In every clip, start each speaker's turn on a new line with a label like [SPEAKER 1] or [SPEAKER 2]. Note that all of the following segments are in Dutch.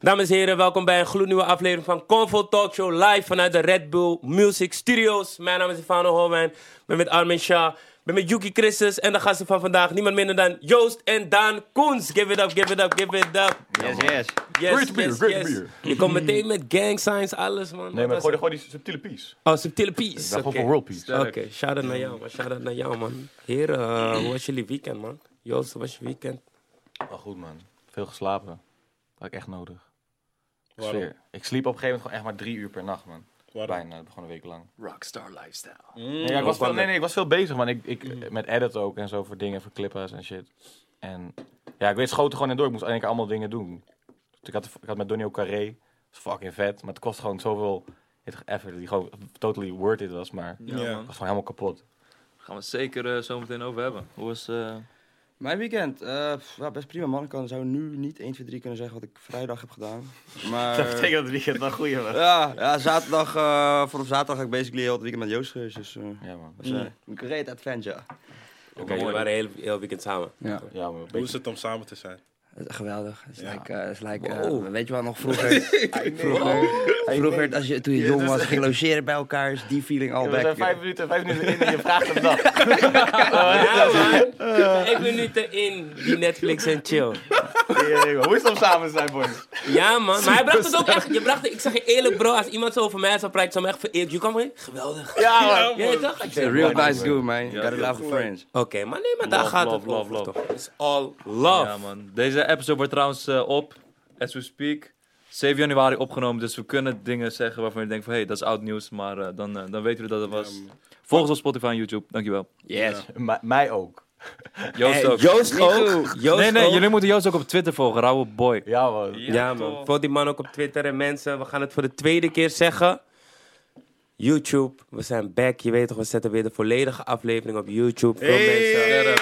[SPEAKER 1] Dames en heren, welkom bij een gloednieuwe aflevering van Convo Talk Show live vanuit de Red Bull Music Studios. Mijn naam is Stefano Holwijn, ik ben met Armin Shah, ik ben met Yuki Christus en de gasten van vandaag niemand minder dan Joost en Daan Koens. Give it up, give it up, give it up.
[SPEAKER 2] Yes, yes.
[SPEAKER 1] Yes,
[SPEAKER 3] Great beer, great beer.
[SPEAKER 1] Je komt meteen met gang signs, alles man.
[SPEAKER 3] Nee, maar
[SPEAKER 1] Wat was
[SPEAKER 3] gooi, gooi die subtiele piece.
[SPEAKER 1] het? Oh, subtiele peace.
[SPEAKER 3] gewoon
[SPEAKER 1] Oké.
[SPEAKER 3] voor world peace.
[SPEAKER 1] Oké, shout-out naar jou man, shout-out naar jou man. Heren, eh, hoe was jullie weekend man? Joost, hoe was je weekend?
[SPEAKER 2] Maar goed, man. Veel geslapen. Had ik echt nodig.
[SPEAKER 1] Waarom?
[SPEAKER 2] Sfeer. Ik sliep op een gegeven moment gewoon echt maar drie uur per nacht, man.
[SPEAKER 1] Waarom? Mm.
[SPEAKER 2] Bijna, gewoon een week lang.
[SPEAKER 3] Rockstar lifestyle.
[SPEAKER 2] Nee, ja, ik
[SPEAKER 1] kwam
[SPEAKER 2] was veel, nee,
[SPEAKER 1] dat?
[SPEAKER 2] nee, ik was veel bezig, man. Ik, ik,
[SPEAKER 1] Mm.
[SPEAKER 2] Met edit ook en zo voor dingen, voor clippers en shit. En ja, ik weet, schoten gewoon in door. Ik moest eigenlijk allemaal dingen doen. Dus ik, had, ik had met Donnie ook Carré. Dat is fucking vet. Maar het kost gewoon zoveel effort die gewoon totally worth it was. Maar
[SPEAKER 4] Ja,
[SPEAKER 2] ik
[SPEAKER 4] man.
[SPEAKER 2] was gewoon helemaal kapot.
[SPEAKER 4] Gaan we het zeker eh, zo meteen over hebben. Hoe was... eh,
[SPEAKER 5] Mijn weekend? Eh, pff, ja, best prima man. Ik kan, zou nu niet 1, 2, 3 kunnen zeggen wat ik vrijdag heb gedaan. Maar...
[SPEAKER 2] dat het weekend wel goeie was.
[SPEAKER 5] Ja, ja zaterdag, eh vanaf zaterdag heb ik basically heel het weekend met Joost geweest. Dus eh
[SPEAKER 2] Ja, man.
[SPEAKER 5] was eh, een great adventure.
[SPEAKER 1] Oké, jullie waren heel, heel weekend samen.
[SPEAKER 5] Ja.
[SPEAKER 2] Ja, man.
[SPEAKER 6] Hoe is het om samen te zijn?
[SPEAKER 5] Geweldig. Het is
[SPEAKER 6] Ja.
[SPEAKER 5] like, eh, het is like, eh,
[SPEAKER 1] Wow.
[SPEAKER 5] weet je wel, nog vroeger. vroeger, vroeger als je, toen je jong was, ging logeren bij elkaar. Is die feeling al
[SPEAKER 2] dus- Ja, we
[SPEAKER 5] back.
[SPEAKER 2] zijn vijf minuten, vijf minuten in en je vraagt hem dat.
[SPEAKER 1] Ja, man. Vijf minuten in die Netflix en chill.
[SPEAKER 2] Jee, man. Hoe is het om samen te zijn, boys?
[SPEAKER 1] Ja, man. Maar hij bracht het ook echt. Je bracht het, ik zeg je eerlijk, bro. Als iemand zo over mij zou praten, zou me echt vereerd. Je kwam erin? Geweldig.
[SPEAKER 2] Ja, man.
[SPEAKER 1] Ja, je toch? Ik zeg,
[SPEAKER 5] Real
[SPEAKER 1] man.
[SPEAKER 5] nice dude, man. Gotta love the friends.
[SPEAKER 1] Oké, maar nee, maar daar
[SPEAKER 4] Love,
[SPEAKER 1] gaat
[SPEAKER 4] love,
[SPEAKER 1] het
[SPEAKER 4] love,
[SPEAKER 1] over,
[SPEAKER 4] love.
[SPEAKER 1] toch? It's all love.
[SPEAKER 4] Ja, man. Deze episode wordt trouwens eh, op, as we speak, 7 januari opgenomen. Dus we kunnen dingen zeggen waarvan je denkt van, hé, hey, dat is oud nieuws. Maar eh, dan, eh, dan weten we dat het was. Volg ons op Spotify en YouTube. Dankjewel.
[SPEAKER 5] Yes.
[SPEAKER 2] Ma- mij ook.
[SPEAKER 4] Joost
[SPEAKER 1] Eh,
[SPEAKER 4] ook.
[SPEAKER 1] Joost ook. Joost
[SPEAKER 4] nee, nee,
[SPEAKER 1] ook.
[SPEAKER 4] jullie moeten Joost ook op Twitter volgen. Rauwe boy.
[SPEAKER 2] Ja, man.
[SPEAKER 1] Ja, man. Volg die man ook op Twitter en mensen. We gaan het voor de tweede keer zeggen. YouTube, we zijn back. Je weet toch, we zetten weer de volledige aflevering op YouTube. Veel mensen.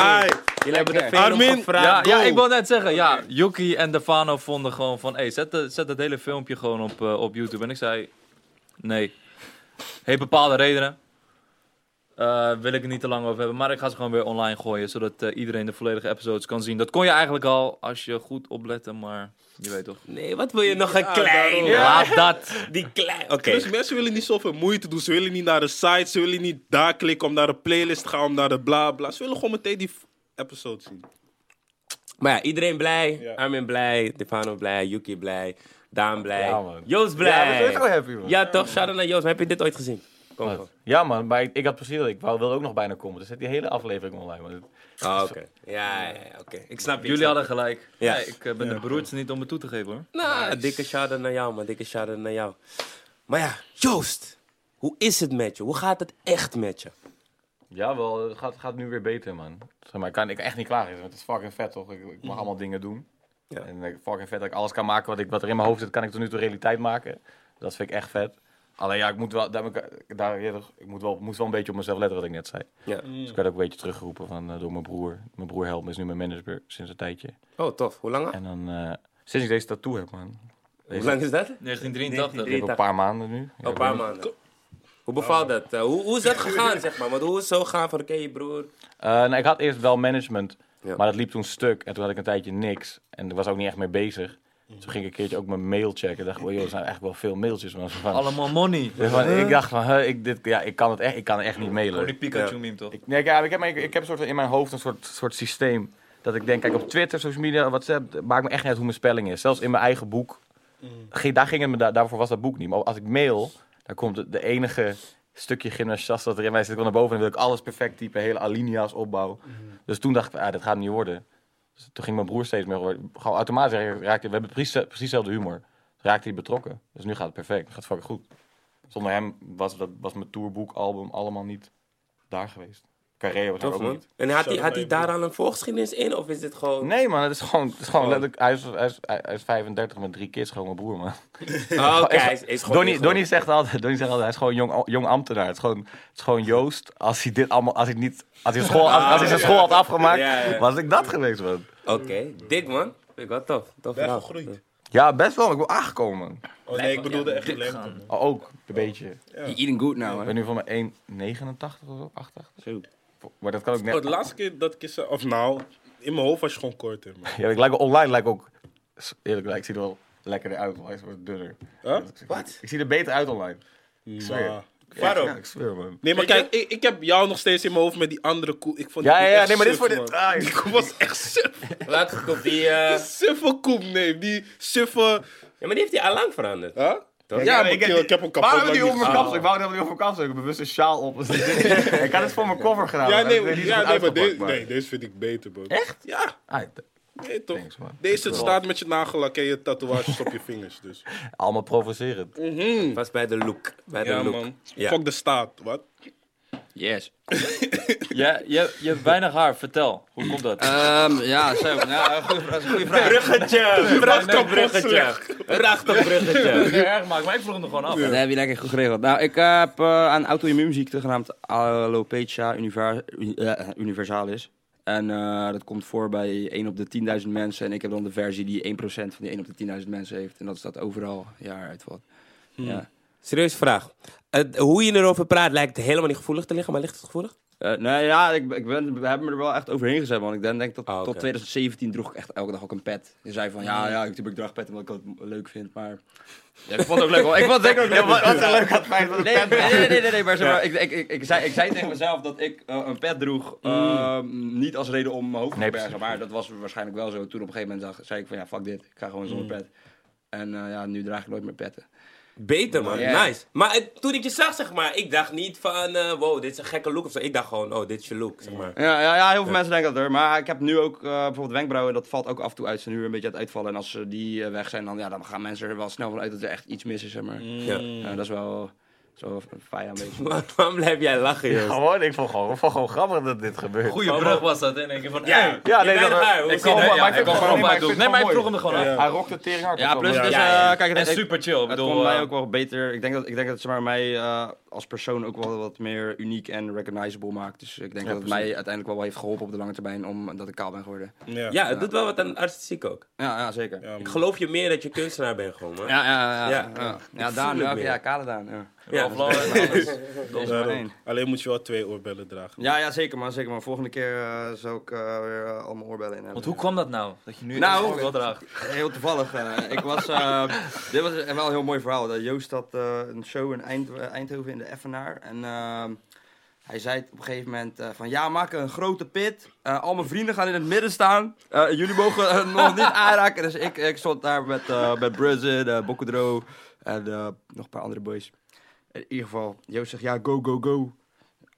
[SPEAKER 1] Hey. Jullie hebben de veel
[SPEAKER 6] Armin.
[SPEAKER 4] Ja,
[SPEAKER 1] gevraagd.
[SPEAKER 4] ja,
[SPEAKER 1] Go.
[SPEAKER 4] ik wil net zeggen, ja, Yuki en Davano vonden gewoon van, hey, zet, de- zet dat hele filmpje gewoon op, eh, op YouTube. En ik zei, nee, heeft bepaalde redenen. Eh, wil ik het niet te lang over hebben, maar ik ga ze gewoon weer online gooien, zodat eh, iedereen de volledige episodes kan zien. Dat kon je eigenlijk al als je goed oplette, maar je weet toch.
[SPEAKER 1] Nee, wat wil je nog een klein?
[SPEAKER 4] Laat dat.
[SPEAKER 1] Die klein. Oké.
[SPEAKER 6] Dus mensen willen niet zoveel moeite doen. Ze willen niet naar de site, ze willen niet daar klikken om naar de playlist te gaan, om naar de bla bla. Ze willen gewoon meteen die f- episode zien.
[SPEAKER 1] Maar ja, iedereen blij.
[SPEAKER 6] Ja.
[SPEAKER 1] Armin blij. Stefano blij. Yuki blij. Daan blij.
[SPEAKER 2] Ja, man.
[SPEAKER 1] Joost
[SPEAKER 2] Ja, we
[SPEAKER 1] blij.
[SPEAKER 2] zijn zo happy, man.
[SPEAKER 1] Ja, toch? Shout out naar Joost. Maar heb je dit ooit gezien? Kom
[SPEAKER 2] Wat?
[SPEAKER 1] op.
[SPEAKER 2] Ja, man, maar ik, ik had precies dat ik wou- wilde ook nog bijna komen. Dus zet die hele aflevering online. Man.
[SPEAKER 1] Ah, oké. Ja, ja, ja, oké. Ik snap je.
[SPEAKER 4] Jullie hadden gelijk.
[SPEAKER 1] Ja.
[SPEAKER 4] Ja, ik eh, ben de broertje niet om het toe te geven hoor.
[SPEAKER 1] Nou, dikke shout out naar jou, man. Dikke shout out naar jou. Maar ja, Joost. Hoe is het met je? Hoe gaat het echt met je?
[SPEAKER 2] Ja, wel, het gaat, gaat nu weer beter, man. Zeg maar, ik kan ik kan echt niet klagen. want Het is fucking vet, toch? Ik, ik mag allemaal dingen doen.
[SPEAKER 1] Mhm. Ja.
[SPEAKER 2] En eh, fucking vet dat ik alles kan maken wat, ik, wat er in mijn hoofd zit, kan ik tot nu toe realiteit maken. Dat vind ik echt vet. Alleen ja, ik moet wel, daar, heb ik- daar, ja, toch, ik moet wel, moest wel een beetje op mezelf letten wat ik net zei.
[SPEAKER 1] Ja.
[SPEAKER 2] Dus ik werd ook een beetje teruggeroepen van, eh, door mijn broer. Mijn broer helpt me, is nu mijn manager sinds een tijdje.
[SPEAKER 1] Oh, tof. Hoe lang,
[SPEAKER 2] En dan, eh, sinds ik deze tattoo heb, man.
[SPEAKER 1] hoe
[SPEAKER 2] Deze,
[SPEAKER 1] lang is dat?
[SPEAKER 4] 1983.
[SPEAKER 2] Ik heb een paar maanden nu.
[SPEAKER 1] Oh, een paar maanden. Hoe bevalt dat? Eh, hoe, hoe is dat gegaan, zeg maar? Want hoe is het zo gegaan van, oké, je broer...
[SPEAKER 2] Eh, nou, ik had eerst wel management,
[SPEAKER 1] Ja.
[SPEAKER 2] maar dat liep toen stuk. En toen had ik een tijdje niks. En ik was ook niet echt mee bezig. Dus toen ging ik een keertje ook mijn mail checken. dacht ik, oh, joh, er zijn eigenlijk wel veel mailtjes. Maar van,
[SPEAKER 4] Allemaal money.
[SPEAKER 2] Dus van, ik dacht van, huh, ik, dit, ja, ik, kan het echt, ik kan het echt niet
[SPEAKER 4] Gewoon die
[SPEAKER 2] mailen.
[SPEAKER 4] Pikachu meme toch?
[SPEAKER 2] Ik, nee, ik, ja, ik, heb, maar ik, ik heb een soort, van in mijn hoofd een soort, soort systeem. Dat ik denk, kijk, op Twitter, social media, WhatsApp, het maakt me echt niet uit hoe mijn spelling is. Zelfs in mijn eigen boek, ging- daar ging het me, da- daarvoor was dat boek niet. Maar als ik mail, dan komt het, de enige stukje gymnasiast dat er in mij zit, komt naar boven. En dan wil ik alles perfect typen, hele alinea's opbouw. Dus toen dacht ik, ah, dit gaat hem niet worden. Dus toen ging mijn broer steeds meer, worden. gewoon automatisch raakte, we hebben precies, precies dezelfde humor. Raakte hij betrokken. Dus nu gaat het perfect, gaat het fucking goed. Zonder hem was, dat, was mijn tourboek, album allemaal niet daar geweest. Carré was er
[SPEAKER 1] Tof,
[SPEAKER 2] ook
[SPEAKER 1] man.
[SPEAKER 2] niet.
[SPEAKER 1] En had hij,
[SPEAKER 6] Zo
[SPEAKER 1] had hij
[SPEAKER 6] fijn.
[SPEAKER 1] daar al een voorgeschiedenis in? Of is dit gewoon...
[SPEAKER 2] Nee man, het is gewoon, het is gewoon letterlijk, hij is, hij, is, hij is 35 met drie kids, gewoon mijn broer man.
[SPEAKER 1] Oh, oké.
[SPEAKER 2] Echt,
[SPEAKER 1] hij is- is gewoon
[SPEAKER 2] Donnie,
[SPEAKER 1] ingerold.
[SPEAKER 2] Donnie, zegt altijd, Donnie zegt altijd, hij is gewoon jong, jong ambtenaar. Het is gewoon, het is gewoon Joost, als hij dit allemaal, als hij niet, als hij, school, als, als hij zijn school had afgemaakt,
[SPEAKER 1] Ja, ja.
[SPEAKER 2] was ik dat geweest man.
[SPEAKER 1] Oké, dik man. Vind ik wel tof. tof
[SPEAKER 6] Ben je
[SPEAKER 1] verhaal.
[SPEAKER 6] gegroeid?
[SPEAKER 2] Ja, best wel, ik ben aangekomen.
[SPEAKER 6] Oh nee, ik bedoelde echt alleen.
[SPEAKER 2] Oh, ook, een beetje.
[SPEAKER 5] You eating good now,
[SPEAKER 2] Ik
[SPEAKER 5] man.
[SPEAKER 2] ben nu van mijn 1,89 of zo, 88. Maar dat kan ook
[SPEAKER 6] Oh,
[SPEAKER 2] net.
[SPEAKER 6] de laatste keer dat ik je zei, of nou, in mijn hoofd was je gewoon kort in. man.
[SPEAKER 2] Ja, ik lijk, online lijk ik ook s- eerlijk gezegd, ik zie er wel lekkerder uit online. Ik word dunner.
[SPEAKER 6] Huh?
[SPEAKER 2] Ik- ik-
[SPEAKER 6] Wat?
[SPEAKER 2] Ik zie er beter uit online. Ik zweer.
[SPEAKER 6] Maar-
[SPEAKER 2] Ja,
[SPEAKER 6] Waarom?
[SPEAKER 2] Ja, ik zweer, man.
[SPEAKER 6] Nee, maar kijk, ik, ik heb jou nog steeds in mijn hoofd met die andere koe. Ik vond
[SPEAKER 2] Ja,
[SPEAKER 6] die
[SPEAKER 2] ja,
[SPEAKER 6] koe
[SPEAKER 2] ja,
[SPEAKER 6] echt
[SPEAKER 2] nee, maar dit
[SPEAKER 6] suf,
[SPEAKER 2] voor dit.
[SPEAKER 6] man.
[SPEAKER 2] Ah,
[SPEAKER 6] Die koe was echt suf.
[SPEAKER 1] Laatst op die... eh,
[SPEAKER 6] Die suffe koe, nee. Die suffe...
[SPEAKER 1] Ja, maar die heeft hij al lang veranderd.
[SPEAKER 6] Huh? Ja, maar ik, ik heb hem kapot.
[SPEAKER 2] Waarom heb
[SPEAKER 6] maar
[SPEAKER 2] ik die
[SPEAKER 6] die-
[SPEAKER 2] op mijn
[SPEAKER 6] Ah.
[SPEAKER 2] kapsel? Ik wou dat ik die op mijn kapsel. Ik heb bewust een sjaal op. Dus ik had het voor mijn koffer gedaan.
[SPEAKER 6] Ja,
[SPEAKER 2] maar
[SPEAKER 6] nee,
[SPEAKER 2] ik weet niet
[SPEAKER 6] ja,
[SPEAKER 2] of
[SPEAKER 6] nee,
[SPEAKER 2] het
[SPEAKER 6] maar
[SPEAKER 2] uitgepakt,
[SPEAKER 6] deze, nee, deze vind ik beter, bro.
[SPEAKER 2] Echt?
[SPEAKER 6] Ja,
[SPEAKER 2] Ah, d-
[SPEAKER 6] nee, toch.
[SPEAKER 2] Thanks, man.
[SPEAKER 6] deze staat met je nagellak en je tatoeages op je vingers, dus.
[SPEAKER 2] Allemaal provocerend.
[SPEAKER 1] Was bij de look. Bij de
[SPEAKER 6] Ja,
[SPEAKER 1] look.
[SPEAKER 6] man.
[SPEAKER 1] Ja.
[SPEAKER 6] Fuck de staat, wat?
[SPEAKER 5] Yes.
[SPEAKER 4] Ja, je, je hebt weinig haar, vertel. Hoe komt
[SPEAKER 5] Eh,
[SPEAKER 4] dat?
[SPEAKER 5] Ehm, ja, zo. nou, Ja, goeie, dat is een goede vraag.
[SPEAKER 1] Bruggetje! Prachtig bruggetje! Prachtig bruggetje!
[SPEAKER 4] niet erg maken, maar ik vroeg hem er gewoon af.
[SPEAKER 5] Dat heb je lekker goed geregeld. Nou, ik eh, heb eh, aan auto-immuunziekte genaamd alopecia univer- uni- eh, universalis. En eh, dat komt voor bij 1 op de 10.000 mensen. En ik heb dan de versie die 1% van die 1 op de 10.000 mensen heeft. En dat staat overal jaar uit wat. Ja.
[SPEAKER 1] Serieus vraag. Het- hoe je erover praat lijkt helemaal niet gevoelig te liggen, maar ligt het gevoelig?
[SPEAKER 5] Eh, nou ja, ik, ik ben, we hebben me er wel echt overheen gezet, man. Ik denk, denk dat
[SPEAKER 1] Ah, oké.
[SPEAKER 5] tot 2017 droeg ik echt elke dag ook een pet. Je zei van, ja, ja, ik, ik draag pet omdat ik het leuk vind, maar... Hmm. Ja, ik vond het ook leuk, hoor. Ik vond het zeker ook leuk.
[SPEAKER 2] Wat een leuk had fijn.
[SPEAKER 5] Nee, nee, nee, nee, nee, nee, maar, zeg maar ik, ik, ik, ik zei, ik zei tegen mezelf dat ik eh, een pet droeg. eh, Niet als reden om mijn hoofd te
[SPEAKER 2] Nee,
[SPEAKER 5] bergen, maar dat was waarschijnlijk wel zo. Toen op een gegeven moment dacht, zei ik van ja, fuck dit, ik ga gewoon zonder pet. En eh, ja, nu draag ik nooit meer petten.
[SPEAKER 1] Beter, man.
[SPEAKER 5] Ja.
[SPEAKER 1] Nice. Maar het- toen ik je zag, zeg maar, ik dacht niet van, eh, wow, dit is een gekke look of zo. Ik dacht gewoon, oh, dit is je look, zeg maar.
[SPEAKER 5] Ja, ja, ja heel veel mensen denken dat er. Maar ik heb nu ook eh, bijvoorbeeld wenkbrauwen, dat valt ook af en toe uit zijn huur een beetje uit uitvallen. En als eh, die eh, weg zijn, dan, ja, dan gaan mensen er wel snel van uit dat er echt iets mis is, zeg maar.
[SPEAKER 1] Ja.
[SPEAKER 5] Ja, dat is wel zo fijn een beetje.
[SPEAKER 1] Waar- Waarom blijf jij lachen, joh?
[SPEAKER 2] Gewoon, ik vond gewoon, ik vond gewoon grappig dat dit gebeurt.
[SPEAKER 4] Goeie brug was dat, hè? in één keer van... hey.
[SPEAKER 2] Ja,
[SPEAKER 1] Je
[SPEAKER 2] nee,
[SPEAKER 1] bent
[SPEAKER 2] dat-
[SPEAKER 1] raar, hoe
[SPEAKER 2] ik
[SPEAKER 1] zie je
[SPEAKER 2] kan
[SPEAKER 1] dat?
[SPEAKER 2] maar
[SPEAKER 4] Ja,
[SPEAKER 2] ik
[SPEAKER 4] ik
[SPEAKER 2] vind het
[SPEAKER 4] wou gewoon
[SPEAKER 2] gewoon
[SPEAKER 4] op
[SPEAKER 2] mooi.
[SPEAKER 4] uit
[SPEAKER 2] ik vind
[SPEAKER 4] doen. Nee, maar ik
[SPEAKER 2] het
[SPEAKER 4] vroeg
[SPEAKER 2] gewoon
[SPEAKER 4] hem
[SPEAKER 6] Ja,
[SPEAKER 4] er gewoon af.
[SPEAKER 6] ja.
[SPEAKER 2] mooi. Hij rokt het tering hard.
[SPEAKER 5] Ja,
[SPEAKER 2] dat is
[SPEAKER 5] plus
[SPEAKER 2] wel
[SPEAKER 5] dus,
[SPEAKER 2] mooi.
[SPEAKER 5] eh, kijk,
[SPEAKER 4] En
[SPEAKER 5] het, het,
[SPEAKER 4] super chill. Ik
[SPEAKER 5] Het
[SPEAKER 4] bedoel,
[SPEAKER 5] komt mij
[SPEAKER 4] eh,
[SPEAKER 5] ook wel beter. Ik denk dat, ik denk dat zeg maar, mij eh, als persoon ook wel wat meer uniek en recognizable maakt. Dus ik denk dat het mij uiteindelijk wel wat heeft geholpen op de lange termijn omdat ik kaal ben geworden.
[SPEAKER 6] Ja.
[SPEAKER 1] Ja, het doet wel wat aan artistiek ook.
[SPEAKER 5] Ja, ja zeker. Ja,
[SPEAKER 6] Ja,
[SPEAKER 1] Ik
[SPEAKER 6] man.
[SPEAKER 1] geloof je meer dat je kunstenaar bent gewoon, man.
[SPEAKER 5] ja, ja. Ja,
[SPEAKER 1] Ja.
[SPEAKER 5] ja. Daan,
[SPEAKER 1] het
[SPEAKER 5] ja,
[SPEAKER 1] meer.
[SPEAKER 5] ja, kale Daan. Ja.
[SPEAKER 1] Ja.
[SPEAKER 4] Ralph Lauren en alles.
[SPEAKER 5] Deze maar
[SPEAKER 6] Daarom.
[SPEAKER 5] één.
[SPEAKER 6] Alleen moet je wel twee oorbellen dragen.
[SPEAKER 5] Ja, ja, zeker man, zeker man. Volgende keer eh, zal ik eh, weer eh, al mijn oorbellen in hebben.
[SPEAKER 4] Want hoe kwam dat nou? Dat je nu
[SPEAKER 5] Nou,
[SPEAKER 4] echt wel draagt.
[SPEAKER 5] Heel toevallig. eh, ik was, eh, dit was wel een heel mooi verhaal. Dat Joost had eh, een show in Eind- eh, Eindhoven in de Effenaar. En ehm, hij zei op een gegeven moment eh, van... Ja, maak een grote pit. Eh, al mijn vrienden gaan in het midden staan. Eh, jullie mogen eh, nog niet aanraken. Dus ik, ik stond daar met, eh met Bruzzen, eh Bokkedro en eh, nog een paar andere boys. In ieder geval, Joost zegt ja, go, go, go.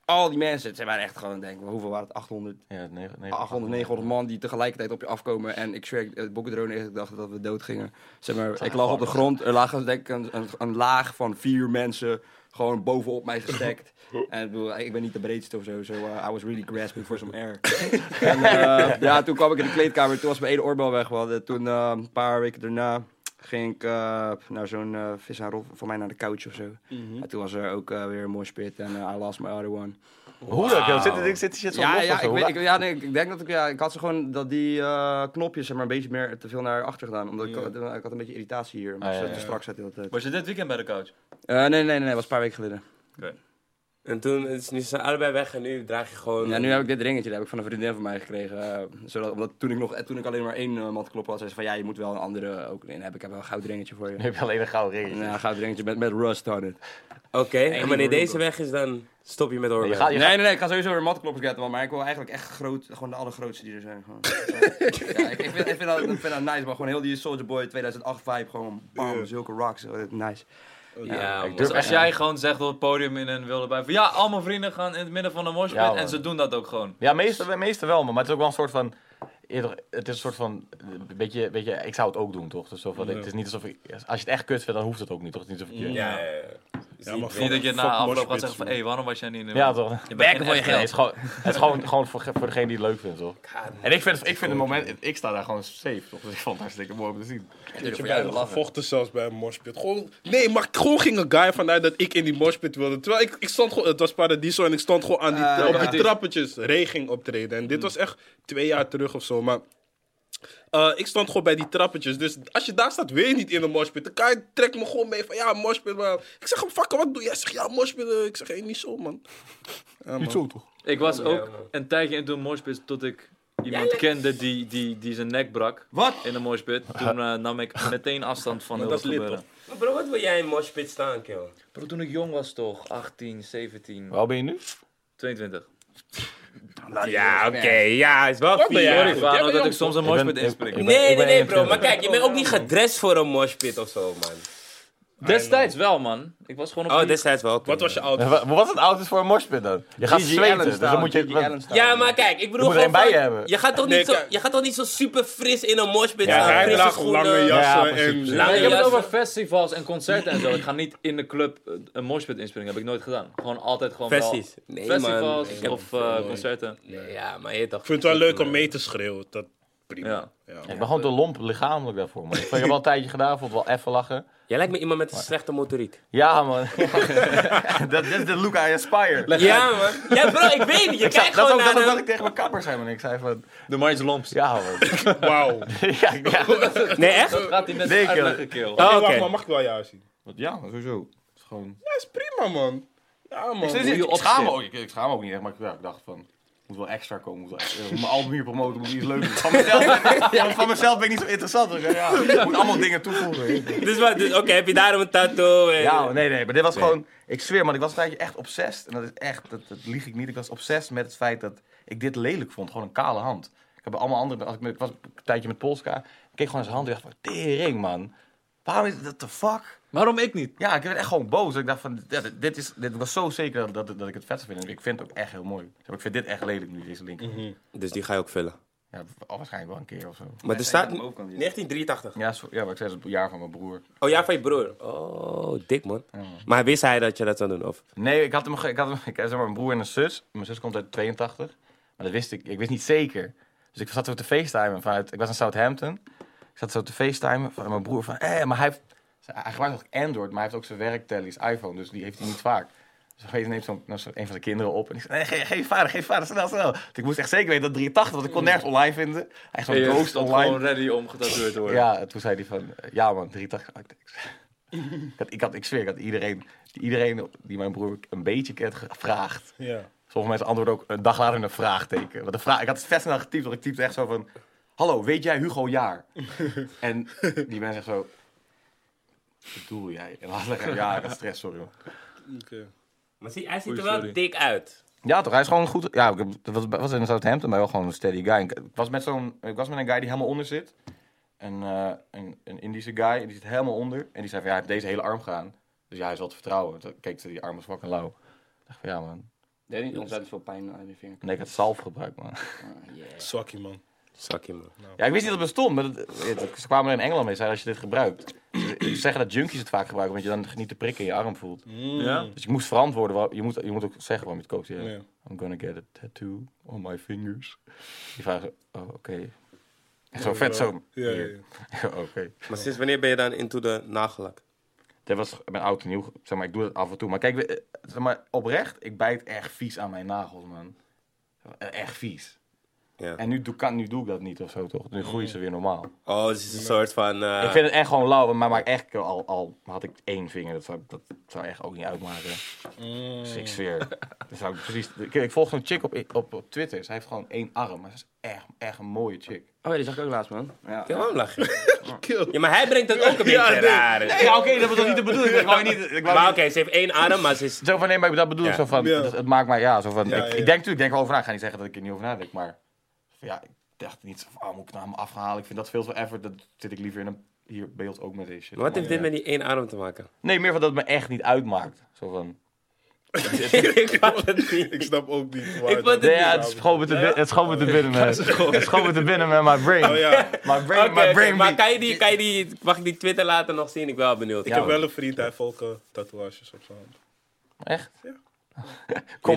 [SPEAKER 5] Al die mensen, ze waren echt gewoon, denk ik, hoeveel waren het? 800?
[SPEAKER 2] Ja, negen- negen-
[SPEAKER 5] 800, 900 man die tegelijkertijd op je afkomen. En ik zweer, eh, het bokkendrone is, ik dacht dat we dood gingen. Zeg maar, ik lag op de grond, er lagen denk ik een, een, een laag van vier mensen gewoon bovenop mij gestekt. en ik bedoel, ik ben niet de breedste of zo, so uh, I was really grasping for some air. en eh, ja, toen kwam ik in de kleedkamer, toen was mijn ene oorbel weg. We hadden toen eh, een paar weken daarna ging ik eh, naar zo'n eh vis en rol, voor mij naar de couch of zo. En toen was er ook eh, weer een moshpit en eh, I lost my other one.
[SPEAKER 2] Hoe dat, joh? Zit dit- Zit die shit zo
[SPEAKER 5] Ja,
[SPEAKER 2] los
[SPEAKER 5] ja,
[SPEAKER 2] of zo?
[SPEAKER 5] ik,
[SPEAKER 2] Hoe
[SPEAKER 5] weet,
[SPEAKER 2] dat-
[SPEAKER 5] ik, ja nee, ik ik denk dat ik, ja, ik had ze gewoon dat die eh, knopjes zeg maar, een beetje meer te veel naar achter gedaan. Omdat ik, had- ik had een beetje irritatie hier. Maar
[SPEAKER 2] Ah,
[SPEAKER 5] ze
[SPEAKER 2] ja,
[SPEAKER 5] te
[SPEAKER 2] ja.
[SPEAKER 5] strak zat de hele tijd.
[SPEAKER 4] Was je dit weekend bij de coach?
[SPEAKER 5] Eh, nee, nee, nee, nee, dat was een paar weken geleden.
[SPEAKER 1] En toen, het is, nu zijn allebei weg en nu draag je
[SPEAKER 2] Oh,
[SPEAKER 1] gewoon...
[SPEAKER 5] Ja, nu heb ik dit ringetje, dat heb ik van een vriendin van mij gekregen. eh, zodat, omdat toen ik, nog, eh, toen ik alleen maar één eh, mat kloppen had, zei ze van ja, je moet wel een andere ook in hebben. Ik heb wel een goud ringetje voor je.
[SPEAKER 2] Nu heb je alleen een gouden ring.
[SPEAKER 5] Nou, een goud ringetje met, met rust on it.
[SPEAKER 1] Oké, en wanneer deze weg is, dan stop je met horen.
[SPEAKER 2] Je gaat- Ah, je
[SPEAKER 5] Nee,
[SPEAKER 2] gaat-
[SPEAKER 5] nee, nee, ik ga sowieso weer matkloppers getten, man, maar ik wil eigenlijk echt groot, gewoon de allergrootste die er zijn. Gewoon. ja, ik, ik, vind, ik, vind dat, ik vind dat nice, maar gewoon heel die Soldier Boy 2008 vibe, gewoon bam, zulke rocks, eh, nice.
[SPEAKER 1] Ja, man.
[SPEAKER 4] Dus als jij gewoon zegt op het podium in een wilde bij van ja, al mijn vrienden gaan in het midden van een moshpit
[SPEAKER 2] Ja,
[SPEAKER 4] en
[SPEAKER 2] man.
[SPEAKER 4] ze doen dat ook gewoon.
[SPEAKER 2] Ja, meestal, meestal wel, maar het is ook wel een soort van... Eerder, het is een soort van, eh, weet je, weet je, ik zou het ook doen, toch? Dus zo van, Het is niet alsof ik, als je het echt kut vindt, dan hoeft het ook niet, toch? Het is niet alsof ik je...
[SPEAKER 1] Ja, ja, ja.
[SPEAKER 6] Ja, maar
[SPEAKER 4] Niet dat je na
[SPEAKER 6] fuck
[SPEAKER 4] afloop gaat
[SPEAKER 6] moshpits,
[SPEAKER 4] zeggen van
[SPEAKER 6] man.
[SPEAKER 4] hé, hey, waarom was jij niet in de
[SPEAKER 2] Ja, toch?
[SPEAKER 4] Je bent voor
[SPEAKER 2] Nee,
[SPEAKER 4] je
[SPEAKER 2] het is
[SPEAKER 4] geld.
[SPEAKER 2] gewoon, het is gewoon, gewoon voor, voor degene die het leuk vindt, toch? En ik vind, ik vind het moment, ik sta daar gewoon safe, toch? Dus ik vond het hartstikke mooi om te zien.
[SPEAKER 6] Ik heb bijna gevochten zelfs bij een morspit. Gewoon, nee, maar gewoon ging een guy vanuit dat ik in die morspit wilde. Terwijl ik, ik stond gewoon, het was Paradiso en ik stond gewoon aan die,
[SPEAKER 5] Ah,
[SPEAKER 6] op
[SPEAKER 5] ja.
[SPEAKER 6] die trappetjes reging optreden. En dit was echt twee jaar terug of zo, maar... eh, ik stond gewoon bij die trappetjes. Dus als je daar staat, wil je niet in een morspit. Dan kan je, trek me gewoon mee van ja, morspit. Maar... Ik zeg hem, fuck, wat doe jij? Hij zegt ja, morspit. eh, Ik zeg, hé, niet zo, man. Ja, man.
[SPEAKER 4] Ik was ook een tijdje in toen moshpits tot ik iemand kende die, die, die zijn nek brak.
[SPEAKER 5] Wat?
[SPEAKER 4] In een moshpit. Toen eh, nam ik meteen afstand van heel
[SPEAKER 6] dat
[SPEAKER 4] dat
[SPEAKER 6] is lid,
[SPEAKER 4] gebeuren.
[SPEAKER 1] Maar bro, wat wil jij in moshpit staan, kill?
[SPEAKER 4] Bro, toen ik jong was toch. 18, 17,
[SPEAKER 2] Waar oud ben je nu?
[SPEAKER 4] 22.
[SPEAKER 1] Ja, oké, ja, is wel
[SPEAKER 6] ben jij?
[SPEAKER 1] vier.
[SPEAKER 4] Sorry,
[SPEAKER 6] goed.
[SPEAKER 4] Fano,
[SPEAKER 6] Jij bent
[SPEAKER 4] dat ik
[SPEAKER 6] jong,
[SPEAKER 4] soms een
[SPEAKER 2] Ik ben-
[SPEAKER 4] moshpit
[SPEAKER 2] ik-
[SPEAKER 4] inspring.
[SPEAKER 2] ik ben-
[SPEAKER 1] Nee, nee,
[SPEAKER 2] ik ben
[SPEAKER 1] nee, bro.
[SPEAKER 2] 21.
[SPEAKER 1] Maar kijk, je bent ook niet gedrest voor een moshpit of zo, man.
[SPEAKER 4] Destijds wel, man. Ik was gewoon op
[SPEAKER 1] Oh,
[SPEAKER 4] een-
[SPEAKER 1] destijds wel. oké.
[SPEAKER 6] Wat was je
[SPEAKER 2] Ja,
[SPEAKER 6] oud?
[SPEAKER 2] Eh, wa- Wat is het oudste voor een morspit dan? Je gaat zweten, dus dan moet je... wat-
[SPEAKER 1] Ja, maar kijk, ik bedoel
[SPEAKER 2] moet er
[SPEAKER 1] gewoon
[SPEAKER 2] een bij
[SPEAKER 1] van-
[SPEAKER 2] hebben.
[SPEAKER 1] Je gaat, toch
[SPEAKER 6] Nee,
[SPEAKER 1] niet zo,
[SPEAKER 6] kijk.
[SPEAKER 1] je gaat toch niet zo super fris in een moshpit
[SPEAKER 2] Ja,
[SPEAKER 1] staan?
[SPEAKER 2] hij
[SPEAKER 1] Frisse
[SPEAKER 6] draagt
[SPEAKER 1] schoenen.
[SPEAKER 6] lange jas.
[SPEAKER 2] Ja,
[SPEAKER 6] Jassen
[SPEAKER 2] precies.
[SPEAKER 6] en-
[SPEAKER 2] Ja.
[SPEAKER 4] Nee, ik heb het
[SPEAKER 1] jas.
[SPEAKER 4] over festivals en concerten en zo. Ik ga niet in de club eh, een moshpit inspringen. Heb ik nooit gedaan. Gewoon altijd gewoon
[SPEAKER 1] Festies.
[SPEAKER 4] wel
[SPEAKER 1] Nee,
[SPEAKER 4] festivals
[SPEAKER 1] man. Ik heb-
[SPEAKER 4] of eh, concerten.
[SPEAKER 1] Nee, ja, maar je toch.
[SPEAKER 6] Ik vind het wel leuk om mee te schreeuwen. Dat prima.
[SPEAKER 4] Ja.
[SPEAKER 6] Ja.
[SPEAKER 2] Ik ben gewoon te lomp lichamelijk daarvoor, man. Ik heb wel een tijdje gedaan, vond het wel even lachen.
[SPEAKER 1] Jij lijkt me iemand met een slechte motoriek.
[SPEAKER 2] Ja, man. Dat is de look I aspire.
[SPEAKER 1] Ja, man. Ja, bro, ik weet niet. Je kijkt
[SPEAKER 2] Dat is
[SPEAKER 1] gewoon
[SPEAKER 2] ook dat,
[SPEAKER 1] naar
[SPEAKER 2] is ook wat
[SPEAKER 1] hem.
[SPEAKER 2] ik tegen mijn kapper zei, man. Ik zei van...
[SPEAKER 4] De man is lomps.
[SPEAKER 2] Ja, man.
[SPEAKER 6] Wauw.
[SPEAKER 2] ja, ja.
[SPEAKER 1] Nee, echt?
[SPEAKER 4] Dat gaat hij net
[SPEAKER 2] Nee,
[SPEAKER 4] uitleggen, kill.
[SPEAKER 1] Oh,
[SPEAKER 6] Wacht
[SPEAKER 1] oké.
[SPEAKER 6] maar, mag ik wel jou zien?
[SPEAKER 2] Ja, maar sowieso. Het is gewoon...
[SPEAKER 6] Ja, is prima, man. Ja, man.
[SPEAKER 2] Ik,
[SPEAKER 4] hoe je
[SPEAKER 2] ik, schaam me ook,
[SPEAKER 4] opstemt.
[SPEAKER 2] ik, ik schaam me ook niet echt, maar ik, ja, ik dacht van... Moet wel extra komen. Moet wel, eh, moet mijn album hier promoten. Moet iets leuks. doen. Van mezelf, van mezelf ben ik niet zo interessant. Dus, ja, ja, ik moet allemaal dingen toevoegen.
[SPEAKER 1] Dus wat, dus, oké, heb je daarom een tattoo? En...
[SPEAKER 2] Ja, nee, nee, maar dit was gewoon. Ik zweer, man, ik was een tijdje echt obsessed. En dat is echt, dat, dat lieg ik niet. Ik was obsessed met het feit dat ik dit lelijk vond. Gewoon een kale hand. Ik heb allemaal andere. Als ik, met- ik was een tijdje met Polska. Ik keek gewoon naar zijn hand en dacht van, tering, man. Waarom is dat the fuck?
[SPEAKER 4] Waarom ik niet?
[SPEAKER 2] Ja, ik werd echt gewoon boos. Ik dacht van, ja, dit- dit, is, dit was zo zeker dat, dat, dat ik het vet vind. En ik vind het ook echt heel mooi. Zeg maar, Ik vind dit echt lelijk nu, deze link.
[SPEAKER 1] Dus die ga je ook vullen.
[SPEAKER 2] Ja, al waarschijnlijk wel een keer of zo.
[SPEAKER 1] Maar er staat
[SPEAKER 5] ook aan die-
[SPEAKER 1] 1983.
[SPEAKER 2] Ja, zo- ja maar ik zei, het is het jaar van mijn broer.
[SPEAKER 1] Oh ja, van je broer. Oh, dik man. Maar wist hij dat je dat zou doen? Of?
[SPEAKER 2] Nee, ik had hem, ge- ik had hem, ik heb zeg maar een broer en een zus. Mijn zus komt uit 82, maar dat wist ik, ik wist niet zeker. Dus ik zat zo te facetimen vanuit, ik was in Southampton. Ik zat zo te facetimen van mijn broer van, eh, maar hij heeft, hij gebruikt nog Android, maar hij heeft ook zijn werktellies iPhone, dus die heeft hij niet vaak. Dus opeens neemt zo'n, nou, zo een van de kinderen op en ik zei, nee, geen, geen vader, geen vader, snel, snel. Dus ik moest echt zeker weten dat 83, want ik kon nergens online vinden. Hij zo'n
[SPEAKER 4] Je
[SPEAKER 2] ghost
[SPEAKER 4] stond
[SPEAKER 2] online.
[SPEAKER 4] gewoon ready om getatoeëerd te worden.
[SPEAKER 2] Ja, en toen zei hij van, eh, ja man, 83 actex. ik, had, ik, had, ik zweer, ik had iedereen, iedereen die mijn broer een beetje kent gevraagd.
[SPEAKER 6] Ja.
[SPEAKER 2] Sommige mensen antwoorden ook een dag later een vraagteken. Want de vraag, ik had het vet snel getypt, want ik typte echt zo van... Hallo, weet jij Hugo Jaar? en die mensen echt zo... Wat bedoel jij? En dan had ik echt, ja, dat is stress, sorry man.
[SPEAKER 1] Maar zie, hij ziet
[SPEAKER 4] Oei,
[SPEAKER 1] er wel
[SPEAKER 4] sorry.
[SPEAKER 1] dik uit.
[SPEAKER 2] Ja, toch? Hij is gewoon goed. Ja, ik heb- dat was, was in Southampton, maar wel gewoon een steady guy. Ik ik was met, zo'n, ik was met een guy die helemaal onder zit. En, eh, een, een Indische guy, en die zit helemaal onder. En die zei van, ja, hij heeft deze hele arm gedaan. Dus ja, hij is wel te vertrouwen. Toen keek ze, die arm was fucking lauw. Ik dacht van, ja man.
[SPEAKER 5] Deed niet ontzettend veel pijn aan die vinger.
[SPEAKER 2] Nee, ik had zalf gebruikt, man.
[SPEAKER 6] Zwakkie, man.
[SPEAKER 1] Zakje man.
[SPEAKER 2] Ja, ik wist niet dat het bestond, maar dat, het- ze kwamen er in Engeland mee. Zeiden, als je dit gebruikt. Ze zeggen dat junkies het vaak gebruiken, want je dan niet de prik in je arm voelt.
[SPEAKER 4] Ja?
[SPEAKER 2] Dus je moest verantwoorden. waar- Je moet, je moet ook zeggen waarom je het koopt. Ja.
[SPEAKER 6] Mm. Ja.
[SPEAKER 2] I'm gonna get a tattoo on my fingers. Die vragen zo, oh, oké. Echt Zo vet zo.
[SPEAKER 6] Ja, ja,
[SPEAKER 2] Hier.
[SPEAKER 6] ja.
[SPEAKER 2] oké.
[SPEAKER 1] Maar sinds wanneer ben je dan into de nagellak?
[SPEAKER 2] Dat was mijn oud en nieuw. Zeg maar, ik doe dat af en toe. Maar kijk, eh, zeg maar, oprecht, ik bijt echt vies aan mijn nagels, man. Eh, Echt vies.
[SPEAKER 1] Ja.
[SPEAKER 2] En nu doe, kan, nu doe ik dat niet of zo, toch? Nu groeien ze weer normaal.
[SPEAKER 1] Oh, het is een soort van... eh,
[SPEAKER 2] Ik vind het echt gewoon lauw, maar, maar echt, al, al had ik één vinger, dat zou, dat zou echt ook niet uitmaken. Dus ik zweer. Dat zou ik, precies, ik, ik volg zo'n chick op, op, op Twitter, zij heeft gewoon één arm, maar ze is echt, echt een mooie chick.
[SPEAKER 5] Oh ja, die zag ik ook laatst, man. Ja.
[SPEAKER 1] Ja, waarom lach je? Ja, maar hij brengt het ook een beetje
[SPEAKER 6] nee.
[SPEAKER 1] raar.
[SPEAKER 2] Ja, oké, dat was toch niet de bedoeling? Ik wou niet... Ik wou
[SPEAKER 1] Maar oké,
[SPEAKER 2] niet-
[SPEAKER 1] ze heeft één arm, maar ze is...
[SPEAKER 2] Zo van, nee, maar dat bedoel ik
[SPEAKER 1] Ja.
[SPEAKER 2] zo van,
[SPEAKER 6] Ja.
[SPEAKER 2] dat- het maakt mij, ja, zo van,
[SPEAKER 6] Ja,
[SPEAKER 2] ik,
[SPEAKER 6] ja.
[SPEAKER 2] ik denk natuurlijk, ik denk wel over na, ik ga niet zeggen dat ik er niet over nadenk, maar van, ja, ik dacht niet, zo van, ah, moet ik nou hem afhalen, ik vind dat veel te effort, dat zit ik liever in een hier beeld ook met deze shit.
[SPEAKER 1] Wat heeft
[SPEAKER 2] Maar,
[SPEAKER 1] dit met die één arm te maken?
[SPEAKER 2] ja. Nee, meer van dat het me echt niet uitmaakt, zo van...
[SPEAKER 1] ik had het niet.
[SPEAKER 6] Ik snap ook niet waar.
[SPEAKER 1] Ik vond het
[SPEAKER 2] Nee,
[SPEAKER 1] niet.
[SPEAKER 2] ja, het schoot me te, bin- het schoot me te binnen. man. Het schoot me te binnen met my brain.
[SPEAKER 6] Oh ja,
[SPEAKER 2] My
[SPEAKER 1] Oké,
[SPEAKER 2] brain, my
[SPEAKER 1] oké, maar
[SPEAKER 2] brain. Maar
[SPEAKER 1] kan je, die, kan je die... Mag ik die Twitter later nog zien? Ik ben wel benieuwd.
[SPEAKER 6] ik heb wel een vriend, hij heeft ook eh, tatoeages op zijn hand.
[SPEAKER 2] Echt?
[SPEAKER 6] Ja.
[SPEAKER 2] Komt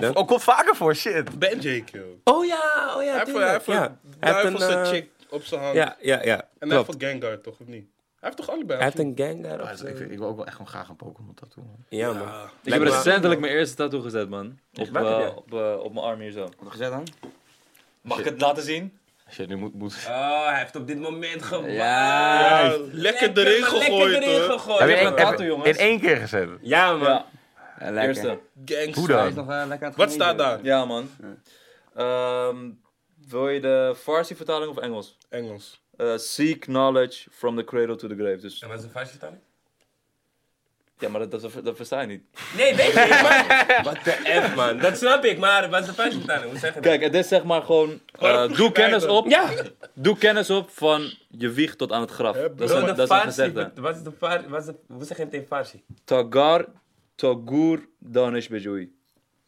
[SPEAKER 1] Wie dan?
[SPEAKER 2] oh, komt vaker voor, shit.
[SPEAKER 6] Benji, kill.
[SPEAKER 1] Oh ja, oh ja,
[SPEAKER 6] Hij heeft- hij
[SPEAKER 1] tuurlijk.
[SPEAKER 6] heeft
[SPEAKER 1] Ja.
[SPEAKER 6] een
[SPEAKER 1] Hij heeft
[SPEAKER 6] duivelse
[SPEAKER 1] eh,
[SPEAKER 6] chick op zijn hand.
[SPEAKER 1] Ja, ja, ja.
[SPEAKER 6] En hij heeft
[SPEAKER 1] Klopt.
[SPEAKER 6] een Gengar, toch? Of niet? Hij heeft toch allebei?
[SPEAKER 1] Hij
[SPEAKER 6] of
[SPEAKER 1] heeft een gang daarop.
[SPEAKER 2] Ik, ik wil ook wel echt gewoon graag een Pokémon tattoo. man.
[SPEAKER 1] Ja, man.
[SPEAKER 4] Ik heb
[SPEAKER 1] me-
[SPEAKER 4] recentelijk mijn eerste tattoo gezet, man. Op,
[SPEAKER 1] waar heb
[SPEAKER 4] eh,
[SPEAKER 1] jij?
[SPEAKER 4] op, eh, op mijn arm hier zo.
[SPEAKER 5] Wat gezet dan?
[SPEAKER 4] Mag ik het laten zien?
[SPEAKER 2] Shit, nu moet... moet...
[SPEAKER 1] Oh, hij heeft op dit moment gemaakt.
[SPEAKER 6] Ja, lekker erin
[SPEAKER 1] maar
[SPEAKER 6] gegooid,
[SPEAKER 1] Lekker erin
[SPEAKER 6] hoor.
[SPEAKER 1] gegooid.
[SPEAKER 4] je
[SPEAKER 1] Ja,
[SPEAKER 4] een
[SPEAKER 1] man.
[SPEAKER 4] tattoo, jongens?
[SPEAKER 2] in één keer gezet.
[SPEAKER 1] Ja, man.
[SPEAKER 4] Ja,
[SPEAKER 5] Ja, lekker.
[SPEAKER 4] eerste.
[SPEAKER 6] Gangster.
[SPEAKER 2] Hoe
[SPEAKER 5] Hij is
[SPEAKER 2] dan?
[SPEAKER 5] nog eh, lekker aan het
[SPEAKER 6] Wat
[SPEAKER 5] genieten.
[SPEAKER 6] staat daar?
[SPEAKER 4] Ja, man. Ehm, Wil je de Farsi-vertaling of Engels?
[SPEAKER 6] Engels.
[SPEAKER 4] Eh, seek knowledge from the cradle to the grave. Dus,
[SPEAKER 1] En wat is een vuistje dan?
[SPEAKER 4] ja, maar dat, dat, dat versta je niet.
[SPEAKER 1] Nee, weet je man. Wat de F, man. Dat snap ik, maar wat is een vuistje dan? Hoe zeg je dat?
[SPEAKER 4] Kijk, het is zeg maar gewoon... eh, doe kennis op.
[SPEAKER 1] Ja,
[SPEAKER 4] Doe kennis op van je wieg tot aan het graf. Dat is
[SPEAKER 1] Bro, de
[SPEAKER 4] een, dat is een
[SPEAKER 1] Farsi
[SPEAKER 4] gezegde.
[SPEAKER 1] bet- Wat is de Farsi? Wat is de- Hoe zeg je het in Farsi?
[SPEAKER 4] Tagar, Tagur, Danish Bejoui.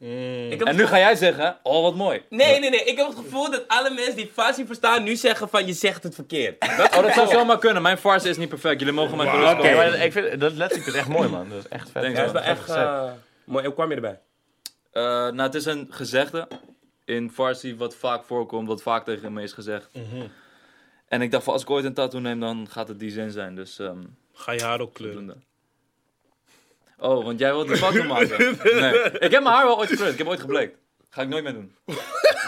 [SPEAKER 6] Mm.
[SPEAKER 1] Ik heb
[SPEAKER 4] En nu ga jij zeggen, oh wat mooi.
[SPEAKER 1] Nee, nee, nee. Ik heb het gevoel dat alle mensen die Farsi verstaan nu zeggen van je zegt het verkeerd.
[SPEAKER 4] Oh, dat zou zomaar kunnen. Mijn farce is niet perfect. Jullie mogen mijn gerust
[SPEAKER 2] Nee,
[SPEAKER 4] komen.
[SPEAKER 2] maar ik vind, dat letterlijk is echt mooi, man. Dat is echt vet.
[SPEAKER 4] Thanks,
[SPEAKER 1] Dat
[SPEAKER 4] man.
[SPEAKER 1] is wel echt... eh, Mooi, hoe kwam je erbij?
[SPEAKER 4] Eh, nou, het is een gezegde in Farsi wat vaak voorkomt, wat vaak tegen me is gezegd. En ik dacht van, als ik ooit een tattoo neem, dan gaat het die zin zijn. Dus, ehm
[SPEAKER 6] Ga je haar ook
[SPEAKER 4] doen
[SPEAKER 6] kleuren.
[SPEAKER 4] dat. Oh, want jij wilt die tattoo maken? Nee. Ik heb mijn haar wel ooit geflirt. Ik heb ooit gebleekt. Ga ik nooit meer doen.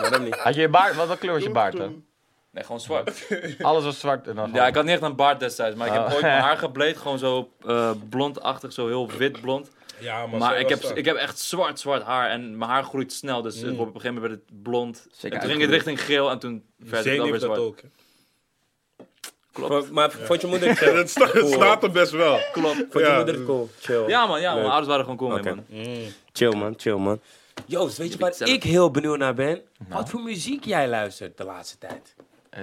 [SPEAKER 1] Waarom niet?
[SPEAKER 2] Had je je baard, wat, wat kleur was je baard dan?
[SPEAKER 4] Nee, gewoon zwart.
[SPEAKER 2] Alles was zwart en dan
[SPEAKER 4] Ja, ik had niet echt een baard destijds, maar ik heb
[SPEAKER 2] Oh.
[SPEAKER 4] ooit mijn haar gebleekt. Gewoon zo eh, blondachtig, zo heel wit blond.
[SPEAKER 6] Ja, maar,
[SPEAKER 4] Maar
[SPEAKER 6] zo
[SPEAKER 4] ik
[SPEAKER 6] was
[SPEAKER 4] heb,
[SPEAKER 6] dat.
[SPEAKER 4] ik heb echt zwart, zwart haar. En mijn haar groeit snel. Dus het wordt op een gegeven moment werd het blond.
[SPEAKER 5] Zeker
[SPEAKER 4] en toen ging het richting geel. En toen werd het
[SPEAKER 6] Zane
[SPEAKER 4] alweer
[SPEAKER 6] heeft dat
[SPEAKER 4] zwart.
[SPEAKER 6] ook. hè.
[SPEAKER 1] Vond- Maar vond je moeder het
[SPEAKER 6] Ja,
[SPEAKER 1] chill?
[SPEAKER 6] dat staat, dat staat er best wel.
[SPEAKER 4] Klopt.
[SPEAKER 1] Vond je
[SPEAKER 6] Ja.
[SPEAKER 1] moeder het cool? Chill.
[SPEAKER 4] Ja man, ja, mijn ouders waren gewoon cool mee,
[SPEAKER 1] Oké.
[SPEAKER 4] man.
[SPEAKER 1] Chill man, chill man. Joost, weet je
[SPEAKER 4] bent
[SPEAKER 1] waar
[SPEAKER 4] zelf-
[SPEAKER 1] ik heel benieuwd naar ben?
[SPEAKER 6] Nou.
[SPEAKER 1] Wat voor muziek jij luistert de laatste tijd?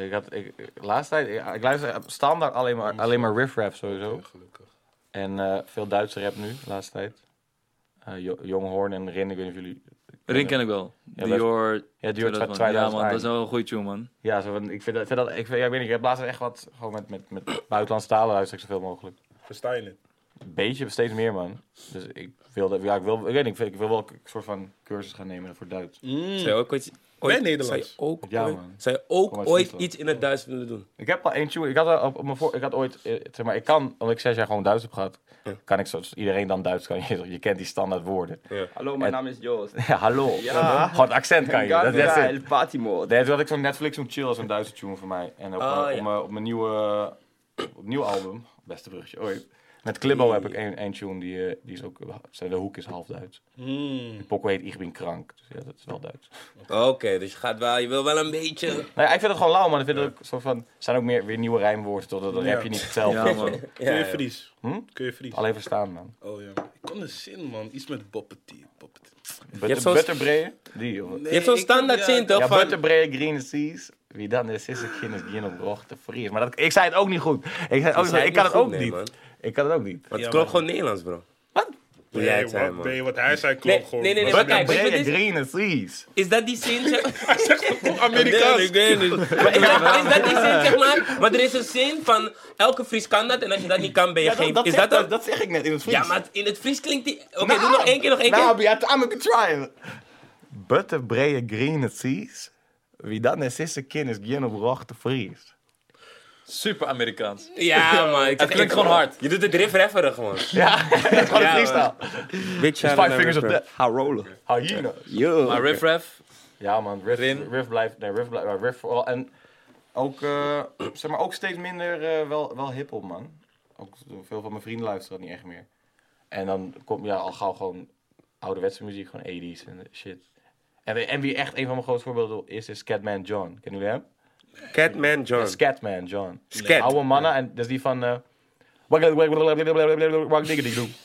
[SPEAKER 2] Ik had, ik, laatste tijd, ik, ik luister standaard alleen maar, alleen maar riff-rap sowieso. En eh, veel Duitse rap nu, de laatste tijd. Eh jo Jonghoorn en Rin, ik weet niet of jullie...
[SPEAKER 4] Rin ken ik wel.
[SPEAKER 2] best-
[SPEAKER 4] Dior.
[SPEAKER 2] Ja, Dior
[SPEAKER 4] 2000, man.
[SPEAKER 2] 2000.
[SPEAKER 4] Ja man, dat is wel een goede tune man.
[SPEAKER 2] Ja, zo, van, ik vind dat, vind dat ik, vind, ja, ik weet niet, ik heb laatst echt wat, gewoon met, met, met buitenlandse talen luister ik zoveel mogelijk.
[SPEAKER 6] Versta je het?
[SPEAKER 2] Beetje, steeds meer man. Dus ik wilde, ja, ik wil, ik weet niet, ik wil wel een soort van cursus gaan nemen voor Duits.
[SPEAKER 4] Mm.
[SPEAKER 1] Zou je ook ooit, ooit-
[SPEAKER 6] Ben Nederlands.
[SPEAKER 1] Zou je ook,
[SPEAKER 2] Ja,
[SPEAKER 1] ooit-
[SPEAKER 2] man.
[SPEAKER 1] zou je ook
[SPEAKER 2] Kom uit
[SPEAKER 1] ooit
[SPEAKER 2] Friesland.
[SPEAKER 1] iets in het Duits willen doen?
[SPEAKER 2] Ik heb al één tune. Ik had, al op, op mijn voor, ik had ooit, eh, zeg maar, ik kan, omdat ik zes jaar gewoon Duits heb gehad, kan ik zoals iedereen dan Duits kan. Je, je kent die standaard woorden.
[SPEAKER 5] Hallo, mijn naam is Joost.
[SPEAKER 2] Ja, hallo.
[SPEAKER 5] Ja.
[SPEAKER 2] Gewoon het accent kan je. Dat is het.
[SPEAKER 5] Patimo.
[SPEAKER 2] Nee, toen had ik zo'n Netflix, zo'n chill, zo'n Duitse tune van mij. En op,
[SPEAKER 1] Ah,
[SPEAKER 2] eh,
[SPEAKER 1] ja.
[SPEAKER 2] op, mijn- op mijn nieuwe, op nieuw album, beste bruggetje ooit, met Klibbo heb ik één één tune, die, eh, die is ook, de hoek is half Duits. Die pokoe heet Ik ben krank, dus ja, dat is wel Duits.
[SPEAKER 1] Oké, dus je gaat wel, je wil wel een beetje...
[SPEAKER 2] Nou ja, ik vind het gewoon lauw, maar ik vind het ook soort van, er zijn ook meer, weer nieuwe rijmwoorden, tot dan
[SPEAKER 6] Ja.
[SPEAKER 2] heb je niet hetzelfde.
[SPEAKER 4] Ja man.
[SPEAKER 6] Kun je
[SPEAKER 1] ja.
[SPEAKER 6] Fries?
[SPEAKER 2] Hm?
[SPEAKER 6] Kun je Fries?
[SPEAKER 2] Alleen verstaan, man.
[SPEAKER 6] Oh ja. Ik kon een zin, man. Iets met boppetie. boppetie.
[SPEAKER 2] Butter,
[SPEAKER 1] hebt zo'n-
[SPEAKER 2] butterbreien? Die, jongen.
[SPEAKER 1] Je hebt zo'n
[SPEAKER 6] ik kan-
[SPEAKER 1] standaard
[SPEAKER 6] ja,
[SPEAKER 1] zin
[SPEAKER 6] dat-
[SPEAKER 1] toch?
[SPEAKER 2] Ja,
[SPEAKER 1] van-
[SPEAKER 2] butterbreien, green seas. Wie dan is, is ik geen het geen op rocht te vries. Maar dat, ik zei het ook niet goed. Ik, zei het ook,
[SPEAKER 1] Je
[SPEAKER 2] niet-
[SPEAKER 1] zei
[SPEAKER 2] ik kan
[SPEAKER 1] niet
[SPEAKER 2] het ook
[SPEAKER 1] goed, nee,
[SPEAKER 2] niet.
[SPEAKER 1] man.
[SPEAKER 2] Ik kan het ook niet.
[SPEAKER 1] Want het
[SPEAKER 6] Ja,
[SPEAKER 1] klopt
[SPEAKER 6] man.
[SPEAKER 1] gewoon Nederlands, bro.
[SPEAKER 2] Wat?
[SPEAKER 1] Hoe jij het
[SPEAKER 6] Nee,
[SPEAKER 1] zei,
[SPEAKER 6] wat,
[SPEAKER 1] man.
[SPEAKER 6] nee, wat hij zei klopt
[SPEAKER 1] Nee,
[SPEAKER 6] gewoon.
[SPEAKER 1] nee, nee, nee,
[SPEAKER 6] Was-
[SPEAKER 1] maar kijk.
[SPEAKER 2] Butterbreien,
[SPEAKER 1] dit is-
[SPEAKER 2] green seas.
[SPEAKER 1] Is dat die zin, zeg
[SPEAKER 6] Hij zegt het gewoon
[SPEAKER 1] Nee,
[SPEAKER 6] Amerikaans.
[SPEAKER 1] ik weet niet. Maar is, dat, is dat die zin, zeg maar? Maar er is een zin van, elke Fries kan dat en als je dat niet kan, ben je geen... is dat dan-
[SPEAKER 2] zeg ik net in het Fries.
[SPEAKER 1] Ja, maar in het Fries klinkt die... Oké, doe nog één keer, nog één keer.
[SPEAKER 2] Nou, ja, I'm be trying. Butterbreien, green seas. Wie dan is, is ik geen het geen op rocht te vries.
[SPEAKER 4] Super Amerikaans.
[SPEAKER 1] Ja, man. Ik
[SPEAKER 4] Het klinkt gewoon hard.
[SPEAKER 1] Je doet het riff refferig, man.
[SPEAKER 2] Ja, dat is gewoon een
[SPEAKER 1] Ja,
[SPEAKER 2] freestyle.
[SPEAKER 1] Big shout
[SPEAKER 5] eh,
[SPEAKER 2] Five fingers of
[SPEAKER 1] that.
[SPEAKER 2] death.
[SPEAKER 5] How rollen.
[SPEAKER 2] Hyena.
[SPEAKER 5] Yo.
[SPEAKER 4] Maar Riff Raff,
[SPEAKER 2] Ja man, Riff,
[SPEAKER 4] Rin.
[SPEAKER 2] Riff blijft, nee, Riff blijft, maar Riff vooral. En ook, eh, zeg maar, ook steeds minder eh, wel, wel hiphop man. Ook veel van mijn vrienden luisteren dat niet echt meer. En dan komt ja al gauw gewoon ouderwetse muziek, gewoon 80s en shit. En, wie- en wie echt een van mijn grootste voorbeelden is, is Scatman John. Kennen jullie hem?
[SPEAKER 1] Catman John.
[SPEAKER 2] Scatman John.
[SPEAKER 1] Scat.
[SPEAKER 2] Oude mannen, en dat is die van... eh,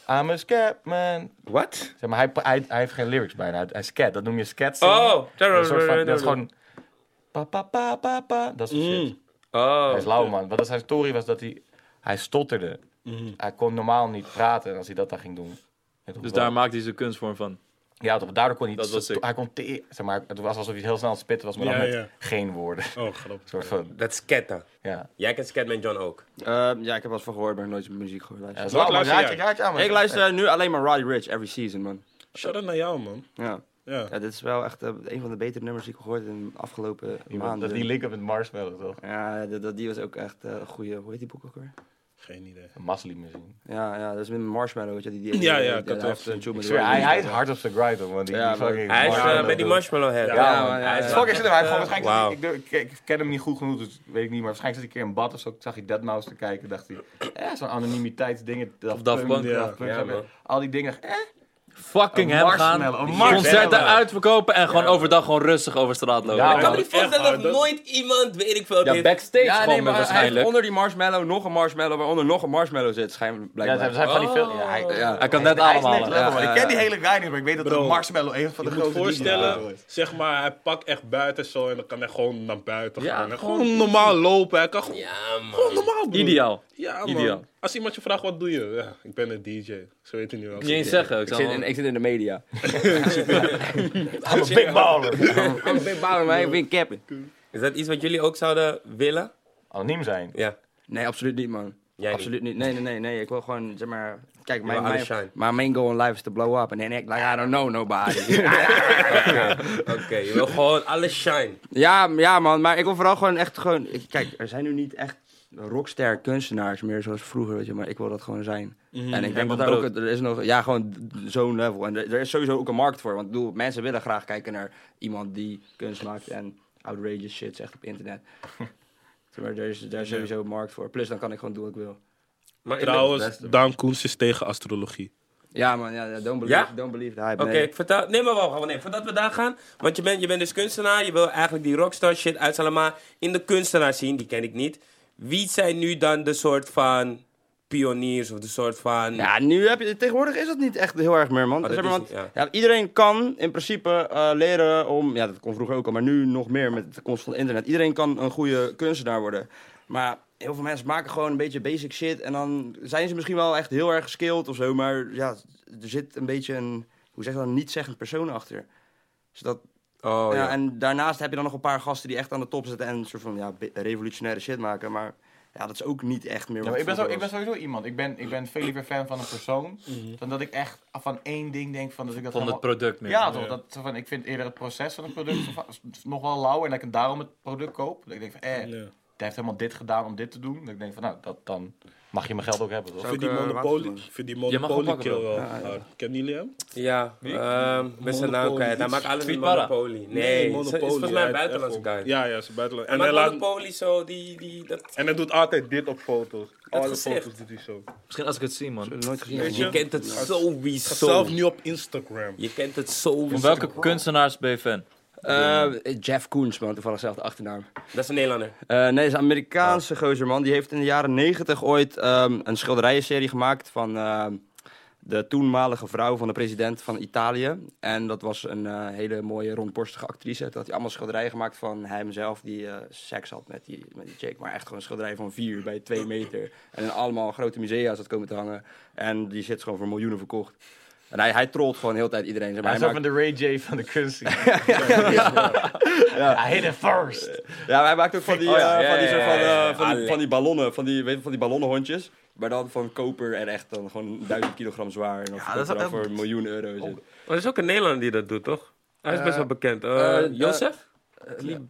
[SPEAKER 2] I'm a scatman.
[SPEAKER 1] What?
[SPEAKER 2] Zeg maar, hij, hij, hij heeft geen lyrics bijna. Hij, hij scat, dat noem je scat zingen.
[SPEAKER 1] Oh.
[SPEAKER 2] Dat is, een soort van, dat is gewoon. Pa, pa, pa, pa, pa. Dat is shit. Hij
[SPEAKER 1] Oh.
[SPEAKER 2] is lauw, man. Wat dat zijn story was dat hij. Hij stotterde. Hij kon normaal niet praten en als hij dat dan ging doen. En toen-
[SPEAKER 4] dus daar maakt hij zijn kunstvorm van.
[SPEAKER 2] Ja, toch, daardoor kon hij
[SPEAKER 4] Dat
[SPEAKER 2] niet.
[SPEAKER 4] was sick.
[SPEAKER 2] hij kon te, zeg maar, het was alsof hij heel snel aan het spitten was, maar
[SPEAKER 6] Ja,
[SPEAKER 2] dan met
[SPEAKER 6] ja.
[SPEAKER 2] geen woorden. Een
[SPEAKER 6] Oh, grappig.
[SPEAKER 2] soort van,
[SPEAKER 1] Dat is Cat dan.
[SPEAKER 2] ja.
[SPEAKER 1] Jij kent Scatman John ook.
[SPEAKER 5] Ehm, ja, ik heb wat van gehoord, maar ik heb nooit muziek gehoord.
[SPEAKER 2] Ja,
[SPEAKER 5] luisteren.
[SPEAKER 2] dat is lauw, man.
[SPEAKER 6] luister
[SPEAKER 2] Raad
[SPEAKER 6] jij?
[SPEAKER 2] je- raad je aan, man.
[SPEAKER 5] ik luister nu alleen maar Roddy Rich every season, man.
[SPEAKER 6] Shout out naar jou, man.
[SPEAKER 5] Ja.
[SPEAKER 6] Ja.
[SPEAKER 5] ja dit is wel echt eh, een van de betere nummers die ik gehoord heb in de afgelopen
[SPEAKER 2] Die-
[SPEAKER 5] maanden.
[SPEAKER 2] Dat die link up met Marshmallow, toch?
[SPEAKER 5] ja, dat, dat- die was ook echt eh, een goede. Hoe heet die boek ook weer?
[SPEAKER 6] Geen idee.
[SPEAKER 2] Een Masli misschien.
[SPEAKER 5] Ja, ja, dat is met Marshmallow, weet je. Die, die,
[SPEAKER 6] Ja, ja,
[SPEAKER 5] die-
[SPEAKER 6] ik had
[SPEAKER 5] hij
[SPEAKER 6] wel
[SPEAKER 5] heeft een tune
[SPEAKER 2] Ik
[SPEAKER 5] met
[SPEAKER 2] zweer,
[SPEAKER 5] Roddy
[SPEAKER 2] hij,
[SPEAKER 5] Ricch.
[SPEAKER 2] hij is hard op zijn grind, hoor, man. Die,
[SPEAKER 5] Ja,
[SPEAKER 2] die
[SPEAKER 5] man.
[SPEAKER 2] fucking
[SPEAKER 1] Hij is eh,
[SPEAKER 2] Marshmallow,
[SPEAKER 1] met die
[SPEAKER 2] toch?
[SPEAKER 1] marshmallow head.
[SPEAKER 5] Ja, man, ja,
[SPEAKER 1] Hij
[SPEAKER 5] ja.
[SPEAKER 1] is eh,
[SPEAKER 2] Fuck, ik zit hem. Hij heeft gewoon, waarschijnlijk
[SPEAKER 1] Wauw.
[SPEAKER 2] ik, durf- ik, ik ken hem niet goed genoeg, dus weet ik niet. Maar waarschijnlijk zat ik een keer in bad of zo. Ik zag hij Deadmau5 te kijken. dacht hij, eh, zo'n anonimiteitsdingen. Of
[SPEAKER 4] Daft Punk.
[SPEAKER 6] Ja.
[SPEAKER 2] Daft Punk,
[SPEAKER 1] Ja,
[SPEAKER 2] zo,
[SPEAKER 1] man.
[SPEAKER 2] Al die dingen. Eh,
[SPEAKER 4] fucking hem gaan.
[SPEAKER 2] marshmallow, een
[SPEAKER 4] Concerten
[SPEAKER 2] marshmallow.
[SPEAKER 4] uitverkopen en gewoon overdag gewoon rustig over straat lopen.
[SPEAKER 2] Ja,
[SPEAKER 1] Ik kan me niet
[SPEAKER 6] Echt
[SPEAKER 1] voorstellen
[SPEAKER 6] waar,
[SPEAKER 1] dat
[SPEAKER 6] dat-
[SPEAKER 1] nooit iemand, weet ik veel,
[SPEAKER 4] Ja,
[SPEAKER 1] dit-
[SPEAKER 4] backstage
[SPEAKER 5] Ja,
[SPEAKER 4] gewoon eh,
[SPEAKER 5] nee, maar hij heeft
[SPEAKER 4] waarschijnlijk.
[SPEAKER 5] onder die marshmallow nog een marshmallow, waaronder nog een marshmallow zit, schijnbaar.
[SPEAKER 2] Ja,
[SPEAKER 5] Blijkbaar.
[SPEAKER 2] er zijn van die veel... Ja, hij-
[SPEAKER 5] Ja.
[SPEAKER 4] Hij kan net allemaal.
[SPEAKER 2] Lekker, man. Ik ken die hele guy niet, maar ik weet dat
[SPEAKER 6] Bro.
[SPEAKER 2] een marshmallow een van de
[SPEAKER 6] Je moet
[SPEAKER 2] grote
[SPEAKER 6] voorstellen,
[SPEAKER 2] dingen is.
[SPEAKER 6] zeg maar, hij pakt echt buiten zo en dan kan hij gewoon naar buiten
[SPEAKER 4] Ja,
[SPEAKER 6] gaan. En
[SPEAKER 4] gewoon-
[SPEAKER 6] gewoon, normaal lopen. Hij kan gewoon,
[SPEAKER 1] Ja, man.
[SPEAKER 6] gewoon normaal doen.
[SPEAKER 4] Ideaal.
[SPEAKER 6] Ja, man.
[SPEAKER 4] Ideaal.
[SPEAKER 6] Als iemand je vraagt, wat doe je? Ja, ik ben een DJ. Zo weet hij nu wel.
[SPEAKER 4] Niet eens zeggen. Ik
[SPEAKER 5] Ik
[SPEAKER 4] zou
[SPEAKER 5] zit,
[SPEAKER 4] gewoon-
[SPEAKER 5] in, ik zit in de media.
[SPEAKER 2] I'm a big baller.
[SPEAKER 5] Ik ben bang, maar ik ben capping.
[SPEAKER 1] Is dat iets wat jullie ook zouden willen?
[SPEAKER 2] Anoniem zijn.
[SPEAKER 1] Ja.
[SPEAKER 5] Nee, absoluut niet, man.
[SPEAKER 1] Jij niet?
[SPEAKER 5] absoluut niet. Nee, nee, nee, nee. Ik wil gewoon, zeg maar... Kijk, mijn,
[SPEAKER 1] wil alles
[SPEAKER 5] mijn,
[SPEAKER 1] shine.
[SPEAKER 5] mijn main goal in life is to blow up. En then act like I don't know nobody.
[SPEAKER 1] Oké, je wil gewoon alles shine.
[SPEAKER 5] ja, ja, man. Maar ik wil vooral gewoon echt gewoon... ik- Kijk, er zijn nu niet echt rockster kunstenaars meer zoals vroeger, weet je. Maar ik wil dat gewoon zijn.
[SPEAKER 1] Mhm.
[SPEAKER 5] en ik denk dat daar ook... Er is nog... Ja, gewoon d- zo'n level. En er, er is sowieso ook een markt voor. Want ik bedoel, mensen willen graag kijken naar iemand die kunst maakt en outrageous shit zegt op internet. maar er is, daar is sowieso een markt voor. Plus dan kan ik gewoon doen wat ik wil.
[SPEAKER 1] Maar in-
[SPEAKER 6] Trouwens, Daan Koens is tegen astrologie.
[SPEAKER 5] Ja, man, ja, ja, don't believe,
[SPEAKER 1] Ja?
[SPEAKER 5] don't believe the hype.
[SPEAKER 1] Oké,
[SPEAKER 5] nee.
[SPEAKER 1] ik vertel. Nee, maar wacht, wacht, nee, voordat we daar gaan. Want je bent, je bent dus kunstenaar, je wil eigenlijk die rockstar shit uitzalen. Maar in de kunstenaar zien, die ken ik niet. Wie zijn nu dan de soort van pioniers of de soort van.
[SPEAKER 5] Ja, nu heb je, tegenwoordig is dat niet echt heel erg meer, man.
[SPEAKER 1] Oh,
[SPEAKER 5] Dus
[SPEAKER 1] dat
[SPEAKER 5] Zeg maar,
[SPEAKER 1] is
[SPEAKER 5] want,
[SPEAKER 1] niet,
[SPEAKER 5] ja, iedereen kan in principe eh, leren om, ja, dat kon vroeger ook al, maar nu nog meer met de komst van het internet. Iedereen kan een goede kunstenaar worden. Maar heel veel mensen maken gewoon een beetje basic shit en dan zijn ze misschien wel echt heel erg geskilled of zo, maar ja, er zit een beetje een, hoe zeg je dat, een niet-zeggend persoon achter. Dus dat,
[SPEAKER 1] Oh ja.
[SPEAKER 5] ja, En daarnaast heb je dan nog een paar gasten die echt aan de top zitten en een soort van ja, be- revolutionaire shit maken, maar ja, dat is ook niet echt meer
[SPEAKER 2] Ja,
[SPEAKER 5] wat
[SPEAKER 2] maar ik, ben zo,
[SPEAKER 5] vroeger
[SPEAKER 2] ik ben sowieso iemand. Ik ben, ik ben veel liever fan van een persoon.
[SPEAKER 6] Mhm.
[SPEAKER 2] Dan dat ik echt van één ding denk van dat ik dat
[SPEAKER 4] Van het
[SPEAKER 2] helemaal-
[SPEAKER 4] product meer.
[SPEAKER 2] Ja, toch? Dat, van, ik vind eerder het proces van het product van- nog wel lauw. En dat ik het daarom het product koop. Dat ik denk van, eh,
[SPEAKER 6] Ja.
[SPEAKER 2] hij heeft helemaal dit gedaan om dit te doen. Dat ik denk van, nou, dat, dan mag je mijn geld ook hebben, toch?
[SPEAKER 5] Zo.
[SPEAKER 6] Vind die
[SPEAKER 5] eh,
[SPEAKER 6] Monopoly,
[SPEAKER 5] watermelon.
[SPEAKER 6] vind die
[SPEAKER 4] Je mag hem
[SPEAKER 6] Monopoly
[SPEAKER 4] pakken,
[SPEAKER 6] kill
[SPEAKER 4] bro.
[SPEAKER 6] wel. hard. Kennen jullie hem?
[SPEAKER 1] Ja, ehm, ik ben zijn naam
[SPEAKER 6] Monopoly
[SPEAKER 1] kwijt. Hij
[SPEAKER 6] iets.
[SPEAKER 1] maakt alles in
[SPEAKER 4] Tweetbarra.
[SPEAKER 1] Monopoly. Nee, Monopoly. Is, is volgens mij een
[SPEAKER 6] Hij-
[SPEAKER 1] buitenlandse
[SPEAKER 6] echt wel.
[SPEAKER 1] guy.
[SPEAKER 6] Ja, ja, is een buitenland.
[SPEAKER 1] Hij
[SPEAKER 6] En hij,
[SPEAKER 1] maakt
[SPEAKER 6] laat,
[SPEAKER 1] Monopoly zo, die, die, dat,
[SPEAKER 6] en hij doet altijd dit op foto's. Alle
[SPEAKER 1] gezicht.
[SPEAKER 6] foto's doet hij zo.
[SPEAKER 4] Misschien als ik het zie, man.
[SPEAKER 5] was. Nooit gezien.
[SPEAKER 6] Weet
[SPEAKER 1] je kent het
[SPEAKER 6] Ga
[SPEAKER 1] sowieso.
[SPEAKER 6] zelf nu op Instagram.
[SPEAKER 1] Je kent het sowieso.
[SPEAKER 4] Van welke kunstenaars ben je fan?
[SPEAKER 5] Eh, Jeff Koens, man, toevallig zelf de achternaam.
[SPEAKER 1] Dat is een Nederlander.
[SPEAKER 5] Eh, nee, dat is een
[SPEAKER 2] Oh.
[SPEAKER 5] Amerikaanse gozer, man. Die heeft in de jaren negentig ooit ehm, een schilderijenserie gemaakt van ehm, de toenmalige vrouw van de president van Italië. En dat was een eh, hele mooie rondborstige actrice. Toen had hij allemaal schilderijen gemaakt van hemzelf die eh, seks had met die, met die chick. Maar echt gewoon een schilderij van vier bij twee meter. En in allemaal grote musea zat komen te hangen. En die zit gewoon voor miljoenen verkocht. En hij, hij trolt gewoon de hele tijd iedereen. Zeg maar.
[SPEAKER 2] Hij is
[SPEAKER 5] Hij
[SPEAKER 2] ook van
[SPEAKER 5] maakt-
[SPEAKER 2] de Ray J van de kunst. ja. I hit it first.
[SPEAKER 5] Ja, maar hij maakt ook van die,
[SPEAKER 2] Oh ja,
[SPEAKER 5] eh,
[SPEAKER 2] ja,
[SPEAKER 5] van die
[SPEAKER 2] ja,
[SPEAKER 5] soort van,
[SPEAKER 2] ja, ja,
[SPEAKER 5] eh, van, die- van die ballonnen, van die, weet je, van die ballonnenhondjes. Maar dan van koper en echt dan gewoon duizend kilogram zwaar. En dan verkoopt
[SPEAKER 2] dat is
[SPEAKER 5] hij dan
[SPEAKER 2] ook-
[SPEAKER 5] voor een miljoen euro. Zit.
[SPEAKER 1] er is ook een Nederlander die dat doet, toch? Hij is best wel bekend.
[SPEAKER 5] eh,
[SPEAKER 1] Jozef?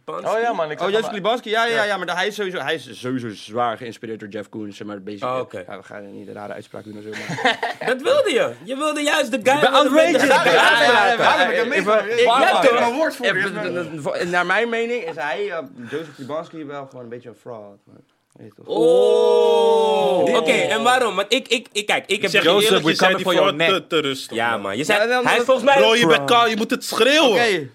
[SPEAKER 2] Oh ja, man. Ik zag
[SPEAKER 5] Oh, Jeff
[SPEAKER 2] hem-
[SPEAKER 5] Klibanski? Ja, ja, ja, maar hij is sowieso, hij is sowieso zwaar geïnspireerd door Jeff Koons. zeg Maar basic,
[SPEAKER 1] Oh, oké.
[SPEAKER 5] ja, we gaan niet een rare uitspraak doen of zo. Maar...
[SPEAKER 1] Dat wilde je. Je wilde juist de guy...
[SPEAKER 5] ben
[SPEAKER 1] met de-
[SPEAKER 5] outrageous.
[SPEAKER 1] met de-
[SPEAKER 5] Ja, ja, ja, ja.
[SPEAKER 2] Daarom heb ik hem meegemaakt. Ik
[SPEAKER 5] ja,
[SPEAKER 2] heb
[SPEAKER 5] toch?
[SPEAKER 2] er een woord voor.
[SPEAKER 5] Eh, eh, eh, Naar mijn mening is hij, eh, Joseph Klibanski, wel gewoon een beetje een fraud. Maar, weet je toch?
[SPEAKER 1] Oh. Oké, en waarom? Want ik, ik, ik kijk, ik heb...
[SPEAKER 6] Ik zeg je
[SPEAKER 4] Jozef,
[SPEAKER 6] eerlijk,
[SPEAKER 4] we
[SPEAKER 6] je zei
[SPEAKER 4] coming
[SPEAKER 6] die
[SPEAKER 4] for your
[SPEAKER 6] vrouw te,
[SPEAKER 4] neck.
[SPEAKER 6] te rustig.
[SPEAKER 1] Ja, man. Je zei,
[SPEAKER 5] Ja, dan-
[SPEAKER 1] hij is volgens mij...
[SPEAKER 6] Bro, je bent kaal, je moet het schreeuwen.
[SPEAKER 5] Oké.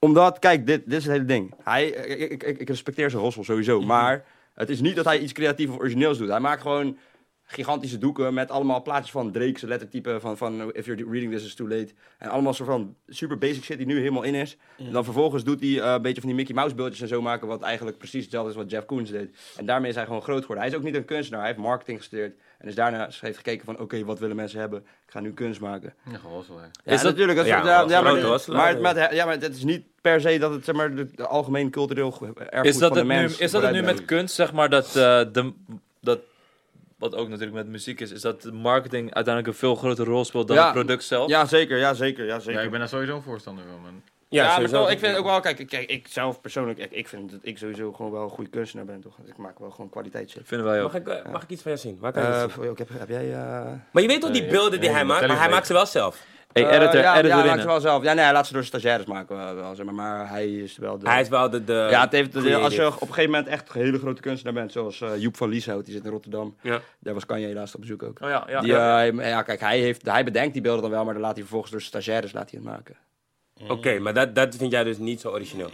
[SPEAKER 5] Omdat, kijk, dit, dit is het hele ding. Hij, ik, ik, ik- ik respecteer zijn rossel sowieso. Maar het is niet dat hij iets creatiefs of origineels doet. Hij maakt gewoon gigantische doeken met allemaal plaatjes van Drake's lettertype. Van, van If You're Reading This Is Too Late. En allemaal soort van super basic shit die nu helemaal in is. En dan vervolgens doet hij eh, een beetje van die Mickey Mouse beeldjes en zo maken. Wat eigenlijk precies hetzelfde is wat Jeff Koons deed. En daarmee is hij gewoon groot geworden. Hij is ook niet een kunstenaar. Hij heeft marketing gestudeerd. En is daarna eens heeft gekeken van oké, wat willen mensen hebben? Ik ga nu kunst maken. Ja,
[SPEAKER 4] Is dat-
[SPEAKER 5] natuurlijk. Dat is-
[SPEAKER 1] ja,
[SPEAKER 5] ja, ja,
[SPEAKER 1] grote
[SPEAKER 5] maar,
[SPEAKER 1] Hasselaar,
[SPEAKER 5] maar,
[SPEAKER 4] eh,
[SPEAKER 1] ja.
[SPEAKER 5] het- maar het- ja, maar het is niet per se dat het zeg maar, de, de algemeen cultureel ge- erfgoed
[SPEAKER 4] Is dat,
[SPEAKER 5] van de
[SPEAKER 4] het nu,
[SPEAKER 5] mens...
[SPEAKER 4] is dat het nu met kunst, zeg maar, dat, eh, de, dat wat ook natuurlijk met muziek is, is dat de marketing uiteindelijk een veel grotere rol speelt dan
[SPEAKER 5] Ja.
[SPEAKER 4] het product zelf?
[SPEAKER 5] Ja, zeker. Ja, zeker. Ja, zeker.
[SPEAKER 2] Ja, ik ben daar sowieso een voorstander van, man.
[SPEAKER 1] Ja,
[SPEAKER 5] Ja, maar
[SPEAKER 1] sowieso.
[SPEAKER 5] toch, ik vind ook wel, kijk, kijk, ik zelf persoonlijk, ik, ik vind dat ik sowieso gewoon wel een goede kunstenaar ben, toch? Ik maak wel gewoon kwaliteitshit.
[SPEAKER 4] Vinden wij ook.
[SPEAKER 1] Mag ik, eh, mag ik iets van jou zien? Waar kan ik
[SPEAKER 5] Eh,
[SPEAKER 1] iets zien?
[SPEAKER 5] voor- ik heb, heb jij... eh,
[SPEAKER 1] Maar je weet toch die
[SPEAKER 2] Nee,
[SPEAKER 1] beelden die
[SPEAKER 2] nee,
[SPEAKER 1] hij
[SPEAKER 2] dat
[SPEAKER 1] maakt,
[SPEAKER 2] tel
[SPEAKER 1] maar
[SPEAKER 2] ik
[SPEAKER 1] hij
[SPEAKER 2] niet.
[SPEAKER 1] maakt ze wel zelf.
[SPEAKER 4] Hey,
[SPEAKER 5] Eh,
[SPEAKER 4] editor,
[SPEAKER 5] ja,
[SPEAKER 4] editor
[SPEAKER 5] ja, maakt
[SPEAKER 4] in.
[SPEAKER 5] ze wel zelf. Ja, nee, hij laat ze door stagiaires maken. wel, wel, zeg maar. maar hij is wel de...
[SPEAKER 1] Hij is wel de... de
[SPEAKER 5] ja, het heeft, als je
[SPEAKER 1] creative.
[SPEAKER 5] op een gegeven moment echt een hele grote kunstenaar bent, zoals eh, Joep van Lieshout, die zit in Rotterdam.
[SPEAKER 1] Ja.
[SPEAKER 5] Daar was Kanye laatst op bezoek ook.
[SPEAKER 4] Oh ja, ja.
[SPEAKER 5] Die,
[SPEAKER 4] ja.
[SPEAKER 5] eh, ja, kijk, hij, heeft, hij bedenkt die beelden dan wel, maar dan laat hij vervolgens door stagiaires laat hij het maken.
[SPEAKER 1] Oké, maar dat, dat vind jij dus niet zo origineel.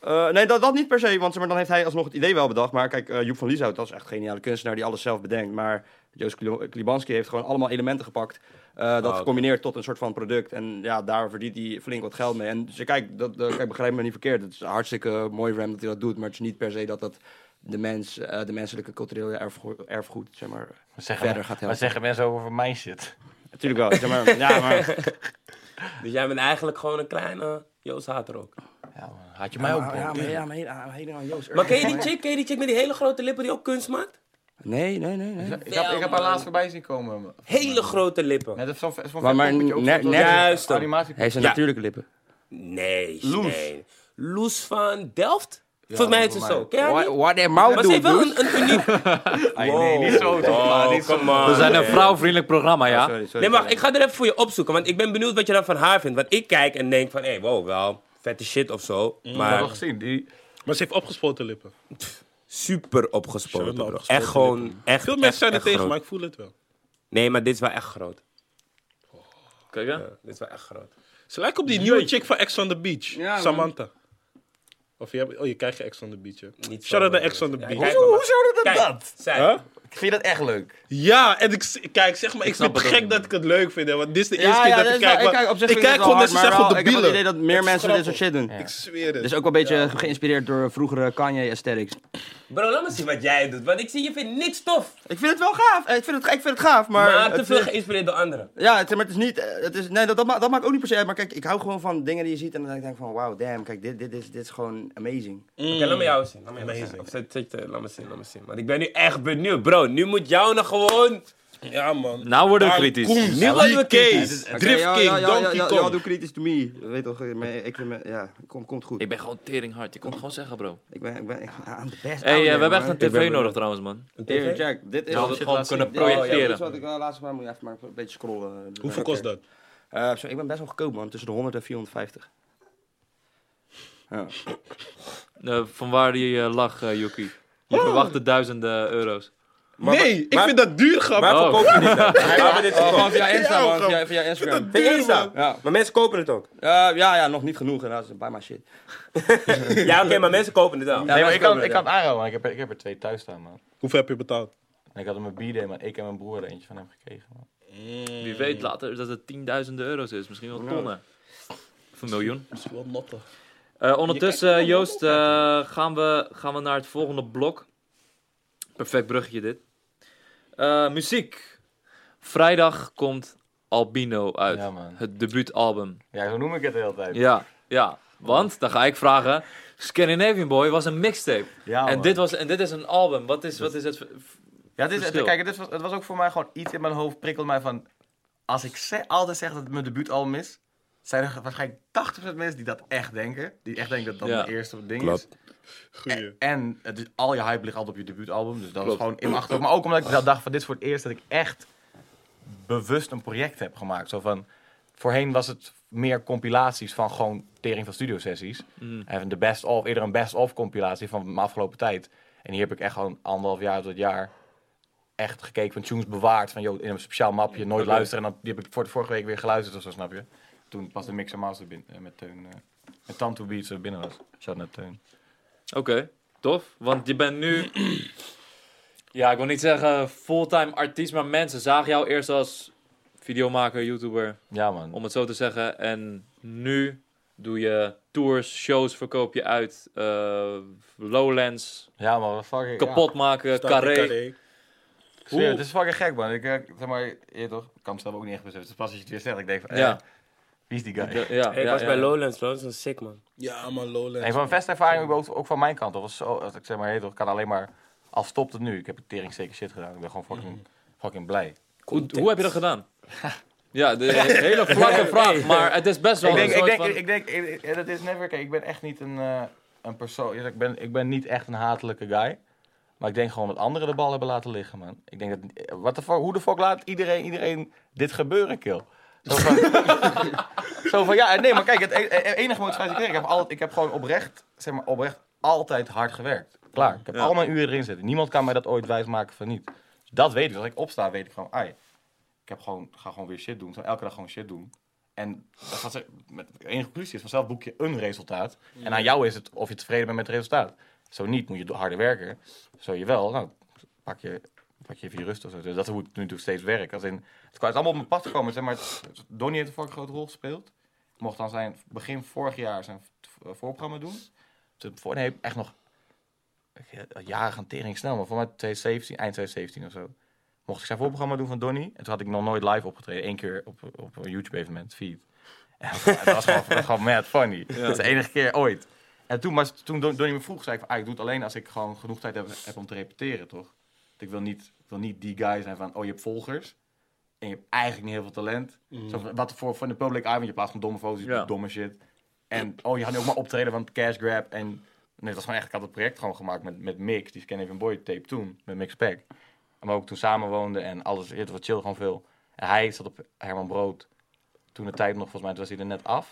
[SPEAKER 5] Eh, nee, dat, dat niet per se, want zeg maar, dan heeft hij alsnog het idee wel bedacht. Maar kijk, eh, Joep van Lieshout, dat is echt een geniale kunstenaar die alles zelf bedenkt. Maar Joost Kli- Klibanski heeft gewoon allemaal elementen gepakt. eh, dat
[SPEAKER 1] oké.
[SPEAKER 5] gecombineerd tot een soort van product. En ja, daar verdient hij flink wat geld mee. En dus, kijk, dat, eh, kijk, begrijp me niet verkeerd. Het is hartstikke mooi voor hem dat hij dat doet. Maar het is niet per se dat dat de, mens, eh, de menselijke culturele erfgo- erfgoed, zeg maar,
[SPEAKER 2] Wat zeggen,
[SPEAKER 5] verder gaat
[SPEAKER 2] wat
[SPEAKER 5] helpen.
[SPEAKER 2] zeggen mensen over mijn shit?
[SPEAKER 5] Natuurlijk wel, zeg maar, ja, maar...
[SPEAKER 1] Dus jij bent eigenlijk gewoon een kleine Joost Hater ook.
[SPEAKER 2] Ja, man. Had je mij ook, bro?
[SPEAKER 5] ja, maar, ja, maar helemaal Joost.
[SPEAKER 1] Maar ken je die chick, ken je die chick met die hele grote lippen die ook kunst maakt?
[SPEAKER 5] Nee, nee, nee, nee.
[SPEAKER 2] Ik heb, ik heb haar laatst voorbij zien komen.
[SPEAKER 1] Hele grote lippen.
[SPEAKER 2] Net als zo'n zo'n vet
[SPEAKER 5] Maar- maar
[SPEAKER 2] poppetje op
[SPEAKER 5] net-
[SPEAKER 2] zo'n-
[SPEAKER 5] net-
[SPEAKER 1] Juist dan.
[SPEAKER 2] animatie.
[SPEAKER 5] Hij heeft zijn
[SPEAKER 1] Ja.
[SPEAKER 5] natuurlijke lippen.
[SPEAKER 1] Nee,
[SPEAKER 2] Loes.
[SPEAKER 1] nee. Loes van Delft? Volgens mij is ze
[SPEAKER 2] volgens
[SPEAKER 1] zo.
[SPEAKER 2] mij.
[SPEAKER 1] Ken je haar
[SPEAKER 5] What,
[SPEAKER 1] niet?
[SPEAKER 5] what that
[SPEAKER 1] Maar
[SPEAKER 5] mouth
[SPEAKER 1] ze
[SPEAKER 5] do,
[SPEAKER 1] heeft wel
[SPEAKER 5] dude?
[SPEAKER 1] een, een uniek...
[SPEAKER 2] Ai, nee, niet zo toch? maar
[SPEAKER 5] Oh,
[SPEAKER 2] niet zo.
[SPEAKER 4] We zijn een vrouwvriendelijk programma, ja.
[SPEAKER 5] Sorry, sorry.
[SPEAKER 1] Nee, maar wacht, ik ga er even voor je opzoeken. Want ik ben benieuwd wat je dan van haar vindt. Want ik kijk en denk van, hé, hey, wow, wel, vette shit of zo.
[SPEAKER 6] Mm.
[SPEAKER 2] Ik heb
[SPEAKER 1] Maar
[SPEAKER 2] wel gezien. Die,
[SPEAKER 6] Maar ze heeft opgespoten lippen.
[SPEAKER 1] super
[SPEAKER 6] Ze
[SPEAKER 1] opgespoten,
[SPEAKER 6] hebben
[SPEAKER 1] bro.
[SPEAKER 6] opgespoten
[SPEAKER 1] Echt gewoon, echt,
[SPEAKER 6] Veel
[SPEAKER 1] echt,
[SPEAKER 6] mensen zijn er
[SPEAKER 1] echt
[SPEAKER 6] tegen,
[SPEAKER 1] groot.
[SPEAKER 6] maar ik voel het wel.
[SPEAKER 1] Nee, maar dit is wel echt groot.
[SPEAKER 4] Kijk, hè.
[SPEAKER 1] Dit is wel echt groot.
[SPEAKER 6] Ze lijkt op die nieuwe chick van Ex on the Beach.
[SPEAKER 5] Ja, man.
[SPEAKER 6] Samantha. Of je hebt, oh, je krijgt geen Ex on the Beach, hè.
[SPEAKER 1] Niet
[SPEAKER 6] Shout
[SPEAKER 1] zo,
[SPEAKER 6] out naar
[SPEAKER 1] eh,
[SPEAKER 6] Ex on the
[SPEAKER 1] ja,
[SPEAKER 6] Beach.
[SPEAKER 1] kijk maar, maar-
[SPEAKER 2] dat
[SPEAKER 1] Kijk, zij.
[SPEAKER 6] Huh?
[SPEAKER 2] Vind je dat echt leuk?
[SPEAKER 6] Ja, en ik, z- kijk, zeg maar, ik,
[SPEAKER 4] snap
[SPEAKER 6] vind het
[SPEAKER 4] het ook
[SPEAKER 6] gek
[SPEAKER 4] niet,
[SPEAKER 6] dat ik het leuk vind, hè, want dit is de
[SPEAKER 5] Ja,
[SPEAKER 6] eerste keer
[SPEAKER 5] ja,
[SPEAKER 6] dat
[SPEAKER 5] dit
[SPEAKER 6] ik
[SPEAKER 5] is wel-
[SPEAKER 6] kijk. maar
[SPEAKER 5] op
[SPEAKER 6] ik
[SPEAKER 5] zich vind
[SPEAKER 6] kijk
[SPEAKER 5] het wel
[SPEAKER 6] gewoon dat ze
[SPEAKER 5] hard, maar
[SPEAKER 6] zeggen op de
[SPEAKER 5] wel- Ik heb
[SPEAKER 6] bielen.
[SPEAKER 5] het idee dat meer mensen dit soort shit doen.
[SPEAKER 6] Ik zweer het.
[SPEAKER 5] Dus ook wel een beetje geïnspireerd door geïnspireerd door Kanye aesthetics.
[SPEAKER 1] Bro, laat me zien wat jij doet. Want ik zie, je vindt niks tof.
[SPEAKER 5] Ik vind het wel gaaf. Eh, Ik vind het, ik vind het gaaf, maar...
[SPEAKER 1] Maar, te
[SPEAKER 5] het
[SPEAKER 1] veel
[SPEAKER 5] is-
[SPEAKER 1] geïnspireerd door anderen.
[SPEAKER 5] ja, het, maar het is niet... eh, Het is, nee, dat, dat, ma- dat maakt ook niet per se uit. Maar kijk, ik hou gewoon van dingen die je ziet en dan denk ik van... Wow, damn, kijk, dit, dit, is, dit is gewoon amazing.
[SPEAKER 1] Oké,
[SPEAKER 2] Mm.
[SPEAKER 1] laat me jou zien. Laat me jou zien. Of zet- zet- eh, laat me zien, laat me zien. Want ik ben nu echt benieuwd. Bro, nu moet jou nog gewoon...
[SPEAKER 6] Ja, man.
[SPEAKER 4] Nou worden we
[SPEAKER 6] Daar
[SPEAKER 4] kritisch.
[SPEAKER 6] komt
[SPEAKER 1] Nu worden we
[SPEAKER 6] DK's,
[SPEAKER 1] kritisch.
[SPEAKER 5] Oké,
[SPEAKER 6] Drift
[SPEAKER 5] ja,
[SPEAKER 6] King,
[SPEAKER 5] ja, ja,
[SPEAKER 6] Donkey
[SPEAKER 5] ja, ja,
[SPEAKER 6] Kong.
[SPEAKER 5] ja, doe kritisch to me. Je Weet toch, ik ben- ik vind me... Ja, komt, komt goed.
[SPEAKER 4] Ik ben gewoon tering hard. Je kon het gewoon zeggen, bro.
[SPEAKER 5] Ik ben, ik ben, ik ben aan de best.
[SPEAKER 4] hey, eh, we hebben echt een
[SPEAKER 1] ben
[SPEAKER 4] tv
[SPEAKER 1] benieuwd.
[SPEAKER 4] nodig trouwens, man.
[SPEAKER 5] Hier, Jack, dit is...
[SPEAKER 4] Ja, we
[SPEAKER 5] dit
[SPEAKER 4] het gewoon kunnen
[SPEAKER 5] is- dit is-
[SPEAKER 4] projecteren.
[SPEAKER 5] Dit is wat ik eh, laatst maar moet je even maar een beetje scrollen.
[SPEAKER 6] Hoeveel kost dat?
[SPEAKER 5] Eh, zo, ik ben best wel goedkoop, man. Tussen de 100 en 450. Ja.
[SPEAKER 4] Eh, van waar die eh, lag, eh, Yuki. Je verwachtte duizenden euro's.
[SPEAKER 6] nee, ik vind dat duur, grap.
[SPEAKER 1] Waarvoor
[SPEAKER 4] Oh.
[SPEAKER 1] koop je dit dan? Waarvoor heb je dit gekocht?
[SPEAKER 5] via Insta,
[SPEAKER 6] Oh. Ja,
[SPEAKER 5] man.
[SPEAKER 6] grap.
[SPEAKER 5] Via, via Instagram.
[SPEAKER 1] Via Insta?
[SPEAKER 5] Ja.
[SPEAKER 1] Maar mensen kopen het ook.
[SPEAKER 5] Eh, ja, ja, nog niet genoeg. Helaas, bij my shit.
[SPEAKER 1] Ja, oké, maar mensen kopen het wel.
[SPEAKER 5] Ja,
[SPEAKER 2] nee, maar
[SPEAKER 5] mensen
[SPEAKER 2] ik kan,
[SPEAKER 5] komen
[SPEAKER 2] ik
[SPEAKER 5] er,
[SPEAKER 2] kan het aanhouden, man. Ik heb, er- ik heb er twee thuis staan, man.
[SPEAKER 6] Hoeveel heb je betaald?
[SPEAKER 2] En ik had hem een bieden, maar ik en mijn broer hadden eentje van hem gekregen, man.
[SPEAKER 4] Wie weet later dat het tienduizenden euro's is. Misschien wel tonnen. Of een miljoen.
[SPEAKER 6] Misschien wel notten.
[SPEAKER 4] Eh, ondertussen, eh, Joost, eh, gaan, we, gaan we naar het volgende blok. Perfect bruggetje dit. Eh, muziek. Vrijdag komt Albino uit.
[SPEAKER 2] Ja, man.
[SPEAKER 4] Het debuutalbum.
[SPEAKER 2] Ja, zo noem ik het de hele tijd.
[SPEAKER 4] Ja, ja. Want, dan ga ik vragen. Scandinavian Boy was een mixtape.
[SPEAKER 2] Ja,
[SPEAKER 4] en,
[SPEAKER 2] man.
[SPEAKER 4] dit was, en dit is een album. Wat is, wat is het...
[SPEAKER 2] Ja, het is,
[SPEAKER 4] Verschil.
[SPEAKER 2] kijk, het, is, het was ook voor mij gewoon iets in mijn hoofd prikkelde mij van... Als ik ze- altijd zeg dat het mijn debuutalbum is... zijn er waarschijnlijk 80% mensen die dat echt denken. Die echt denken dat dat
[SPEAKER 4] Ja.
[SPEAKER 2] mijn eerste ding
[SPEAKER 1] Klopt.
[SPEAKER 2] is.
[SPEAKER 6] Goeie.
[SPEAKER 2] En het is, al je hype ligt altijd op je debuutalbum. Dus dat was gewoon in mijn achterhoofd. Maar ook omdat ik wel dacht van dit is voor het eerst dat ik echt... bewust een project heb gemaakt. Zo van... Voorheen was het meer compilaties van gewoon tering van studiosessies. En de best of, eerder een best of compilatie van mijn afgelopen tijd. En hier heb ik echt gewoon anderhalf jaar tot jaar echt gekeken van tunes bewaard. Van joh, in een speciaal mapje, nooit luisteren. En dan, die heb ik voor, vorige week weer geluisterd of zo, snap je? Toen pas de mix en master bin- eh, met Teun, eh met Tanto Beats er binnen was. Shout naar Teun.
[SPEAKER 4] Oké, tof. Want je bent nu... ja, ik wil niet zeggen fulltime artiest, maar mensen zagen jou eerst als videomaker, YouTuber,
[SPEAKER 2] Ja man.
[SPEAKER 4] om het zo te zeggen. En nu doe je tours, shows verkoop je uit, eh, Lowlands,
[SPEAKER 2] Ja man, wat fucking... ja.
[SPEAKER 4] kapot
[SPEAKER 1] Eh,
[SPEAKER 4] maken, carré.
[SPEAKER 2] Ik zweer, het is fucking gek man. Ik, eh, zeg maar, je weet toch, ik kan het zelf ook niet echt beseffen. Het is pas als je het weer zegt, ik denk van, eh,
[SPEAKER 4] Ja,
[SPEAKER 2] wie is die guy?
[SPEAKER 4] ja, ja.
[SPEAKER 1] Ik was
[SPEAKER 4] ja.
[SPEAKER 1] bij Lowlands, bro. Dat is een sick, man.
[SPEAKER 6] Ja, man, Lowlands.
[SPEAKER 2] Nee, van festervaring ook, ook van mijn kant. Dat was zo, als ik zeg maar, hey, toch, ik kan alleen maar, al stopt het nu. Ik heb een tering zeker shit gedaan. Ik ben gewoon fucking,
[SPEAKER 4] Mm.
[SPEAKER 2] fucking blij.
[SPEAKER 4] Hoe, hoe heb je dat gedaan? Ja, de he- hele vlakke vraag, maar het is best wel
[SPEAKER 2] Ik denk,
[SPEAKER 4] een
[SPEAKER 2] ik
[SPEAKER 4] soort
[SPEAKER 2] denk,
[SPEAKER 4] van...
[SPEAKER 2] ik denk, ik- ik- dat is never, kijk, ik ben echt niet een, eh, een persoon, ik ben, ik ben niet echt een hatelijke guy. Maar ik denk gewoon dat anderen de bal hebben laten liggen, man. Ik denk dat, wat de fuck, hoe de fuck laat iedereen, iedereen dit gebeuren, kill? Zo van, zo van ja, nee, maar kijk, het e- e- enige motivatie die ik kreeg, ik heb, altijd, ik heb gewoon oprecht, zeg maar, oprecht altijd hard gewerkt. Klaar, ik heb al mijn uren erin zitten. Niemand kan mij dat ooit wijsmaken van niet. Dus dat weet ik. Als ik opsta, weet ik gewoon, ai, ik heb gewoon, ga gewoon weer shit doen. Ik zal elke dag gewoon shit doen. En dat was er- met de enige conclusie is vanzelf boek je een resultaat. En aan jou is het of je tevreden bent met het resultaat. Zo niet, moet je do- harder werken. Zo je wel, nou, pak je, pak je even je rust of zo. Dus dat is hoe het nu toe steeds werkt. Als in, het is allemaal op mijn pad gekomen. Zeg maar, het- het- Donnie heeft een fucking grote rol gespeeld. Mocht dan zijn begin vorig jaar zijn v- voorprogramma doen. Toen voor, nee, echt nog ik- jaren gaan tering snel. Maar voor mij 2017, eind 2017 of zo mocht ik zijn voorprogramma doen van Donnie. En toen had ik nog nooit live opgetreden. Eén keer op, op een YouTube-evenement, feed. En dat was gewoon, dat was gewoon mad funny. Dat is de enige keer ooit. En toen, maar toen Don- Donnie me vroeg, zei ik van... Ah, ik doe het alleen als ik gewoon genoeg tijd heb, heb om te repeteren, toch? Want ik wil niet, ik wil niet die guy zijn van... Oh, je hebt volgers. En je hebt eigenlijk niet heel veel talent. Zo van, wat voor, voor de public eye, want je plaatst gewoon domme foto's, je
[SPEAKER 4] Ja.
[SPEAKER 2] doet domme shit. En oh, je had nu ook maar optreden van cash grab. En nee, dat was gewoon echt, ik had het project gewoon gemaakt met, met Mix. Die Scan Even Boy tape toen, met Mix Pack. Maar ook toen samen woonden en alles. Het was chill gewoon veel. En hij zat op Herman Brood. Toen de tijd nog, volgens mij, toen was hij er net af.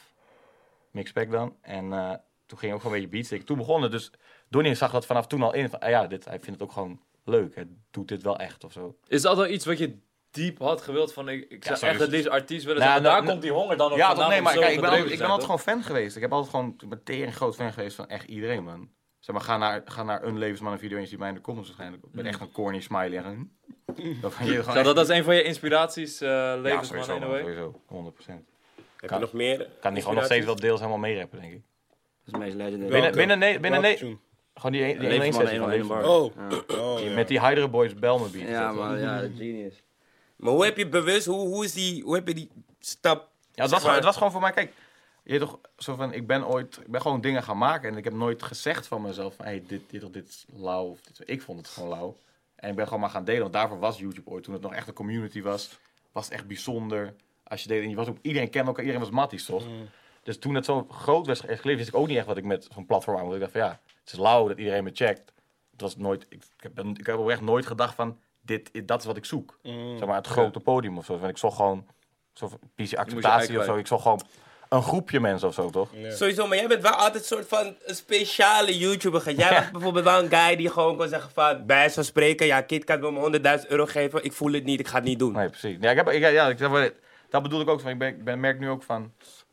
[SPEAKER 2] Mixpack dan. En eh, toen ging hij ook gewoon een beetje beatstick. Toen begon het. Dus Donnie zag dat vanaf toen al in. Van, ah ja, dit, hij vindt het ook gewoon leuk. Hij doet dit wel echt of zo.
[SPEAKER 4] Is dat wel iets wat je diep had gewild van ik, ik zou
[SPEAKER 2] sorry.
[SPEAKER 4] echt het liefst artiest willen
[SPEAKER 2] Nou,
[SPEAKER 4] zijn? maar
[SPEAKER 2] nou,
[SPEAKER 4] daar komt die honger dan op
[SPEAKER 2] Ja,
[SPEAKER 4] vandaan
[SPEAKER 2] toch, nee,
[SPEAKER 4] om
[SPEAKER 2] maar
[SPEAKER 4] zo
[SPEAKER 2] kijk, ik ben,
[SPEAKER 4] gedreven
[SPEAKER 2] altijd, ik
[SPEAKER 4] te
[SPEAKER 2] ben
[SPEAKER 4] zijn,
[SPEAKER 2] altijd gewoon fan geweest. Ik heb altijd gewoon ik ben tering groot fan geweest van echt iedereen, man. Zeg maar, ga naar, ga naar een levensman een video en je ziet mij in de comments waarschijnlijk. Ik ben echt een corny smiley. en gewoon- Dat van je gewoon
[SPEAKER 4] toch?
[SPEAKER 2] echt-
[SPEAKER 4] Mm. Zou dat als een van je inspiraties eh
[SPEAKER 2] ja,
[SPEAKER 4] levens,
[SPEAKER 2] sowieso,
[SPEAKER 4] man, in a
[SPEAKER 2] man,
[SPEAKER 4] way?
[SPEAKER 2] sowieso, 100%.
[SPEAKER 1] Heb je
[SPEAKER 2] Kan-
[SPEAKER 1] nog meer?
[SPEAKER 2] Kan die gewoon nog steeds wel deels helemaal meerappen, denk ik.
[SPEAKER 5] is het meest legendary.
[SPEAKER 2] Binnen, binnen, nee, binnen, nee.
[SPEAKER 6] Welke
[SPEAKER 2] Gewoon die, die
[SPEAKER 5] Leef
[SPEAKER 2] één
[SPEAKER 5] van
[SPEAKER 2] sessie
[SPEAKER 5] een
[SPEAKER 2] van
[SPEAKER 5] of een
[SPEAKER 2] Leef-
[SPEAKER 5] bar.
[SPEAKER 6] Oh. oh ja.
[SPEAKER 2] Met die Hydra Boys Belmen
[SPEAKER 6] Oh.
[SPEAKER 2] beat.
[SPEAKER 5] Ja,
[SPEAKER 2] Dat was-
[SPEAKER 5] man, ja, genius.
[SPEAKER 1] Maar hoe heb je bewust, hoe, hoe, is die, hoe heb je die stap...
[SPEAKER 2] Ja, het was, gewoon- het was gewoon voor mij, kijk. Je weet toch, zo van, ik ben ooit, ik ben gewoon dingen gaan maken en ik heb nooit gezegd van mezelf van, hey, dit, dit, of dit is lauw. Of dit, ik vond het gewoon lauw. En ik ben gewoon maar gaan delen, want daarvoor was YouTube ooit, toen het nog echt een community was, was het echt bijzonder. Als je deed, en je was ook, iedereen kende elkaar, iedereen was matties, toch? Dus toen het zo groot werd geleefd, wist ik ook niet echt wat ik met zo'n platform aan moest. Ik dacht van, ja, het is lauw dat iedereen me checkt. Het was nooit, ik, ik heb, ik heb oprecht nooit gedacht van, dit, dat is wat ik zoek. Zeg maar, het grote podium of zo. Want ik zocht gewoon, zo van, PC acceptatie of zo.
[SPEAKER 4] kwijt.
[SPEAKER 2] Ik zocht gewoon een groepje mensen of zo, toch?
[SPEAKER 1] Sowieso, maar jij bent wel altijd een soort van een speciale YouTuber. geweest. Jij was bijvoorbeeld wel een guy die gewoon kon zeggen van... Bij wijze van spreken, ja, KitKat wil me 100.000 euro geven. Ik voel het niet, ik ga het niet doen.
[SPEAKER 2] Nee, precies. Ja, ik heb, ik, ja, ik, zeg maar, dat bedoel ik ook. Van, ik, ben, ik ben, merk nu ook van.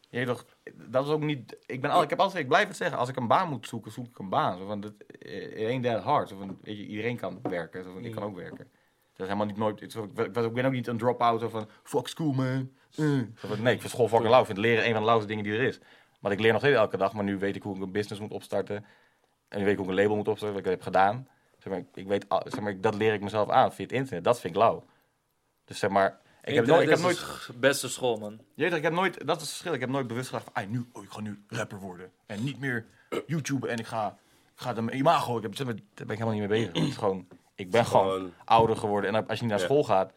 [SPEAKER 2] Je weet toch, dat is ook niet. Ik, ben al, ik heb altijd, ik blijf het zeggen. Als ik een baan moet zoeken, zoek ik een baan. Zo van, dat, eh, it ain't that hard. Zo van, weet je, iedereen kan werken. Zo van, ik kan ook werken. Dat is helemaal niet nooit. Ik, zo, ik, ben- ik ben ook niet een drop-out zo van. Fuck school, man. Eh. Zo van, nee, ik vind school fucking lauw. Ik vind leren een van de lauwste dingen die er is. Maar ik leer nog steeds elke dag. Maar nu weet ik hoe ik een business moet opstarten. En nu weet ik hoe ik een label moet opstarten. Wat ik heb gedaan. Zeg maar, ik- ik weet, al- zeg maar, ik- dat leer ik mezelf aan via het internet. Dat vind ik lauw. Dus zeg maar, ik heb, nooit, ik heb
[SPEAKER 4] Dit
[SPEAKER 2] nooit
[SPEAKER 4] is de Beste school, man.
[SPEAKER 2] je weet toch, ik heb nooit, dat is het verschil. Ik heb nooit bewust gedacht van, "Ai, nu, oh, ik ga nu rapper worden. En niet meer YouTube en ik ga, ik ga dan mijn imago. Ik heb, daar ben ik helemaal niet mee bezig. Het is gewoon, ik ben gewoon
[SPEAKER 1] Gewoon-
[SPEAKER 2] ouder geworden. En als je niet naar school gaat,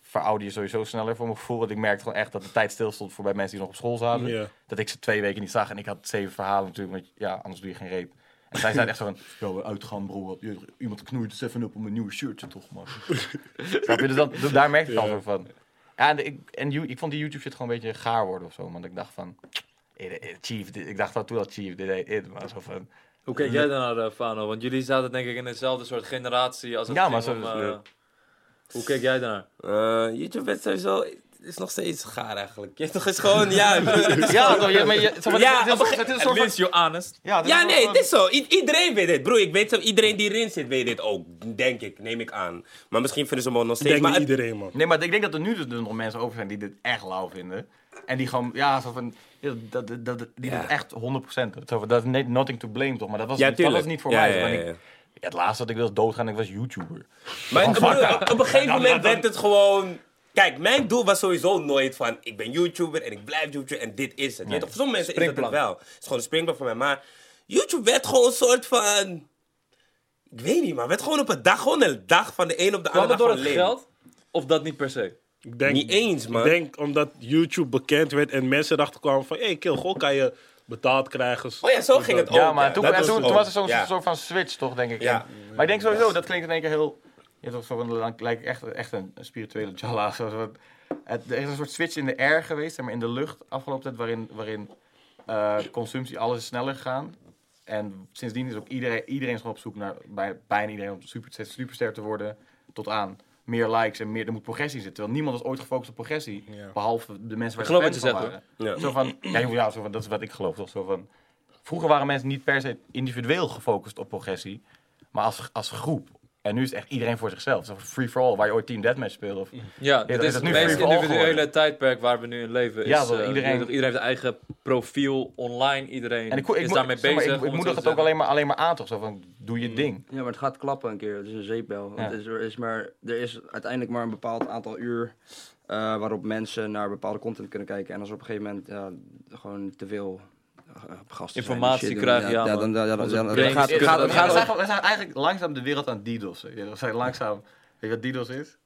[SPEAKER 2] verouder je sowieso sneller voor mijn gevoel. Want ik merkte gewoon echt dat de tijd stilstond voor bij mensen die nog op school zaten.
[SPEAKER 6] Ja.
[SPEAKER 2] Dat ik ze twee weken niet zag en ik had zeven verhalen natuurlijk. Want ja, anders doe je geen reet. En zij zeiden echt zo van, yo, uitgaan bro, wat- je- iemand knoeit 7 op om een nieuwe shirtje toch, man. Snap je? Dus dat, dus daar merkte ik al zo van. Ja, en ik, en you- ik vond die YouTube shit gewoon een beetje gaar worden of zo. Want ik dacht van, eh, eh, Chief, dit- ik dacht dat toen al Chief, dit deed it, maar zo van.
[SPEAKER 4] Hoe kijk jij dan naar eh, Fano? Want jullie zaten denk ik in dezelfde soort generatie als het
[SPEAKER 2] Ja,
[SPEAKER 4] ging
[SPEAKER 2] maar zo
[SPEAKER 4] om,
[SPEAKER 2] is het
[SPEAKER 4] eh,
[SPEAKER 2] leuk.
[SPEAKER 4] Hoe kijk jij daarnaar?
[SPEAKER 1] Eh, YouTube is sowieso... is nog steeds gaar eigenlijk. Je hebt toch eens gewoon... Ja, ik bedoel, het is
[SPEAKER 2] Ja, toch, ja, maar je, zo van,
[SPEAKER 1] Ja,
[SPEAKER 2] het is een
[SPEAKER 1] op een
[SPEAKER 2] soort- het is een
[SPEAKER 4] At
[SPEAKER 2] soort van-
[SPEAKER 4] least you're honest.
[SPEAKER 2] ja, het is
[SPEAKER 1] Ja,
[SPEAKER 2] een
[SPEAKER 1] nee,
[SPEAKER 2] soort
[SPEAKER 1] het is zo. I- iedereen weet dit. Bro, ik weet zo, iedereen die erin zit weet dit ook. Denk ik, neem ik aan. Maar misschien vinden ze me nog
[SPEAKER 6] Ik
[SPEAKER 1] steeds.
[SPEAKER 6] denk
[SPEAKER 1] Maar
[SPEAKER 6] niet
[SPEAKER 1] het-
[SPEAKER 6] iedereen, man.
[SPEAKER 2] Nee, maar ik denk dat er nu dus nog mensen over zijn die dit echt lauw vinden. En die gewoon, ja, zo van, ja, dat, dat, dat, die
[SPEAKER 1] Ja.
[SPEAKER 2] doen echt 100%. doen. Zo van, dat is net nothing to blame toch, maar dat was,
[SPEAKER 1] Ja,
[SPEAKER 2] niet, dat was
[SPEAKER 1] tuurlijk.
[SPEAKER 2] niet voor
[SPEAKER 1] Ja,
[SPEAKER 2] mij.
[SPEAKER 1] ja,
[SPEAKER 2] want
[SPEAKER 1] ja,
[SPEAKER 2] ik-
[SPEAKER 1] ja.
[SPEAKER 2] ja, het laatste dat ik wilde doodgaan, ik was YouTuber.
[SPEAKER 1] maar
[SPEAKER 2] Oh,
[SPEAKER 1] ik
[SPEAKER 2] fuck,
[SPEAKER 1] bedoel,
[SPEAKER 2] ja.
[SPEAKER 1] op een gegeven
[SPEAKER 2] Dan-
[SPEAKER 1] moment
[SPEAKER 2] dan-
[SPEAKER 1] werd het gewoon. Kijk, mijn doel was sowieso nooit van ik ben YouTuber en ik blijf YouTuber en dit is het. Je weet toch, voor sommige mensen is dat het wel. Het is gewoon een springplank voor mij. Maar YouTube werd gewoon een soort van. Ik weet niet, maar werd gewoon op een dag, gewoon een dag van de een op de
[SPEAKER 4] Kwam
[SPEAKER 1] andere
[SPEAKER 4] het
[SPEAKER 1] dag
[SPEAKER 4] door
[SPEAKER 1] gewoon
[SPEAKER 4] het
[SPEAKER 1] leven.
[SPEAKER 4] geld? Of dat niet per se?
[SPEAKER 6] Ik denk,
[SPEAKER 1] Niet eens, man.
[SPEAKER 6] Ik denk omdat YouTube bekend werd en mensen erachter kwamen van... Hé, hey, Kill, goh, kan je betaald krijgen.
[SPEAKER 1] Oh ja, zo ging het ook.
[SPEAKER 2] Ja, maar toen,
[SPEAKER 6] dat
[SPEAKER 2] en
[SPEAKER 6] was
[SPEAKER 2] toen,
[SPEAKER 6] het
[SPEAKER 2] toen
[SPEAKER 6] ook.
[SPEAKER 2] was er zo'n
[SPEAKER 1] Ja.
[SPEAKER 2] soort van switch, toch, denk ik.
[SPEAKER 1] Ja.
[SPEAKER 2] En- maar ik denk sowieso, dat klinkt in één keer heel... Je hebt toch zo van, dan lijkt ik echt, echt een, een spirituele jalla. Zo, zo, van, Het, er is een soort switch in de air geweest, zeg maar in de lucht afgelopen tijd, waarin, waarin eh, consumptie alles is sneller gegaan. En sindsdien is ook iedereen, iedereen is gewoon op zoek naar, bij, bijna iedereen om super, superster te worden, tot aan meer likes en meer, er moet progressie in zitten. Terwijl niemand was ooit gefocust op progressie,
[SPEAKER 6] Ja.
[SPEAKER 2] behalve de mensen waar
[SPEAKER 4] Ik geloof
[SPEAKER 2] ze
[SPEAKER 4] wat je
[SPEAKER 2] fan
[SPEAKER 4] zegt,
[SPEAKER 2] van
[SPEAKER 6] hoor.
[SPEAKER 2] waren. Zo van, ja, joh, ja, zo van, dat is wat ik geloof, toch? Zo van, vroeger waren mensen niet per se individueel gefocust op progressie, maar als, als groep. En nu is het echt iedereen voor zichzelf. Zo van free for all, waar je ooit Team Deathmatch speelde. Of,
[SPEAKER 4] Ja, dit
[SPEAKER 2] dat
[SPEAKER 4] is
[SPEAKER 2] is
[SPEAKER 4] het
[SPEAKER 2] nu
[SPEAKER 4] meest
[SPEAKER 2] free-for-all
[SPEAKER 4] individuele
[SPEAKER 2] geworden.
[SPEAKER 4] tijdperk waar we nu in leven. Is,
[SPEAKER 2] Ja, dat
[SPEAKER 4] eh,
[SPEAKER 2] iedereen-
[SPEAKER 4] iedereen heeft een eigen profiel online. Iedereen
[SPEAKER 2] En ik, ik,
[SPEAKER 4] is
[SPEAKER 2] moet-
[SPEAKER 4] daarmee
[SPEAKER 2] zeg maar,
[SPEAKER 4] bezig.
[SPEAKER 2] Ik, ik
[SPEAKER 4] om
[SPEAKER 2] moedig
[SPEAKER 4] zo
[SPEAKER 2] het
[SPEAKER 4] te Mm.
[SPEAKER 2] ook alleen maar, alleen maar aan, toch? Zo van, doe je ding.
[SPEAKER 5] Ja, maar het gaat klappen een keer. Het is een zeepbel. Want
[SPEAKER 2] Ja.
[SPEAKER 5] het is, er, is maar, er is uiteindelijk maar een bepaald aantal uur eh, waarop mensen naar bepaalde content kunnen kijken. En als er op een gegeven moment ja, gewoon te veel eh, gasten zijn die
[SPEAKER 4] Informatie
[SPEAKER 5] shit doen,
[SPEAKER 4] krijgen, ja,
[SPEAKER 5] ja,
[SPEAKER 4] man.
[SPEAKER 5] dan, dan, dan,
[SPEAKER 4] Onze
[SPEAKER 5] dan- dan
[SPEAKER 4] brains
[SPEAKER 5] gaat het
[SPEAKER 4] kunnen
[SPEAKER 5] gaat,
[SPEAKER 4] dat
[SPEAKER 5] het
[SPEAKER 2] we,
[SPEAKER 4] niet.
[SPEAKER 5] gaat,
[SPEAKER 2] zijn, gewoon- we zijn eigenlijk langzaam de wereld aan DDoS. weet je. We zijn langzaam... Weet je wat DDoS is?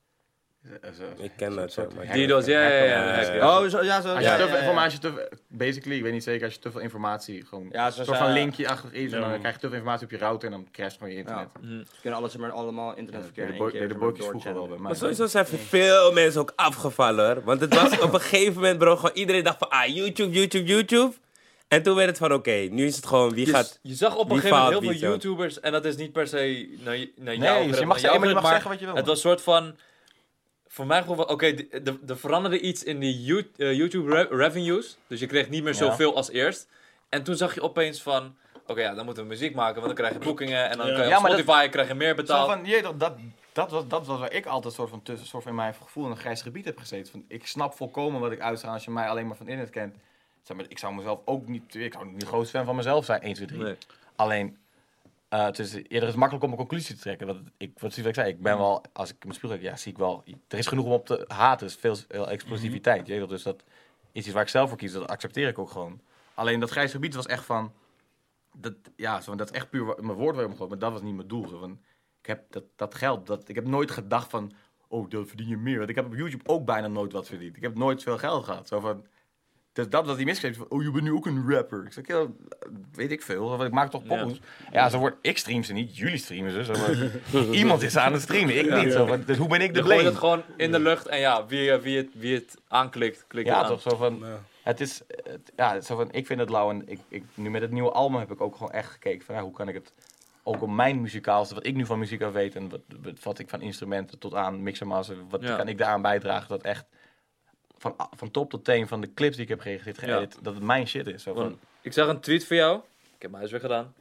[SPEAKER 2] Eh, zo-
[SPEAKER 1] Ik ken dat zo. maar-
[SPEAKER 4] DDoS, ja, ja, ja, ja.
[SPEAKER 2] Hacker.
[SPEAKER 4] ja.
[SPEAKER 5] Oh, zo, ja, zo.
[SPEAKER 2] Als je
[SPEAKER 5] ja,
[SPEAKER 2] te veel
[SPEAKER 5] ja, ja.
[SPEAKER 2] informatie, te veel- basically, ik weet niet zeker, als je te veel informatie gewoon,
[SPEAKER 5] Ja,
[SPEAKER 2] een
[SPEAKER 5] zoals,
[SPEAKER 2] soort van
[SPEAKER 5] eh,
[SPEAKER 2] linkje achter iets, en dan krijg je te veel informatie op je router en dan crasht gewoon je internet.
[SPEAKER 5] Ja. Ze kunnen alles maar allemaal internetverkeer.
[SPEAKER 2] De,
[SPEAKER 5] in
[SPEAKER 2] bo-
[SPEAKER 5] één keer
[SPEAKER 2] de
[SPEAKER 5] zeg maar
[SPEAKER 2] boekjes vroeger wel bij
[SPEAKER 5] doorchannelen.
[SPEAKER 2] mij.
[SPEAKER 1] Maar sowieso zijn veel mensen ook afgevallen hoor. Want het was op een gegeven moment, bro, gewoon iedereen dacht van ah, YouTube, YouTube, YouTube. En toen werd het van oké, nu is het gewoon wie
[SPEAKER 4] Je,
[SPEAKER 1] gaat.
[SPEAKER 4] je zag op een
[SPEAKER 1] die
[SPEAKER 4] gegeven
[SPEAKER 1] faalt
[SPEAKER 4] moment heel veel
[SPEAKER 1] niet, ja.
[SPEAKER 4] YouTubers, en dat is niet per se naar, je-
[SPEAKER 2] Nee, dus
[SPEAKER 4] naar jou.
[SPEAKER 2] je
[SPEAKER 4] gericht,
[SPEAKER 2] mag,
[SPEAKER 4] naar jou
[SPEAKER 2] zeggen, maar je mag
[SPEAKER 4] gericht,
[SPEAKER 2] zeggen wat je wil.
[SPEAKER 4] Het was een soort van. Voor mij gewoon. wel- Oké, de- de- er veranderde iets in de You- eh, YouTube re- revenues. Dus je kreeg niet meer zoveel als eerst. En toen zag je opeens van. Oké, ja, dan moeten we muziek maken, want dan krijg je boekingen. En dan
[SPEAKER 6] Ja.
[SPEAKER 4] kan je
[SPEAKER 2] Ja,
[SPEAKER 4] op
[SPEAKER 2] maar dat-
[SPEAKER 4] Spotify krijg je meer
[SPEAKER 2] Zo
[SPEAKER 4] betaald.
[SPEAKER 2] van, jee, dat, dat, dat, was, dat was waar ik altijd soort van tussen, soort van in mijn gevoel in een grijs gebied heb gezeten. Van, ik snap volkomen wat ik uitstraal als je mij alleen maar van internet kent. Zeg maar, ik zou mezelf ook niet, ik zou niet de grootste fan van mezelf zijn, 1, 2, 3.
[SPEAKER 4] Nee.
[SPEAKER 2] Alleen, eh, het is eerder is het makkelijk om een conclusie te trekken. Want ik, wat precies wat ik zei, ik
[SPEAKER 1] Mm.
[SPEAKER 2] ben wel, als ik in mijn spiegel kijk, ja, zie ik wel, er is genoeg om op te haten. Er is veel, veel explosiviteit.
[SPEAKER 1] Mm.
[SPEAKER 2] Je weet wel, dus dat is iets waar ik zelf voor kies, dat accepteer ik ook gewoon. Alleen dat grijs gebied was echt van, dat, ja, zo, van, dat is echt puur wa- mijn woord waar ik me gooit, maar dat was niet mijn doel. Zo, van, ik heb dat, dat geld, dat, ik heb nooit gedacht van, oh, dat verdien je meer. Want ik heb op YouTube ook bijna nooit wat verdiend. Ik heb nooit veel geld gehad. Zo van, dus dat was die misgreep. van, Oh, je bent nu ook een rapper. Ik zeg, ja, weet ik veel. Want ik maak toch poppels. Ja. zo wordt, ik stream ze niet, jullie streamen ze. Zo van, iemand is aan het streamen, ik niet. Zo van, dus hoe ben ik de
[SPEAKER 4] Je gooit
[SPEAKER 2] blame?
[SPEAKER 4] het gewoon in de lucht en ja, wie, eh, wie, het, wie het aanklikt, klikt het
[SPEAKER 2] Ja,
[SPEAKER 4] aan.
[SPEAKER 2] toch zo van, het is, het- ja, zo van, ik vind het lauw. En ik, ik, nu met het nieuwe album heb ik ook gewoon echt gekeken van, ja, hoe kan ik het ook op mijn muzikaalste, wat ik nu van muziek af weet en wat, wat, wat ik van instrumenten tot aan mix en master, wat
[SPEAKER 4] Ja.
[SPEAKER 2] kan ik daaraan bijdragen dat echt van, van top tot teen van de clips die ik heb geëdit, geëdit, dat het mijn shit is. Zo van,
[SPEAKER 4] Want ik zag een tweet van jou. Ik heb mijn huis weer gedaan.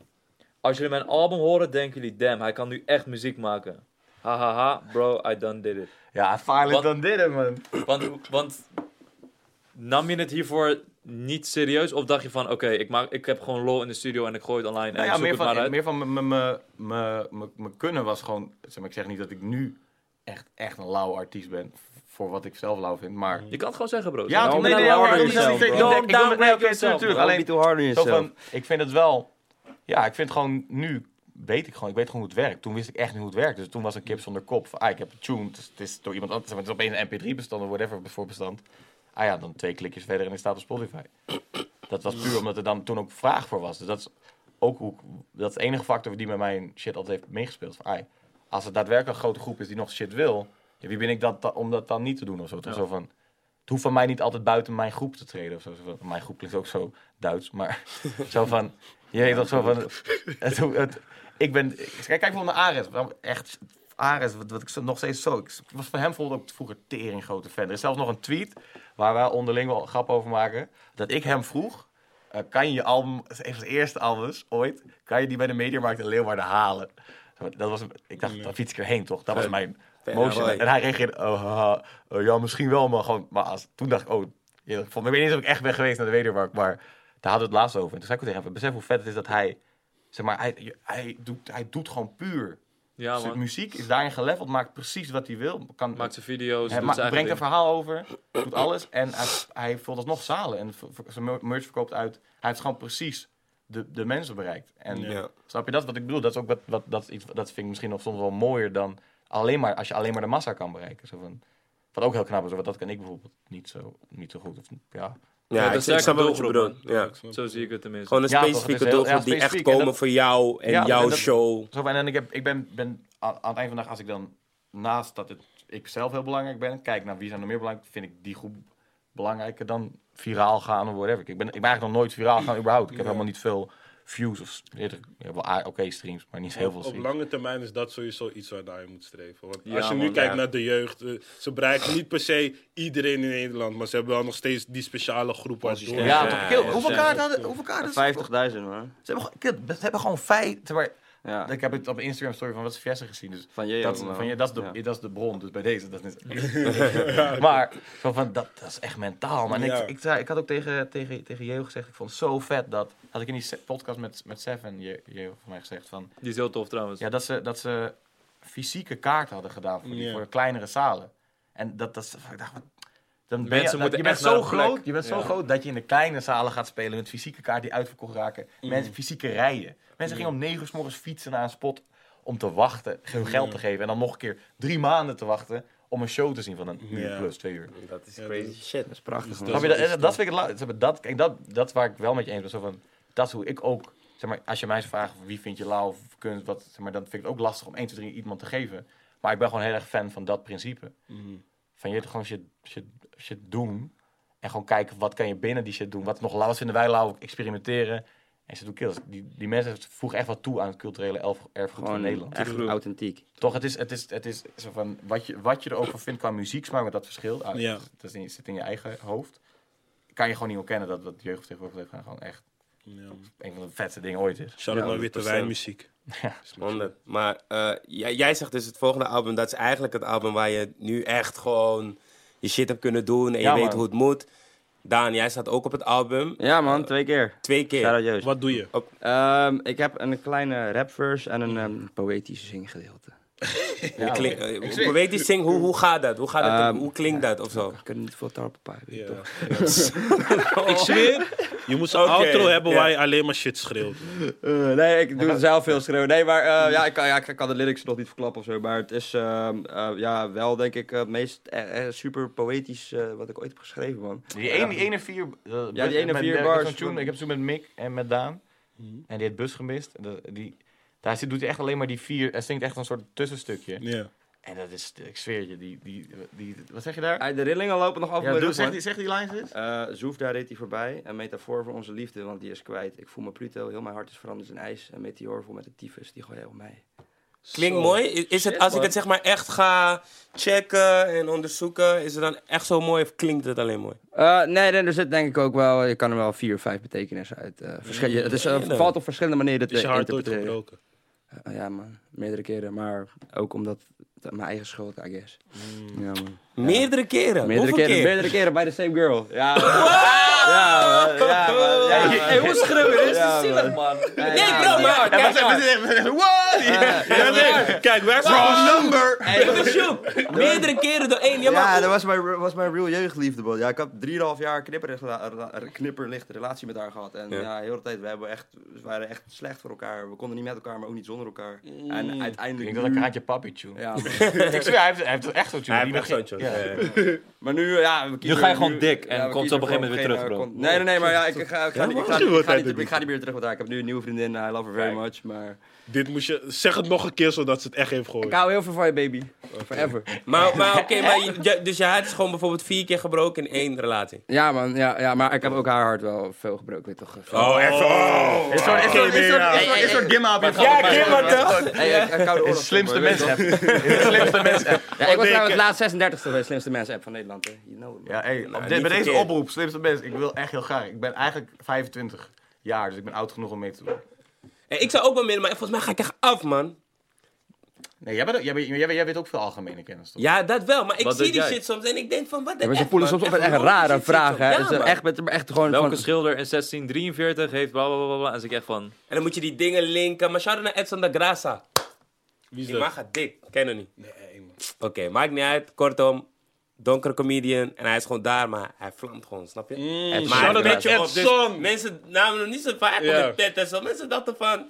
[SPEAKER 4] Als jullie mijn album horen, denken jullie, damn, hij kan nu echt muziek maken. Hahaha, bro, I done did it.
[SPEAKER 2] Ja, farther
[SPEAKER 4] Wat-
[SPEAKER 2] dan dit, hè, man.
[SPEAKER 4] Want, want nam je het hiervoor niet serieus? Of dacht je van, oké, ik maak, ik heb gewoon lol in de studio en ik gooi het online en
[SPEAKER 2] Nou
[SPEAKER 4] ik
[SPEAKER 2] ja,
[SPEAKER 4] zoek
[SPEAKER 2] meer
[SPEAKER 4] het maar
[SPEAKER 2] van,
[SPEAKER 4] uit?
[SPEAKER 2] meer van mijn- mijn- mijn- mijn- mijn- mijn kunnen was gewoon... Zeg maar, ik zeg niet dat ik nu echt, echt een lauw artiest ben... voor wat ik zelf lauw vind, maar...
[SPEAKER 4] Je kan het gewoon zeggen, bro.
[SPEAKER 2] Ja,
[SPEAKER 4] Don't
[SPEAKER 2] nee, nee,
[SPEAKER 4] lower
[SPEAKER 2] nee, nee,
[SPEAKER 4] yourself,
[SPEAKER 2] nee, nee,
[SPEAKER 4] bro.
[SPEAKER 2] nee, nee,
[SPEAKER 1] Don't
[SPEAKER 2] ik wil- nee,
[SPEAKER 1] downplay
[SPEAKER 2] oké,
[SPEAKER 1] yourself,
[SPEAKER 2] tuurlijk,
[SPEAKER 5] Alleen
[SPEAKER 2] dus Alleen,
[SPEAKER 5] niet too hard on
[SPEAKER 2] zo
[SPEAKER 5] yourself.
[SPEAKER 2] van, ik vind het wel... Ja, ik vind gewoon nu... Weet ik gewoon, ik weet gewoon hoe het werkt. Toen wist ik echt niet hoe het werkt. Dus toen was een kip zonder kop. Van, ah, ik heb het tuned. Dus het is door iemand anders. zeg maar, Het is opeens een mp3-bestand of whatever voor bestand. Ah ja, dan twee klikjes verder en ik sta op Spotify. Dat was puur omdat er dan toen ook vraag voor was. Dus dat is ook hoe, dat is de enige factor die met mijn shit altijd heeft meegespeeld. Van, ai, als het daadwerkelijk een grote groep is die nog shit wil, ja, wie ben ik dat, da- om dat dan niet te doen of zo? Toch zo van, het hoeft van mij niet altijd buiten mijn groep te treden of zo. Zo van, Mijn groep klinkt ook zo Duits, maar zo van, je weet toch zo van, het, het- ik ben, kijk, kijk voor naar Ares, waarom echt. Ares, wat, wat ik zo- nog steeds zo. Ik was van hem bijvoorbeeld ook vroeger tering grote fan. Er is zelfs nog een tweet waar wij onderling wel grap over maken. Dat ik hem vroeg eh, kan je je album, een van de eerste albums ooit, kan je die bij de Mediamarkt in Leeuwarden halen? Dat was, een- ik dacht, dan fiets ik erheen toch? Dat was mijn motion.
[SPEAKER 1] mooi.
[SPEAKER 2] En hij reageerde, oh, haha, eh, ja, misschien wel, maar gewoon, maar als, toen dacht ik, oh, ja, ik vond- ik weet niet of ik echt ben geweest naar de Mediamarkt, maar daar hadden we het laatst over. En toen zei ik ook tegen hem, besef hoe vet het is dat hij, zeg maar, hij, hij, doet, hij doet gewoon puur.
[SPEAKER 4] Ja,
[SPEAKER 2] Zijn
[SPEAKER 4] man.
[SPEAKER 2] muziek is daarin geleveld, maakt precies wat hij wil. Kan,
[SPEAKER 4] Maakt zijn video's,
[SPEAKER 2] hij
[SPEAKER 4] doet
[SPEAKER 2] ma-
[SPEAKER 4] zijn
[SPEAKER 2] brengt
[SPEAKER 4] eigen
[SPEAKER 2] een verhaal over, doet alles en hij, hij vult alsnog zalen. En ver- ver- zijn mer- merch verkoopt uit. Hij heeft gewoon precies de, de mensen bereikt. En
[SPEAKER 6] Ja.
[SPEAKER 2] snap je dat? Wat ik bedoel, dat, is ook wat, wat, dat, is iets, dat vind ik misschien nog soms wel mooier dan alleen maar, als je alleen maar de massa kan bereiken. Zo van, wat ook heel knap is, want dat kan ik bijvoorbeeld niet zo, niet zo goed. Of, ja.
[SPEAKER 4] Ja,
[SPEAKER 1] Ja,
[SPEAKER 4] dat
[SPEAKER 1] ik
[SPEAKER 4] is echt
[SPEAKER 1] snap wel
[SPEAKER 4] een
[SPEAKER 1] wat je
[SPEAKER 4] doelgroep,
[SPEAKER 1] bedoelt. Ja.
[SPEAKER 4] ding. Zo zie ik het tenminste.
[SPEAKER 1] Gewoon een
[SPEAKER 2] Ja, toch, het is
[SPEAKER 1] specifieke
[SPEAKER 2] heel
[SPEAKER 1] doelgroep
[SPEAKER 2] erg
[SPEAKER 1] die echt
[SPEAKER 2] specifiek en
[SPEAKER 1] komen
[SPEAKER 2] dat-
[SPEAKER 1] voor jou en
[SPEAKER 2] Ja,
[SPEAKER 1] jouw
[SPEAKER 2] en dat-
[SPEAKER 1] show.
[SPEAKER 2] Zo van, en ik, heb, ik ben, ben aan, aan het eind van de dag, als ik dan naast dat het ik zelf heel belangrijk ben. Kijk naar wie zijn er meer belangrijk. Vind ik die groep belangrijker dan viraal gaan of whatever. Ik ben, ik ben eigenlijk nog nooit viraal gaan überhaupt. Ik heb helemaal niet veel views of eerder, ja, wel a- oké streams, maar niet heel veel
[SPEAKER 6] Op
[SPEAKER 2] streams.
[SPEAKER 6] lange termijn is dat sowieso iets waar naar je moet streven. Want
[SPEAKER 4] Ja,
[SPEAKER 6] als je nu
[SPEAKER 4] man,
[SPEAKER 6] kijkt
[SPEAKER 4] ja.
[SPEAKER 6] naar de jeugd, eh, ze bereiken niet per se iedereen in Nederland, maar ze hebben wel nog steeds die speciale groep als
[SPEAKER 2] Ja,
[SPEAKER 6] door.
[SPEAKER 4] Ja,
[SPEAKER 2] toch?
[SPEAKER 4] ja,
[SPEAKER 2] Kill,
[SPEAKER 4] ja,
[SPEAKER 2] hoeveel
[SPEAKER 4] ja.
[SPEAKER 2] kaarten hadden, hoeveel kaarten hadden ze?
[SPEAKER 5] 50.000 hoor.
[SPEAKER 2] Ze hebben, gewoon- kill, ze hebben gewoon feiten. Maar
[SPEAKER 5] Ja.
[SPEAKER 2] Ik heb het op Instagram story van wat is Jesse gezien. Dus
[SPEAKER 5] Van je
[SPEAKER 2] dat, is-
[SPEAKER 5] allemaal.
[SPEAKER 2] van je, dat, is de,
[SPEAKER 5] Ja.
[SPEAKER 2] dat is de bron. Dus bij deze, dat is maar zo van, dat, dat is echt mentaal. Man.
[SPEAKER 6] Ja.
[SPEAKER 2] Ik, ik, zei- ik had ook tegen, tegen, tegen Jeo gezegd, ik vond het zo vet dat... Had ik in die se- podcast met, met Seven, Je- Jeo, van mij gezegd van...
[SPEAKER 4] Die is heel tof trouwens.
[SPEAKER 2] Ja, dat ze, dat ze fysieke kaarten hadden gedaan voor, die,
[SPEAKER 6] Ja.
[SPEAKER 2] voor kleinere zalen. En dat, dat is... Ik dacht, wat- dan ben
[SPEAKER 4] Mensen
[SPEAKER 2] je, dat-
[SPEAKER 4] moeten
[SPEAKER 2] je bent
[SPEAKER 4] echt naar
[SPEAKER 2] zo
[SPEAKER 4] een plek.
[SPEAKER 2] groot, je bent zo groot dat je in de kleine zalen gaat spelen met fysieke kaarten die uitverkocht raken.
[SPEAKER 4] Mhm.
[SPEAKER 2] Mensen fysieke rijden. Mensen gingen om negen uur s morgens fietsen naar een spot om te wachten, hun geld te geven en dan nog een keer drie maanden te wachten om een show te zien van een uur
[SPEAKER 6] Ja.
[SPEAKER 2] plus twee uur.
[SPEAKER 1] Dat is
[SPEAKER 6] Ja,
[SPEAKER 1] crazy
[SPEAKER 6] dat
[SPEAKER 1] shit.
[SPEAKER 5] Dat is prachtig. man.
[SPEAKER 2] Snap je, dat, dat vind ik het lau- dat, kijk, dat, dat waar ik wel met je eens ben. Zo van, dat is hoe ik ook. Zeg maar, als je mij zou vragen wie vind je lauw of kunst, wat, zeg maar, dan vind ik het ook lastig om 1, 2, 3 iemand te geven. Maar ik ben gewoon heel erg fan van dat principe.
[SPEAKER 5] Mhm.
[SPEAKER 2] Van je gewoon shit, shit, shit doen. En gewoon kijken wat kan je binnen die shit doen. Wat is nog lauw, wat vinden wij lauw, experimenteren. En ze doen kills. Die, die mensen voegen echt wat toe aan het culturele elf- erfgoed van
[SPEAKER 5] Gewoon
[SPEAKER 2] Nederland.
[SPEAKER 5] echt authentiek.
[SPEAKER 2] Toch, het is, het is, het is zo van, wat je, wat je er ook van vindt qua muzieksmaak, maar dat verschil, ah,
[SPEAKER 6] Ja.
[SPEAKER 2] dat is in- zit in je eigen hoofd, kan je gewoon niet ontkennen dat wat jeugd tegenwoordig heeft gedaan gewoon echt
[SPEAKER 6] Ja.
[SPEAKER 2] een van de vetste dingen ooit is.
[SPEAKER 6] Shout out
[SPEAKER 1] Ja,
[SPEAKER 6] naar witte
[SPEAKER 1] 100%.
[SPEAKER 6] wijnmuziek.
[SPEAKER 1] 100. Maar eh, jij, jij zegt dus het volgende album, dat is eigenlijk het album waar je nu echt gewoon je shit hebt kunnen doen en
[SPEAKER 2] Ja,
[SPEAKER 1] je weet
[SPEAKER 2] man.
[SPEAKER 1] hoe het moet. Daan, jij staat ook op het album.
[SPEAKER 5] Ja man, twee keer.
[SPEAKER 1] Twee keer.
[SPEAKER 5] Shout out Joost.
[SPEAKER 6] Wat doe je?
[SPEAKER 5] Ehm, ik heb een kleine rapverse en een ehm, poëtische zinggedeelte.
[SPEAKER 1] Hoe klink- eh, hoe- weet je, zing, hoe, hoe gaat dat? Hoe, gaat dat?
[SPEAKER 5] Ehm,
[SPEAKER 1] hoe klinkt dat of zo?
[SPEAKER 5] Ik kan niet veel tarp op pakken,
[SPEAKER 6] Ja.
[SPEAKER 5] toch?
[SPEAKER 6] Ik zweer, je moet zo'n
[SPEAKER 1] Oké,
[SPEAKER 6] outro hebben
[SPEAKER 1] ja.
[SPEAKER 6] waar je alleen maar shit schreeuwt.
[SPEAKER 5] Eh, nee, ik doe zelf veel schreeuwen. Nee, maar eh, ja, ik kan, ja, ik kan de lyrics nog niet verklappen of zo. Maar het is ehm, eh, ja, wel denk ik eh, het meest eh, eh, super poëtisch eh, wat ik ooit heb geschreven, man.
[SPEAKER 2] Die ene, die ene vier, eh,
[SPEAKER 5] Ja, die ene
[SPEAKER 2] met-
[SPEAKER 5] vier
[SPEAKER 2] met-
[SPEAKER 5] bars.
[SPEAKER 2] Ik heb zo'n tune- ik heb toen met Mick en met Daan, en die heeft bus gemist, en dat- die, daar zit, doet hij echt alleen maar die vier, hij zingt echt een soort tussenstukje.
[SPEAKER 6] Ja.
[SPEAKER 2] En dat is, ik zweer je, die, die, die wat zeg je daar?
[SPEAKER 5] Ah, de rillingen lopen nog af.
[SPEAKER 2] Ja,
[SPEAKER 5] mijn
[SPEAKER 2] doe,
[SPEAKER 5] rug,
[SPEAKER 2] zeg,
[SPEAKER 5] man.
[SPEAKER 2] die, zeg die lines eens.
[SPEAKER 5] Eh, Zoef, daar reed hij voorbij. Een metafoor voor onze liefde, want die is kwijt. Ik voel me Pluto, heel mijn hart is veranderd in ijs. Een meteor vol met de tyfus, die gooi jij op mij.
[SPEAKER 1] Klinkt mooi. Is, is het, als ik het zeg maar echt ga checken en onderzoeken, is het dan echt zo mooi of klinkt het alleen mooi?
[SPEAKER 5] Eh, nee, nee, er zit denk ik ook wel... Je kan er wel vier of vijf betekenissen uit. eh verschil, het is, eh,
[SPEAKER 1] Verschillende.
[SPEAKER 5] valt op verschillende manieren te
[SPEAKER 6] Is je hart ooit
[SPEAKER 5] interpreteren.
[SPEAKER 6] gebroken?
[SPEAKER 5] Eh, ja man, meerdere keren. Maar ook omdat... het Mijn eigen schuld, I guess. Ja man.
[SPEAKER 1] Meerdere keren.
[SPEAKER 5] Meerdere
[SPEAKER 1] Hoeveel
[SPEAKER 5] keren,
[SPEAKER 1] keer?
[SPEAKER 5] meerdere keren bij the same girl. Ja, man. ja, man. ja, man. Ja, man.
[SPEAKER 4] Hey, hoe schreeuwen? Dit is
[SPEAKER 5] Ja,
[SPEAKER 4] te zielig, man.
[SPEAKER 1] Nee, bro, maar kijk,
[SPEAKER 6] Kijk, wij zijn
[SPEAKER 1] even zoek. Meerdere keren door één. Ja,
[SPEAKER 5] Ja,
[SPEAKER 1] maar
[SPEAKER 5] dat was mijn, was mijn real jeugdliefde, man. Ja, ik had 3,5 jaar knipperlicht, knipperlicht relatie met haar gehad. En ja, heel de hele tijd, we, hebben echt, we waren echt slecht voor elkaar. We konden niet met elkaar, maar ook niet zonder elkaar.
[SPEAKER 4] Mm.
[SPEAKER 5] En
[SPEAKER 2] Ik
[SPEAKER 5] uiteindelijk
[SPEAKER 2] denk dat ik
[SPEAKER 5] nu-
[SPEAKER 2] een haantje papi tune.
[SPEAKER 5] Ja,
[SPEAKER 2] Ik zweer, hij heeft, hij heeft echt zo'n tune.
[SPEAKER 1] Hij
[SPEAKER 2] Die
[SPEAKER 1] heeft echt
[SPEAKER 2] begint-
[SPEAKER 1] zo'n tune, ja, ja, ja.
[SPEAKER 5] maar nu, ja... we kiezen
[SPEAKER 4] ga je
[SPEAKER 5] nu-
[SPEAKER 4] gewoon dik en
[SPEAKER 5] we
[SPEAKER 4] komt
[SPEAKER 5] kiezen
[SPEAKER 4] op een gegeven moment
[SPEAKER 5] voor
[SPEAKER 4] weer terug,
[SPEAKER 5] geen, eh, Nee, nee, nee, maar ja, ik, ik ga, ik ga, niet- ik ga,
[SPEAKER 6] Misschien wordt
[SPEAKER 5] ik ga
[SPEAKER 6] hij
[SPEAKER 5] niet,
[SPEAKER 6] er
[SPEAKER 5] ik ga niet meer terug met haar. Ik heb nu een nieuwe vriendin, eh, I love her very much, maar...
[SPEAKER 6] Dit moest je, zeg het nog een keer zodat ze het echt heeft
[SPEAKER 5] Ik
[SPEAKER 6] gehoord.
[SPEAKER 5] hou heel veel van je, baby. Forever.
[SPEAKER 1] Maar, maar oké, maar je- je- dus je hart is gewoon bijvoorbeeld vier keer gebroken in één relatie.
[SPEAKER 5] Ja, man, ja, ja, maar ik heb ook haar hart wel veel gebroken, weet je toch.
[SPEAKER 1] Oh, echt?
[SPEAKER 2] Is zo'n is zo'n- is zo'n- is zo'n- is zo'n gimma op je
[SPEAKER 1] Ja,
[SPEAKER 2] gehad.
[SPEAKER 1] Kim, wat toch?
[SPEAKER 5] Hey, ik, ik hou de
[SPEAKER 2] Is de
[SPEAKER 5] oorlog op,
[SPEAKER 2] slimste
[SPEAKER 5] hoor, weet je
[SPEAKER 2] mens app. Is de slimste mens app.
[SPEAKER 5] Ja, ik was trouwens laatst 36 bij de slimste mensen app van Nederland. Hè. You know it, man.
[SPEAKER 2] Ja, hey, op
[SPEAKER 1] niet
[SPEAKER 2] dit- bij deze
[SPEAKER 1] verkeerd.
[SPEAKER 2] oproep, slimste mens. Ik wil echt heel graag. Ik ben eigenlijk 25 jaar, dus ik ben oud genoeg om mee te doen.
[SPEAKER 1] Eh, Ik zou ook wel midden, maar volgens mij ga ik echt af, man.
[SPEAKER 2] Nee, jij, bent, ook- jij, bent- jij, bent- jij weet ook veel algemene kennis, toch?
[SPEAKER 1] Ja, dat wel. Maar ik
[SPEAKER 4] Wat
[SPEAKER 1] zie
[SPEAKER 4] deed
[SPEAKER 1] die
[SPEAKER 4] jij?
[SPEAKER 1] shit soms en ik denk van, wat
[SPEAKER 5] Ja,
[SPEAKER 1] de
[SPEAKER 5] maar ze
[SPEAKER 1] F,
[SPEAKER 5] voelen
[SPEAKER 1] man.
[SPEAKER 5] soms op echt
[SPEAKER 1] een
[SPEAKER 5] echt rare
[SPEAKER 1] logische shit
[SPEAKER 5] vragen.
[SPEAKER 1] soms.
[SPEAKER 5] hè.
[SPEAKER 1] Ja,
[SPEAKER 5] Het is
[SPEAKER 1] man.
[SPEAKER 5] echt, met, echt gewoon
[SPEAKER 4] Welke
[SPEAKER 5] van...
[SPEAKER 4] schilder in 1643 heeft bla bla bla bla? En zeg ik echt van.
[SPEAKER 1] En dan moet je die dingen linken. Maar shout-out naar Edson da Graça.
[SPEAKER 6] Wie is
[SPEAKER 1] Die man
[SPEAKER 6] dat?
[SPEAKER 1] gaat dik. Ken je niet.
[SPEAKER 6] Nee, man.
[SPEAKER 1] Oké, maakt niet uit. Kortom, donkere comedian. En hij is gewoon daar, maar hij vlamt gewoon, snap je? maar
[SPEAKER 6] shout out
[SPEAKER 1] hij
[SPEAKER 6] naar
[SPEAKER 1] weet je op,
[SPEAKER 6] Edson.
[SPEAKER 1] Dus mensen namen hem niet zo vaak op
[SPEAKER 6] Ja.
[SPEAKER 1] de tet en zo. Mensen dachten van...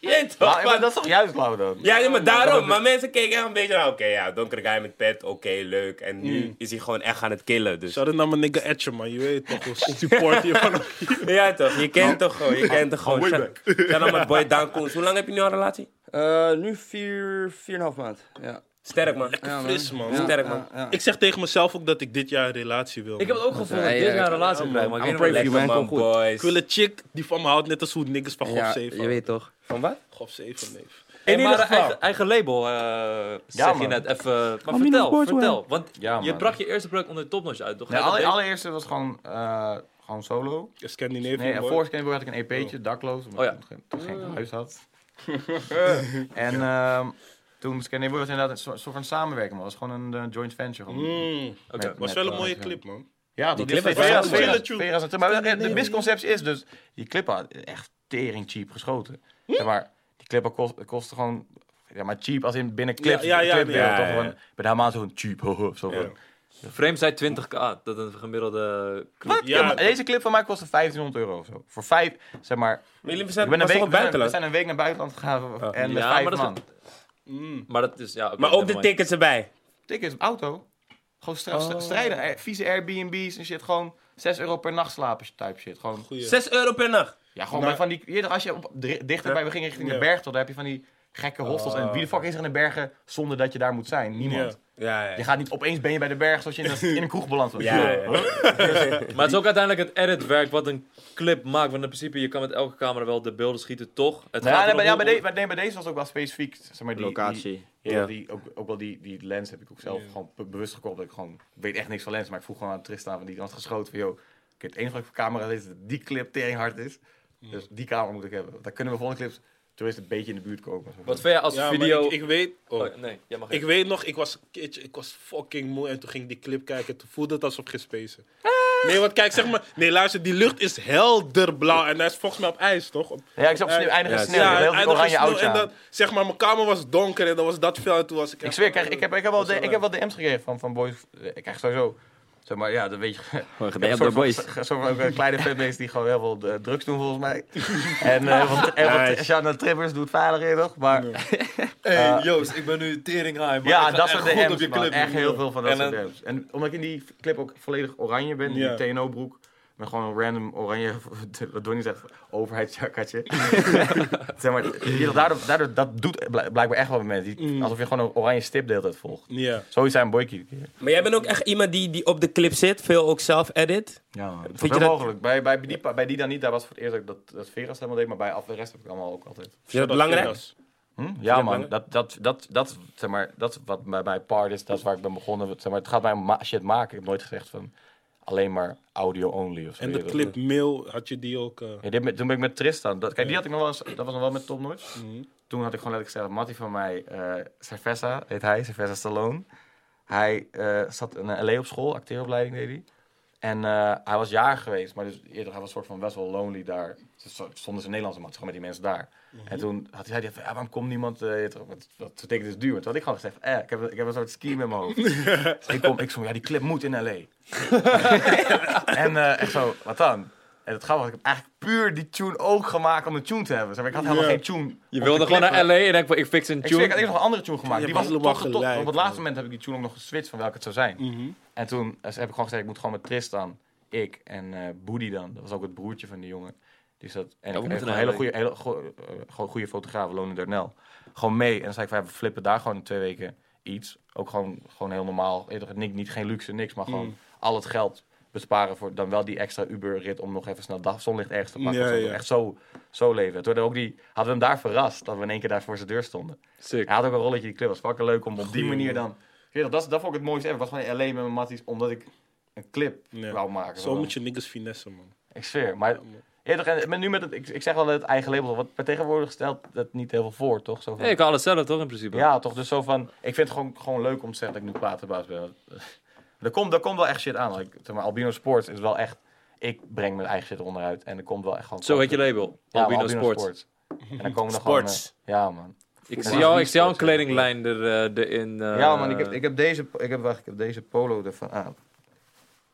[SPEAKER 1] Je weet toch,
[SPEAKER 2] Maar, maar
[SPEAKER 1] van-
[SPEAKER 2] dat is toch juist lauw dan?
[SPEAKER 1] Ja, nee, maar daarom. Maar mensen keken echt een beetje naar... Oké, ja, donkere guy met pet. Oké, leuk. En nu
[SPEAKER 6] Mm.
[SPEAKER 1] is hij gewoon echt aan het killen. Dus.
[SPEAKER 6] Shout out naar mijn nigga Etje, man. Je weet toch, we support je van
[SPEAKER 1] Ja, toch? Je kent toch gewoon. Je kent toch gewoon.
[SPEAKER 6] way
[SPEAKER 1] Shout- Shout out mijn boy Daan Koens. Hoe lang heb je nu al een relatie?
[SPEAKER 5] Eh, nu vier, vier en een half maand. Ja.
[SPEAKER 1] Sterk, man.
[SPEAKER 6] Lekker fris, man.
[SPEAKER 1] Ja. Sterk, man.
[SPEAKER 5] Ja, ja.
[SPEAKER 6] Ik zeg tegen mezelf ook dat ik dit jaar een relatie wil.
[SPEAKER 4] Ik
[SPEAKER 6] man.
[SPEAKER 4] heb het ook gevoel dat
[SPEAKER 5] Ja,
[SPEAKER 4] ik
[SPEAKER 5] ja,
[SPEAKER 4] dit jaar
[SPEAKER 5] ja.
[SPEAKER 4] een relatie
[SPEAKER 6] Ja,
[SPEAKER 4] krijg,
[SPEAKER 5] man.
[SPEAKER 4] maar ik
[SPEAKER 5] I'm
[SPEAKER 4] weet
[SPEAKER 5] pray
[SPEAKER 4] nog
[SPEAKER 5] for
[SPEAKER 4] wel
[SPEAKER 5] you, man.
[SPEAKER 4] lekker,
[SPEAKER 5] Kom
[SPEAKER 4] man,
[SPEAKER 5] goed.
[SPEAKER 4] boys.
[SPEAKER 6] Ik wil een chick die van me houdt, net als hoe niggas van
[SPEAKER 5] Ja,
[SPEAKER 6] Gof 7
[SPEAKER 5] je weet toch.
[SPEAKER 1] Van wat?
[SPEAKER 6] Gof 7 neef.
[SPEAKER 4] Hey,
[SPEAKER 1] In ieder
[SPEAKER 4] maar
[SPEAKER 1] geval.
[SPEAKER 4] eigen, eigen label, eh zeg je
[SPEAKER 2] man.
[SPEAKER 4] net even. Maar vertel, vertel. Want
[SPEAKER 2] Ja,
[SPEAKER 4] je
[SPEAKER 2] man.
[SPEAKER 4] brak je eerste breuk onder de topnotch uit, toch?
[SPEAKER 2] Nee,
[SPEAKER 4] Ga je dat
[SPEAKER 2] alle,
[SPEAKER 4] weten?
[SPEAKER 2] allereerste was gewoon, eh, gewoon solo.
[SPEAKER 6] Scandinavian
[SPEAKER 2] Nee, en
[SPEAKER 6] boy.
[SPEAKER 2] voor Skateboard had ik een EP'tje, dakloos, omdat
[SPEAKER 4] Oh ja.
[SPEAKER 2] ik toen geen- toen geen huis had. en ehm toen Skateboard was inderdaad een soort soort van samenwerking, man. Het was gewoon een eh, joint venture. gewoon.
[SPEAKER 6] Mm,
[SPEAKER 4] Oké.
[SPEAKER 2] Met-
[SPEAKER 6] was
[SPEAKER 2] met,
[SPEAKER 6] wel een
[SPEAKER 2] eh,
[SPEAKER 6] mooie
[SPEAKER 2] ja.
[SPEAKER 6] clip, man.
[SPEAKER 2] Ja, die clip
[SPEAKER 1] clip
[SPEAKER 2] is
[SPEAKER 1] is
[SPEAKER 2] Vera's,
[SPEAKER 1] wel
[SPEAKER 6] mooi.
[SPEAKER 2] Vera's, Vera's en- Maar de- de misconceptie is dus, die clip had echt tering cheap geschoten. Zeg maar, die clip had kost, kostte gewoon, ja maar cheap als in binnen clips.
[SPEAKER 6] Ja, ja, ja,
[SPEAKER 2] clip,
[SPEAKER 6] ja, ja,
[SPEAKER 2] toch
[SPEAKER 6] ja.
[SPEAKER 2] gewoon, bij de Hamaan zo'n cheap, hoho, of zo.
[SPEAKER 6] Ja.
[SPEAKER 4] Frame zei 20k, dat een gemiddelde.
[SPEAKER 2] Wat?
[SPEAKER 6] Ja,
[SPEAKER 2] Ja, maar
[SPEAKER 6] dat-
[SPEAKER 2] deze clip van mij kostte 1500 euro of zo. Voor vijf, zeg maar.
[SPEAKER 1] Maar jullie
[SPEAKER 2] Ik
[SPEAKER 1] zijn,
[SPEAKER 2] ben een
[SPEAKER 1] was
[SPEAKER 2] week,
[SPEAKER 1] toch
[SPEAKER 2] we
[SPEAKER 1] op
[SPEAKER 2] zijn- we
[SPEAKER 1] buitenland?
[SPEAKER 2] zijn een week naar buitenland gegaan en met
[SPEAKER 4] Ja,
[SPEAKER 2] vijf
[SPEAKER 4] maar dat is-
[SPEAKER 2] man.
[SPEAKER 4] Maar dat is ja. oké,
[SPEAKER 1] Maar ook de
[SPEAKER 4] nevermind.
[SPEAKER 1] tickets erbij.
[SPEAKER 2] Tickets, auto. Gewoon stra- stra- strijden. Eh, Vieze Airbnb's en shit. Gewoon 6 euro per nacht slapen type shit. Gewoon,
[SPEAKER 6] Goeie.
[SPEAKER 1] 6 euro per nacht.
[SPEAKER 2] ja, gewoon
[SPEAKER 6] Maar-
[SPEAKER 2] bij van die... je- als je op, dri- dichterbij, we gingen richting
[SPEAKER 6] Ja. Ah,
[SPEAKER 2] de berg tot, daar heb je van die gekke hostels. en wie de fuck is er in de bergen zonder dat je daar moet zijn? Niemand.
[SPEAKER 1] Ja,
[SPEAKER 2] Je gaat niet opeens ben je bij de berg zoals je in een, in een kroeg belandt. was.
[SPEAKER 1] Ja, ja.
[SPEAKER 4] Maar het is ook uiteindelijk het editwerk wat een clip maakt. Want in principe, je kan met elke camera wel de beelden schieten, toch? Het
[SPEAKER 2] Nou
[SPEAKER 4] gaat
[SPEAKER 2] ja, nee,
[SPEAKER 4] erom
[SPEAKER 2] bij, ja,
[SPEAKER 4] hoe-
[SPEAKER 2] bij, de- bij- nee, bij deze was ook wel specifiek. Zeg maar, die, Die,
[SPEAKER 5] Locatie.
[SPEAKER 2] ja,
[SPEAKER 1] Ja.
[SPEAKER 2] die, ook, ook wel die, die lens heb ik ook zelf gewoon be- bewust gekocht. Dat ik gewoon ik weet echt niks van lens. Maar ik vroeg gewoon aan Tristan van die had geschoten van joh. oké, het enige wat ik voor camera weet is dat die clip tering hard is. Dus die camera moet ik hebben. Want Dan kunnen we volgende clips tenminste een beetje in de buurt komen.
[SPEAKER 4] Wat vind jij als
[SPEAKER 6] Ja, maar
[SPEAKER 4] video.
[SPEAKER 6] ik, ik weet... oh.
[SPEAKER 4] Oh, nee, jij mag
[SPEAKER 6] Ik
[SPEAKER 4] even.
[SPEAKER 6] weet nog, ik was een keertje, ik was fucking moe en toen ging ik die clip kijken. Toen voelde het alsof ik gespacen.
[SPEAKER 4] Ah.
[SPEAKER 6] Nee, want kijk, zeg maar, nee, luister, die lucht is helder blauw en hij is volgens mij op ijs, toch? Op,
[SPEAKER 2] ja, ik zag op sneeuw eindigen
[SPEAKER 6] ja,
[SPEAKER 2] snel. Ja, heel die
[SPEAKER 6] eindig is
[SPEAKER 2] oranje
[SPEAKER 6] sneeuw
[SPEAKER 2] oudje
[SPEAKER 6] en
[SPEAKER 2] aan.
[SPEAKER 6] dan, zeg maar, mijn kamer was donker en dan was dat fel en toen was ik...
[SPEAKER 2] Ik
[SPEAKER 6] echt-
[SPEAKER 2] zweer, ik, krijg, ik, heb, ik, heb wel de, ik
[SPEAKER 6] leuk.
[SPEAKER 2] heb wel DM's gekregen van, van boys. eh, Ik krijg sowieso. Zeg maar, ja, dat weet je.
[SPEAKER 5] Gewoon
[SPEAKER 2] Ik heb
[SPEAKER 5] gedempt
[SPEAKER 2] een
[SPEAKER 5] door
[SPEAKER 2] soort
[SPEAKER 5] boys.
[SPEAKER 2] van- ge- soort van ook een kleine fanbase die gewoon heel veel eh, drugs doen, volgens mij. en eh want, en wat Shanna Trippers doet veiliger nog, maar... Eh,
[SPEAKER 4] Hey, Joost, ik ben nu tering high. maar
[SPEAKER 2] Ja,
[SPEAKER 4] ik ga
[SPEAKER 2] dat
[SPEAKER 4] echt
[SPEAKER 2] soort
[SPEAKER 4] goed op
[SPEAKER 2] DM's,
[SPEAKER 4] je
[SPEAKER 2] man.
[SPEAKER 4] clip,
[SPEAKER 2] Echt
[SPEAKER 4] man.
[SPEAKER 2] heel veel van dat
[SPEAKER 4] En
[SPEAKER 2] soort
[SPEAKER 4] dan-
[SPEAKER 2] DM's. En omdat ik in die clip ook volledig oranje ben,
[SPEAKER 6] Ja.
[SPEAKER 2] die TNO-broek... Met gewoon een random oranje, wat Donnie zegt, overheidsjakketje. zeg maar, je- daardoor, daardoor, dat doet blijk- blijkbaar echt wel met mensen. Die- Alsof je gewoon een oranje stip de hele tijd volgt.
[SPEAKER 6] Ja.
[SPEAKER 2] Zoiets zijn boykie.
[SPEAKER 1] Maar jij bent ook echt iemand die, die op de clip zit, veel ook zelf edit.
[SPEAKER 2] Ja, man. Vind
[SPEAKER 1] je
[SPEAKER 2] je
[SPEAKER 1] dat-
[SPEAKER 2] mogelijk. Bij, bij, die, bij die dan niet, daar was voor het eerst dat, ik dat, dat Veras helemaal deed, maar bij af de rest heb ik allemaal ook altijd.
[SPEAKER 1] Vind je dat belangrijk?
[SPEAKER 6] Veras.
[SPEAKER 2] Hm? Ja, man.
[SPEAKER 1] belangrijk?
[SPEAKER 2] Dat, dat, dat, dat, zeg maar, dat is wat bij mij part is. Dat is waar ik ben begonnen. Zeg maar, het gaat mij om ma- shit maken. Ik heb nooit gezegd van alleen maar audio only of zo.
[SPEAKER 6] En
[SPEAKER 2] Je
[SPEAKER 6] dat
[SPEAKER 2] weet
[SPEAKER 6] clip mail, had je die ook... eh,
[SPEAKER 2] Ja, dit met- toen ben ik met Tristan. Dat, kijk, die had ik nog wel eens, dat was nog wel met Top Notch. Toen had ik gewoon letterlijk gezegd, Mattie van mij, eh Cerveza heet hij, Cerveza Stallone. Hij eh, zat in een LA op school, acteeropleiding deed hij. En eh, hij was jaar geweest, maar dus eerder hij was soort van best wel lonely daar. Ze sto- Stonden ze in Nederlandse mat, gewoon met die mensen daar. En toen had hij van, ja, waarom komt niemand? eh, je toch, wat- dat betekent dus duur. Toen had ik gewoon gezegd, eh, ik, heb, ik heb een soort scheme in mijn hoofd. ik kom, ik zo, ja, die clip moet in L.A. en eh, echt zo, wat dan? En het grappige was, ik heb eigenlijk puur die tune ook gemaakt om een tune te hebben. Zeg maar, ik had helemaal
[SPEAKER 6] Ja.
[SPEAKER 2] geen tune.
[SPEAKER 4] Je wilde gewoon naar LA en denk van, ik fix een
[SPEAKER 2] Ik, zweer,
[SPEAKER 4] tune.
[SPEAKER 2] ik had eerst nog een andere tune gemaakt.
[SPEAKER 6] Je
[SPEAKER 2] die
[SPEAKER 6] hebt
[SPEAKER 2] was
[SPEAKER 6] helemaal
[SPEAKER 2] tot, tot-
[SPEAKER 6] gelijk,
[SPEAKER 2] op het laatste
[SPEAKER 6] man.
[SPEAKER 2] moment heb ik die tune ook nog geswitcht van welke het zou zijn.
[SPEAKER 6] mhm.
[SPEAKER 2] En toen eh, heb ik gewoon gezegd, ik moet gewoon met Tristan, ik en eh Boody dan. Dat was ook het broertje van die jongen. Die zat, en
[SPEAKER 4] we
[SPEAKER 2] ik
[SPEAKER 4] moeten
[SPEAKER 2] heb een
[SPEAKER 4] naar
[SPEAKER 2] hele
[SPEAKER 4] LA.
[SPEAKER 2] goede, hele go- eh, gewoon goede fotograaf, Lone Darnell. Gewoon mee. En dan zei ik van, ja, we flippen daar gewoon in twee weken iets. Ook gewoon, gewoon heel normaal. Eh, toch, Niet, niet geen luxe, niks, maar gewoon
[SPEAKER 6] Mm.
[SPEAKER 2] al het geld besparen voor dan wel die extra Uber-rit om nog even snel dag, zonlicht ergens te pakken.
[SPEAKER 6] Ja,
[SPEAKER 2] of zo.
[SPEAKER 6] ja.
[SPEAKER 2] Echt zo, zo leven. Toen hadden we, ook die, hadden we hem daar verrast, dat we in één keer daar voor zijn deur stonden.
[SPEAKER 4] Sick.
[SPEAKER 2] Hij had ook een rolletje, die clip was fucking leuk om op die manier dan... Weet je, dat, dat vond ik het mooiste ever. Ik was gewoon in LA met mijn matties, omdat ik een clip
[SPEAKER 6] Ja.
[SPEAKER 2] wou maken.
[SPEAKER 6] Zo
[SPEAKER 2] Gewoon.
[SPEAKER 6] moet je niggas finessen, man.
[SPEAKER 2] Ik zweer, maar... Ja, toch, en- maar nu met het, ik, ik zeg wel het eigen label, want maar tegenwoordig stelt dat niet heel veel voor, toch? Zo van,
[SPEAKER 4] Nee, ik kan alles zelf toch in principe.
[SPEAKER 2] ja, toch? Dus zo van, ik vind het gewoon, gewoon leuk om te zeggen dat ik nu platenbaas ben. Want, eh, Er komt, er komt wel echt shit aan. want ik- zeg maar, Albino Sports is wel echt, ik breng mijn eigen shit eronder uit en er komt wel echt gewoon...
[SPEAKER 4] Zo heet je label.
[SPEAKER 2] Ja, maar
[SPEAKER 4] Albino, Sports.
[SPEAKER 2] En dan komen er
[SPEAKER 1] Sports.
[SPEAKER 2] gewoon... eh, ja, man. Ja.
[SPEAKER 4] Ik zie jou, ik
[SPEAKER 2] Sports,
[SPEAKER 4] zie jou een
[SPEAKER 2] ja.
[SPEAKER 4] kledinglijn er, eh, erin. eh,
[SPEAKER 2] Ja, man, ik heb, ik heb, deze, ik heb, wacht, ik heb deze polo ervan aan.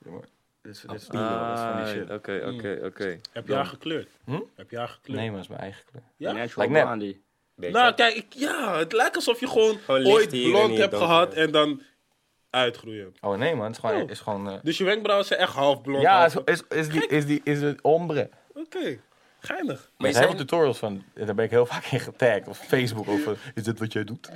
[SPEAKER 2] Ja, maar Dit is, dit is, dat is van die
[SPEAKER 4] Ah,
[SPEAKER 2] shit. Mm.
[SPEAKER 4] Oké, oké, oké.
[SPEAKER 6] Heb je haar gekleurd?
[SPEAKER 2] Hm?
[SPEAKER 6] Heb je haar gekleurd?
[SPEAKER 2] Nee, maar dat is mijn eigen kleur.
[SPEAKER 6] Ja?
[SPEAKER 5] Natural
[SPEAKER 2] Lijkt net.
[SPEAKER 5] Blondie.
[SPEAKER 6] Nou, kijk, ik- ja, het lijkt alsof je gewoon,
[SPEAKER 1] Gewoon licht
[SPEAKER 6] ooit
[SPEAKER 1] hier en
[SPEAKER 6] blond
[SPEAKER 1] hier
[SPEAKER 6] hebt
[SPEAKER 1] donker.
[SPEAKER 6] gehad en dan uitgroeien.
[SPEAKER 2] Oh nee, man, het is gewoon...
[SPEAKER 6] Oh.
[SPEAKER 2] Is gewoon eh,
[SPEAKER 6] Dus je wenkbrauwen zijn echt half blond.
[SPEAKER 2] ja,
[SPEAKER 6] half-
[SPEAKER 2] is, is, is, die, is, die, is het ombre.
[SPEAKER 6] Oké. Geinig.
[SPEAKER 2] Maar
[SPEAKER 1] je
[SPEAKER 2] er zijn
[SPEAKER 1] zijn,
[SPEAKER 2] wel tutorials van, en daar ben ik heel vaak in getagd. Of Facebook, of eh, is dit wat jij doet?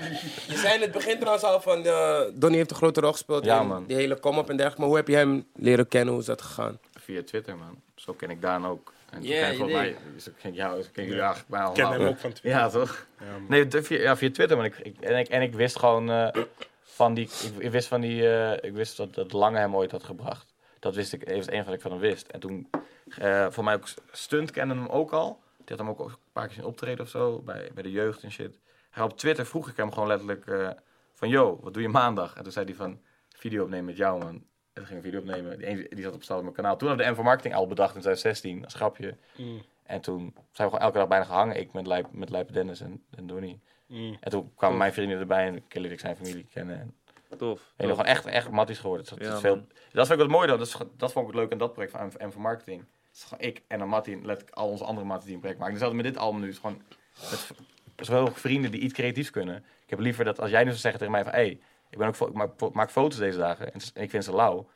[SPEAKER 1] je zei in het begin trouwens al van, eh, Donnie heeft een grote rol gespeeld
[SPEAKER 2] Ja,
[SPEAKER 1] in
[SPEAKER 2] man.
[SPEAKER 1] die hele come-up en dergelijke. Maar hoe heb je hem leren kennen? Hoe is dat gegaan?
[SPEAKER 2] Via Twitter, man. Zo ken ik Daan ook. En
[SPEAKER 5] Ja,
[SPEAKER 2] yeah,
[SPEAKER 5] je
[SPEAKER 2] ken mij, zo ken ik jou, zo ken jullie eigenlijk mij
[SPEAKER 6] ken
[SPEAKER 2] allemaal.
[SPEAKER 6] hem ook van Twitter.
[SPEAKER 2] Ja, toch? Nee, de- via, ja, via Twitter, man. Ik, ik- en, ik, en ik wist gewoon eh, van die... Ik, ik wist van die... eh, ik wist dat, dat Lange hem ooit had gebracht. Dat wist ik, dat was het enige wat ik van hem wist. En toen, eh voor mij ook Stunt kende hem ook al. Die had hem ook een paar keer zien optreden of zo, bij, bij de jeugd en shit. Hij op Twitter vroeg ik hem gewoon letterlijk eh, van, yo, wat doe je maandag? En toen zei hij van, video opnemen met jou, man. En toen ging ik een video opnemen. Die, een- die zat op staat op mijn kanaal. Toen hadden we de M voor Marketing al bedacht in 2016, als grapje. En toen zijn we gewoon elke dag bijna gehangen. Ik met Lijp, met Lijp Dennis en, en Donnie. En toen kwamen mijn vrienden erbij en leerde ik zijn familie kennen. En
[SPEAKER 4] Tof.
[SPEAKER 2] ben gewoon echt, echt matties geworden. Dat, is
[SPEAKER 4] Ja,
[SPEAKER 2] veel,
[SPEAKER 4] man.
[SPEAKER 2] dat vind ik wat mooi dan. Dat, is, dat vond ik het leuk aan dat project van M, M voor Marketing. Het is gewoon ik en dan Mattie en let ik al onze andere matties die een project maken. Dezelfde met dit album nu. Het is gewoon met v- zoveel vrienden die iets creatiefs kunnen. Ik heb liever dat als jij nu zou zeggen tegen mij van... Hey, ik, ben ook, fo- ik maak, fo- maak foto's deze dagen en, s- en ik vind ze lauw.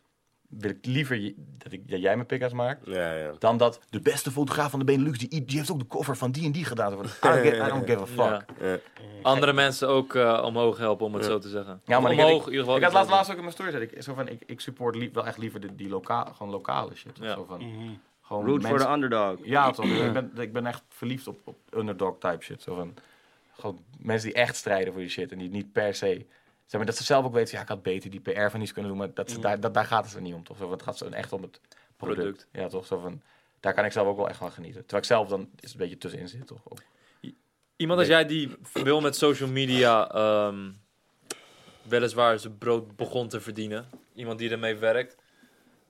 [SPEAKER 2] Wil ik liever je- dat, ik, dat jij mijn pick-ups maakt
[SPEAKER 1] Ja, ja.
[SPEAKER 2] dan dat de beste fotograaf van de Benelux, die, die heeft ook de cover van die en die gedaan. Zo van, I, don't give, I don't give a
[SPEAKER 4] Ja.
[SPEAKER 2] fuck.
[SPEAKER 4] Andere mensen ook eh, omhoog helpen, om het zo te zeggen.
[SPEAKER 2] Ja, maar ik-
[SPEAKER 4] omhoog,
[SPEAKER 2] ik,
[SPEAKER 4] in ieder geval.
[SPEAKER 2] ik had laatst, laatst ook in mijn story gezegd, ik, zo van, ik, ik support lief- wel echt liever die, die loka, gewoon lokale shit. of
[SPEAKER 4] Ja.
[SPEAKER 2] Zo van, gewoon
[SPEAKER 5] Mhm. Root voor
[SPEAKER 2] mensen-
[SPEAKER 5] de underdog.
[SPEAKER 2] Ja, toch. ik, ben, ik ben echt verliefd op, op underdog type shit. Zo van, gewoon mensen die echt strijden voor je shit en die niet per se... Zeg maar, dat ze zelf ook weten, ja, ik had beter die PR van iets kunnen doen, maar dat, ze daar, dat, daar gaat het er niet om, toch? Zo van, het gaat zo echt om het product.
[SPEAKER 4] Product.
[SPEAKER 2] Ja, toch? Zo van, daar kan ik zelf ook wel echt van genieten. Terwijl ik zelf dan is het een beetje tussenin zit, toch? Ook.
[SPEAKER 4] Iemand als jij die wil met social media ehm, weliswaar zijn brood begon te verdienen. Iemand die ermee werkt.